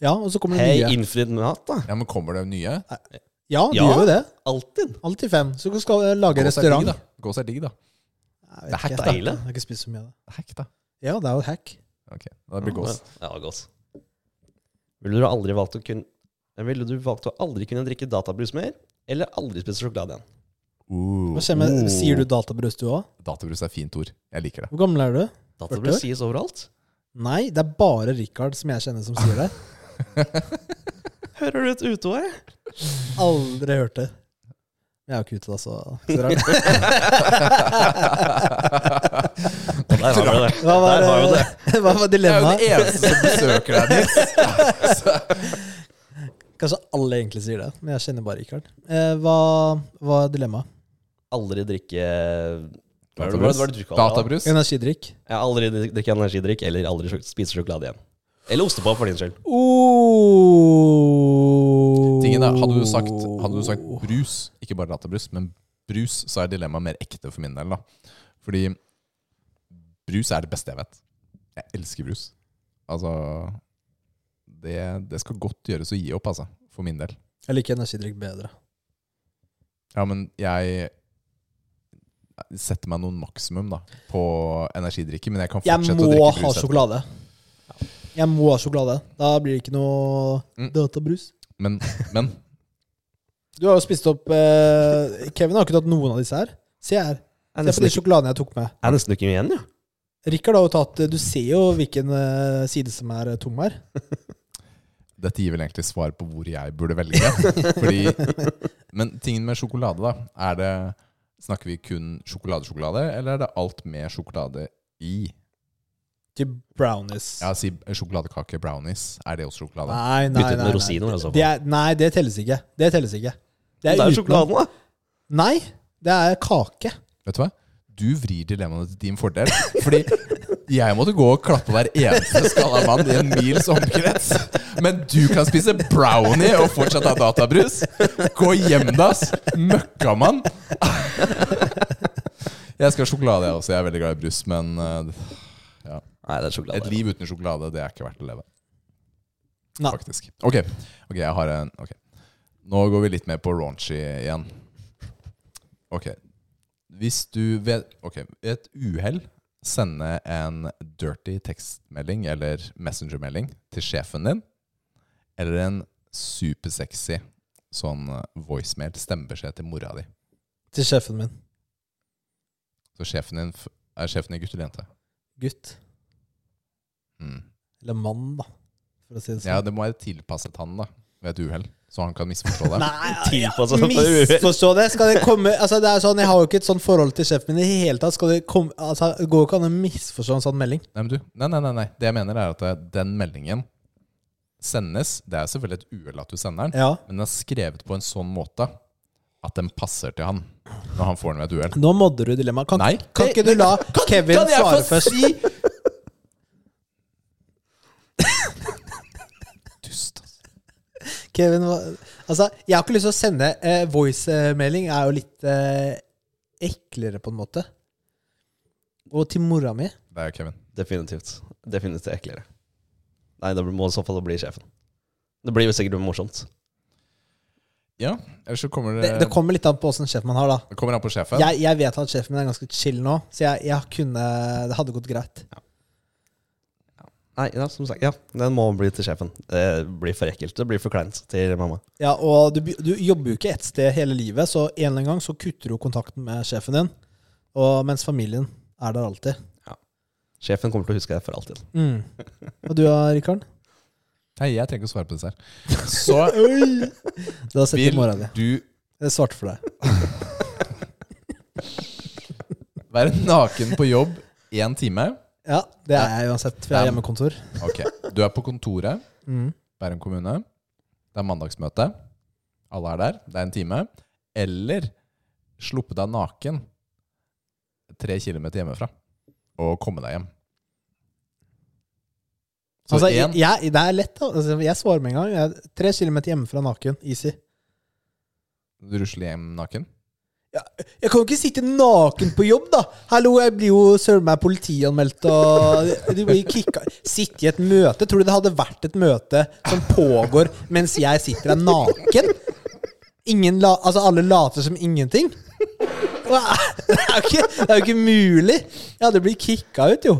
Speaker 1: Ja, og så kommer det
Speaker 3: Hei,
Speaker 1: nye.
Speaker 3: innfridd mat, da.
Speaker 2: Ja, men kommer det nye?
Speaker 1: Ja, de
Speaker 3: Ja.
Speaker 1: gjør jo det.
Speaker 3: Alltid.
Speaker 1: Alltid fem. Så du skal eh, lage
Speaker 2: Gås er digg,
Speaker 1: restaurant.
Speaker 2: da. Gås er digg, da.
Speaker 1: Jeg vet
Speaker 2: Det er
Speaker 1: ikke.
Speaker 2: hack,
Speaker 3: da,
Speaker 1: Jeg
Speaker 3: Ile.
Speaker 1: har ikke spist så mye av det.
Speaker 2: Hack, da.
Speaker 1: Ja, det er jo et hack.
Speaker 2: Ok, da blir det gås.
Speaker 3: Ja, gås. Ville du aldri valgt å kun- Eh, Ville du valgt å aldri kunne drikke databrus mer, eller aldri spise sjokolade igjen?
Speaker 2: Uh,
Speaker 1: Hva skjer med,
Speaker 2: uh.
Speaker 1: Sier du databrus, du òg?
Speaker 2: Databrus er fint ord. Jeg liker det.
Speaker 1: Hvor gammel er du?
Speaker 3: Databrus sies overalt.
Speaker 1: Nei, det er bare Richard som jeg kjenner som sier det.
Speaker 3: Hører du et uteord?
Speaker 1: Aldri hørt det. Jeg er jo ikke ute, da, så så rart.
Speaker 3: Der har vi det.
Speaker 1: Hva var,
Speaker 3: Der har vi det.
Speaker 1: hva var dilemmaet?
Speaker 2: eneste som besøker deg, Nils.
Speaker 1: Kanskje altså alle egentlig sier det, men jeg kjenner bare Richard. Eh, hva hva er dilemmaet?
Speaker 3: aldri drikke Hva var det- hva var det du kalte det?
Speaker 2: Databrus.
Speaker 1: Energidrikk.
Speaker 3: Jeg har aldri drik- drikket energidrikk eller aldri sjok- spist sjokolade igjen. Eller ostepop, for din skyld.
Speaker 1: Oh.
Speaker 2: Tingen er, hadde du, sagt, hadde du sagt brus, ikke bare databrus, men brus, så er dilemmaet mer ekte for min del. da. Fordi brus er det beste jeg vet. Jeg elsker brus. Altså Det, det skal godt gjøres å gi opp, altså. For min del.
Speaker 1: Jeg liker energidrikk bedre.
Speaker 2: Ja, men jeg setter meg noen maksimum da, på energidrikker, men jeg kan
Speaker 1: Jeg
Speaker 2: fortsette å
Speaker 1: må ha
Speaker 2: drikke brus. etterpå.
Speaker 1: sjokolade. Jeg må ha sjokolade. Da blir det ikke noe
Speaker 2: Mm.
Speaker 1: databrus.
Speaker 2: Men, men
Speaker 1: Du har jo spist opp eh, Kevin har ikke tatt noen av disse her. Se her.
Speaker 3: Jeg
Speaker 1: Se på
Speaker 3: er
Speaker 1: de
Speaker 3: nesten ikke,
Speaker 1: sjokoladene jeg tok med.
Speaker 3: jeg er nesten ikke igjen, ja.
Speaker 1: Rikard har jo tatt eh, Du ser jo hvilken eh, side som er eh, tom her.
Speaker 2: Dette gir vel egentlig svar på hvor jeg burde velge. Fordi, men tingen med sjokolade, da. Er det, snakker vi kun sjokoladesjokolade, eller er det alt med sjokolade i?
Speaker 1: Til brownies.
Speaker 2: Ja, si sjokoladekake, brownies. Er det også sjokolade?
Speaker 1: Nei, nei, nei.
Speaker 3: Bytte ut med
Speaker 1: nei.
Speaker 3: rosiner, i så fall.
Speaker 1: Det er, nei, det telles ikke. Det telles ikke.
Speaker 3: Det er jo
Speaker 1: utenom-
Speaker 3: sjokoladen, da.
Speaker 1: Nei, det er kake.
Speaker 2: Vet du hva? Du vrir dilemmaene til din fordel. Fordi jeg måtte gå og klappe hver eneste skalla mann i en mils omkrets. Men du kan spise brownie og fortsatt ha databrus. Gå hjem, da, ass. Møkkamann. Jeg skal ha sjokolade, jeg også. Jeg er veldig glad i brus. Men eh,
Speaker 3: Nei, det er sjokolade.
Speaker 2: et liv uten sjokolade, det er ikke verdt å leve.
Speaker 1: Nei.
Speaker 2: Faktisk. Ok, ok, jeg har en ok. Nå går vi litt mer på raunchy igjen. Ok. Hvis du ved ok, ved et uhell sende en dirty tekstmelding eller messengermelding til sjefen din, eller en supersexy sånn voicemail stemmebeskjed til mora di.
Speaker 1: Til sjefen min.
Speaker 2: Så sjefen din f- er sjefen din gutt eller jente?
Speaker 1: Gutt.
Speaker 2: Mm.
Speaker 1: Eller mann, da. For å si det sånn.
Speaker 2: Ja, det må være tilpasset han da, ved et uhell, så han kan misforstå det.
Speaker 1: Nei,
Speaker 3: Tilpasset for uhell.
Speaker 1: misforstå det! Skal det komme Altså, det er sånn, jeg har jo ikke et sånt forhold til sjefen min i det hele tatt. Skal det komme Altså, det går jo ikke an å misforstå en sånn melding.
Speaker 2: Nei, men du, nei, nei, nei, nei. Det jeg mener er at eh, den meldingen sendes Det er selvfølgelig et uhell at du sender den,
Speaker 1: Ja.
Speaker 2: men den er skrevet på en sånn måte at den passer til han når han får den ved et uhell.
Speaker 1: Nå modder du dilemmaet. Kan,
Speaker 2: Nei.
Speaker 1: kan ikke du la Kevin
Speaker 2: kan jeg få
Speaker 1: svare først?
Speaker 2: Dust, altså.
Speaker 1: Kevin, hva- altså, jeg har ikke lyst til å sende eh, voice-melding. Er jo litt eh, eklere, på en måte. Og til mora mi.
Speaker 2: Det er Kevin.
Speaker 3: Definitivt. Definitivt eklere. Nei, det må i så fall bli sjefen. Det blir jo sikkert morsomt.
Speaker 2: Ja, eller så kommer det
Speaker 1: Det, det kommer litt an på åssen sjef man har, da.
Speaker 2: det kommer an på sjefen.
Speaker 1: Jeg, jeg vet at sjefen min er ganske chill nå, så jeg, jeg kunne Det hadde gått greit.
Speaker 3: Nei, ja, som sagt, ja, den må bli til sjefen. Det blir for ekkelt. Det blir for kleint til mamma.
Speaker 1: Ja, og du, by- du jobber jo ikke ett sted hele livet, så en eller annen gang så kutter du kontakten med sjefen din, og, mens familien er der alltid.
Speaker 3: Sjefen kommer til å huske deg for alltid.
Speaker 1: Mm. Og du da, Rikard?
Speaker 2: Nei, jeg trenger ikke å svare på disse her. Så
Speaker 1: Da setter
Speaker 2: vil
Speaker 1: jeg mora di.
Speaker 2: du
Speaker 1: Det er svart for deg.
Speaker 2: være naken på jobb én time.
Speaker 1: Ja, det er jeg uansett, for jeg har hjemmekontor.
Speaker 2: Ok, Du er på kontoret,
Speaker 1: Mm.
Speaker 2: Bærum kommune. Det er mandagsmøte. Alle er der. Det er en time. Eller sluppe deg naken tre kilometer hjemmefra og komme deg hjem. Så
Speaker 1: Altså,
Speaker 2: én
Speaker 1: jeg, jeg, det er lett, da. altså, jeg svarer med en gang. Jeg er tre kilometer hjemmefra naken. Easy.
Speaker 2: du rusler hjem naken.
Speaker 1: Jeg kan jo ikke sitte naken på jobb, da! Hallo, jeg blir jo søren meg politianmeldt og du blir kicka. Sitte i et møte? Tror du det hadde vært et møte som pågår mens jeg sitter der naken? Ingen la, altså, alle later som ingenting? Hva er- Det er jo ikke, det er jo ikke mulig! Jeg hadde blitt kicka ut, jo.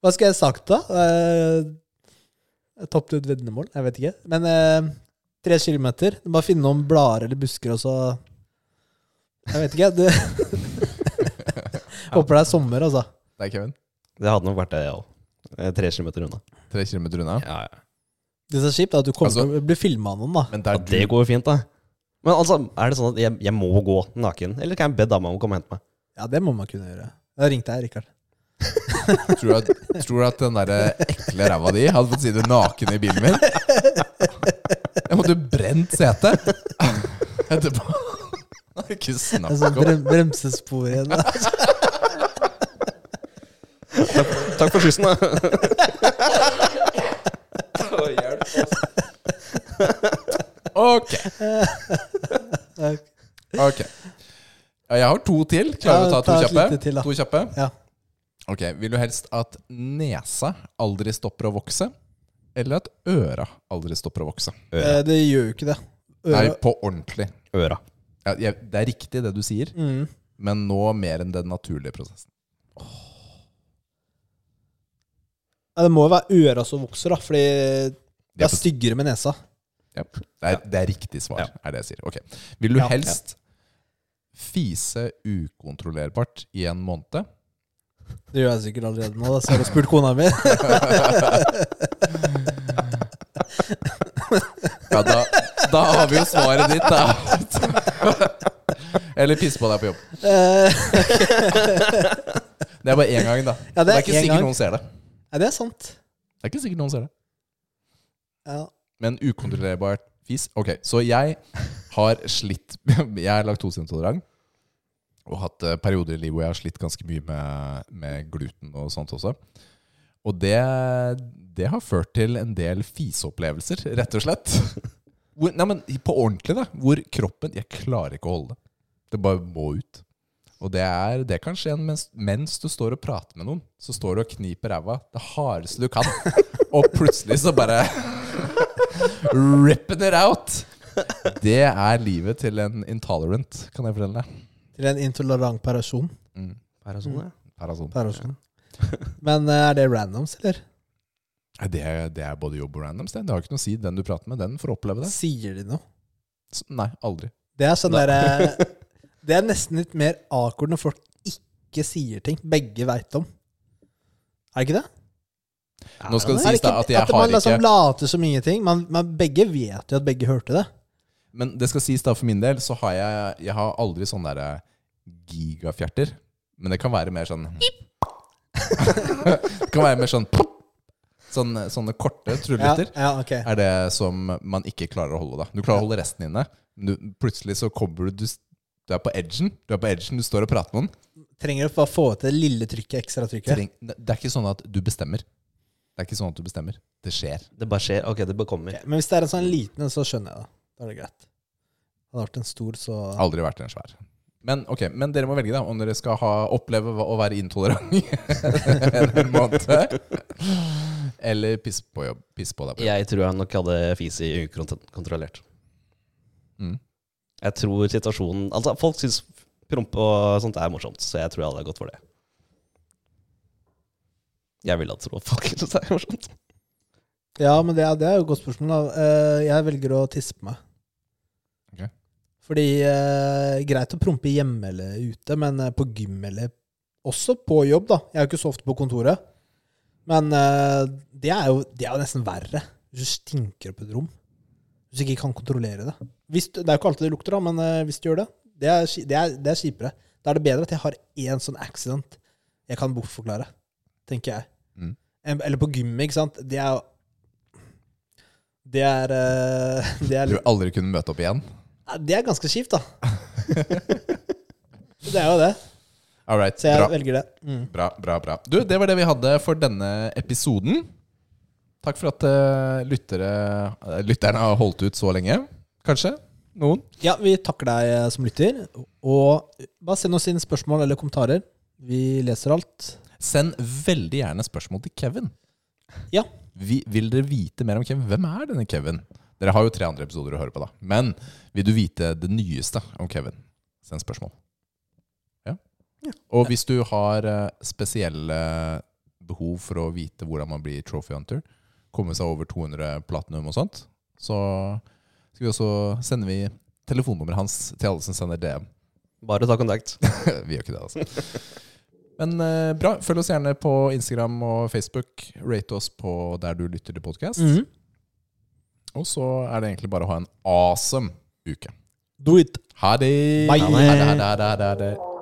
Speaker 1: Hva skal jeg sagt da? Uh, Tapt et veddemål? Jeg vet ikke. Men eh, tre kilometer. Du må finne noen blader eller busker, og så jeg vet ikke. Du Håper det er sommer, altså.
Speaker 2: Det er Kevin.
Speaker 3: Det hadde nok vært det, jeg òg. Tre kilometer unna.
Speaker 2: Tre kilometer unna.
Speaker 3: Ja, ja.
Speaker 1: Det som er kjipt, er at du kommer
Speaker 2: Altså-
Speaker 1: til å bli filma av noen, da.
Speaker 2: Men der
Speaker 3: Ja,
Speaker 2: du,
Speaker 3: det går jo fint, da. Men altså, er det sånn at jeg, jeg må gå naken? Eller kan jeg be dama om å komme og hente meg?
Speaker 1: Ja, det må man kunne gjøre. Da ringte jeg Rikard.
Speaker 2: tror, du at, tror du at den der ekle ræva di hadde fått sitte naken i bilen min? Jeg måtte brent setet etterpå. Ikke
Speaker 1: Altså,
Speaker 2: snakk om
Speaker 1: brem bremsespor igjen. da.
Speaker 3: for skyssen, da. Å, hjelp, ass.
Speaker 2: Ok. Ok. Ja, Jeg har to til. Klarer
Speaker 1: Ja,
Speaker 2: du å ta
Speaker 1: ta
Speaker 2: to
Speaker 1: et
Speaker 2: kjappe?
Speaker 1: lite til, da.
Speaker 2: to kjappe?
Speaker 1: Ja.
Speaker 2: Ok, Vil du helst at nesa aldri stopper å vokse, eller at øra aldri stopper å vokse?
Speaker 1: Eh, det gjør jo ikke det.
Speaker 2: Nei,
Speaker 1: Øra,
Speaker 2: på ordentlig.
Speaker 3: Øra.
Speaker 2: Ja, jeg, det er riktig det du sier,
Speaker 1: Mm.
Speaker 2: men nå mer enn den naturlige prosessen.
Speaker 1: Nei, det må jo være øra som vokser, da, fordi det
Speaker 2: Ja,
Speaker 1: er styggere med nesa.
Speaker 2: Ja. Det, er, det er riktig svar,
Speaker 3: Ja.
Speaker 2: er det jeg sier. Ok. Vil du
Speaker 1: Ja.
Speaker 2: helst fise ukontrollerbart i en måned?
Speaker 1: Det gjør jeg sikkert allerede nå. da, Så har du spurt kona mi.
Speaker 2: Ja, da, da har vi jo svaret ditt, da. Eller pisse på deg på jobb.
Speaker 1: Eh,
Speaker 2: Det er bare én gang, da.
Speaker 1: Ja, det
Speaker 2: det, er
Speaker 1: er
Speaker 2: ikke
Speaker 1: én
Speaker 2: sikkert
Speaker 1: gang.
Speaker 2: noen ser det.
Speaker 1: Nei, det er sant.
Speaker 2: Det er ikke sikkert noen ser det.
Speaker 1: Ja.
Speaker 2: Men ukontrollerbart fis. Ok, så jeg har slitt Jeg er laktoseintolerant. Og hatt eh, perioder i livet hvor jeg har slitt ganske mye med, med gluten og sånt også. Og det, det har ført til en del fiseopplevelser, rett og slett. Hvor, nei, men på ordentlig, da. Hvor kroppen Jeg klarer ikke å holde det. Det bare må ut. Og det, er, det kan skje mens, mens du står og prater med noen. Så står du og kniper ræva det hardeste du kan, og plutselig så bare Ripping it out! Det er livet til en intolerant, kan jeg fortelle deg.
Speaker 1: Til en intolerant person.
Speaker 2: Mm.
Speaker 3: Mm.
Speaker 2: Her er sånn.
Speaker 1: person. Men eh, er det randoms, eller?
Speaker 2: Nei, Det, er- det er både jobb og randoms. Det Det har ikke noe å si. Den du prater med, den får oppleve det.
Speaker 1: Sier de noe?
Speaker 2: S- Nei, aldri.
Speaker 1: Det er sånn derre Det er nesten litt mer awkward når folk ikke sier ting begge veit om. Er det ikke det?
Speaker 2: Nå skal det
Speaker 1: Er det
Speaker 2: sies da at jeg
Speaker 1: at man
Speaker 2: har
Speaker 1: liksom
Speaker 2: ikke
Speaker 1: later som ingenting. Man, man begge vet jo at begge hørte det.
Speaker 2: Men det skal sies da for min del, så har jeg, jeg har aldri sånne der gigafjerter. Men det kan være mer sånn Det kan være mer sånn Sånne, sånne korte
Speaker 1: Ja,
Speaker 2: trulliter.
Speaker 1: ja, ok.
Speaker 2: er det som man ikke klarer å holde. da. Du klarer å holde resten inne. men Du, plutselig så kommer du, du Du er på edgen, du er på edgen, du står og prater med noen.
Speaker 1: Trenger du bare få ut det lille trykket, ekstra trykket.
Speaker 2: Treng, det er ikke sånn at du bestemmer. Det er ikke sånn at du bestemmer. Det skjer.
Speaker 3: Det bare skjer. Ok, det bare kommer.
Speaker 1: Men hvis det er en sånn liten en, så skjønner jeg det. Da er det greit. Hadde det vært en stor, så
Speaker 2: Aldri vært en svær. Men ok, men dere må velge da, om dere skal ha, oppleve hva- å være intolerant i en måned. Eller pisse på jobb. Pisse på deg på jobb.
Speaker 3: Jeg tror jeg nok hadde fis i ukontrollert.
Speaker 2: Mm.
Speaker 3: Jeg tror situasjonen Altså, folk syns promp og sånt er morsomt, så jeg tror jeg hadde gått for det. Jeg vil at folk syns det er morsomt.
Speaker 1: Ja, men det er, det er jo et godt spørsmål. Da. Eh, Jeg velger å tisse på meg.
Speaker 2: Ok.
Speaker 1: Fordi eh, greit å prompe hjemme eller ute, men eh, på gym eller også på jobb, da. Jeg er jo ikke så ofte på kontoret. Men eh, det er jo, det er jo nesten verre hvis du stinker på et rom. Hvis du ikke kan kontrollere det. Hvis du, det er jo ikke alltid det lukter, da, men eh, hvis du gjør det, det er, ki- det, er, det er kjipere. Da er det bedre at jeg har én sånn accident jeg kan bortforklare, tenker jeg.
Speaker 2: Mm.
Speaker 1: En- Eller på gymmet, ikke sant. Det er jo det er, eh, det, er,
Speaker 2: Du vil aldri kunne møte opp igjen.
Speaker 1: Nei, det er ganske kjipt, da. det er jo det.
Speaker 2: All right,
Speaker 1: Så jeg
Speaker 2: bra.
Speaker 1: velger det. Mm.
Speaker 2: Bra, bra, bra. Du, det var det vi hadde for denne episoden. Takk for at eh, lyttere, eh, lytterne har holdt ut så lenge. Kanskje? Noen?
Speaker 1: Ja, vi takker deg eh, som lytter. Og bare send oss inn spørsmål eller kommentarer. Vi leser alt.
Speaker 2: Send veldig gjerne spørsmål til Kevin.
Speaker 1: Ja.
Speaker 2: Vi, vil dere vite mer om Kevin? Hvem er denne Kevin? Dere har jo tre andre episoder å høre på, da. Men vil du vite det nyeste om Kevin? Send spørsmål. Ja. Og hvis du har eh, spesielle behov for å vite hvordan man blir trophy hunter, komme seg over 200 platinum og sånt, så skal vi også sender vi telefonnummeret hans til alle som sender DM.
Speaker 3: Bare ta kontakt.
Speaker 2: Vi gjør ikke det, altså. Men eh, bra. Følg oss gjerne på Instagram og Facebook. Rate oss på der du lytter til podkast.
Speaker 1: Mhm.
Speaker 2: Og så er det egentlig bare å ha en awesome uke.
Speaker 1: Do it.
Speaker 2: Ha det!
Speaker 1: Bye.
Speaker 2: Ha det, ha det, ha det, ha det, ha det.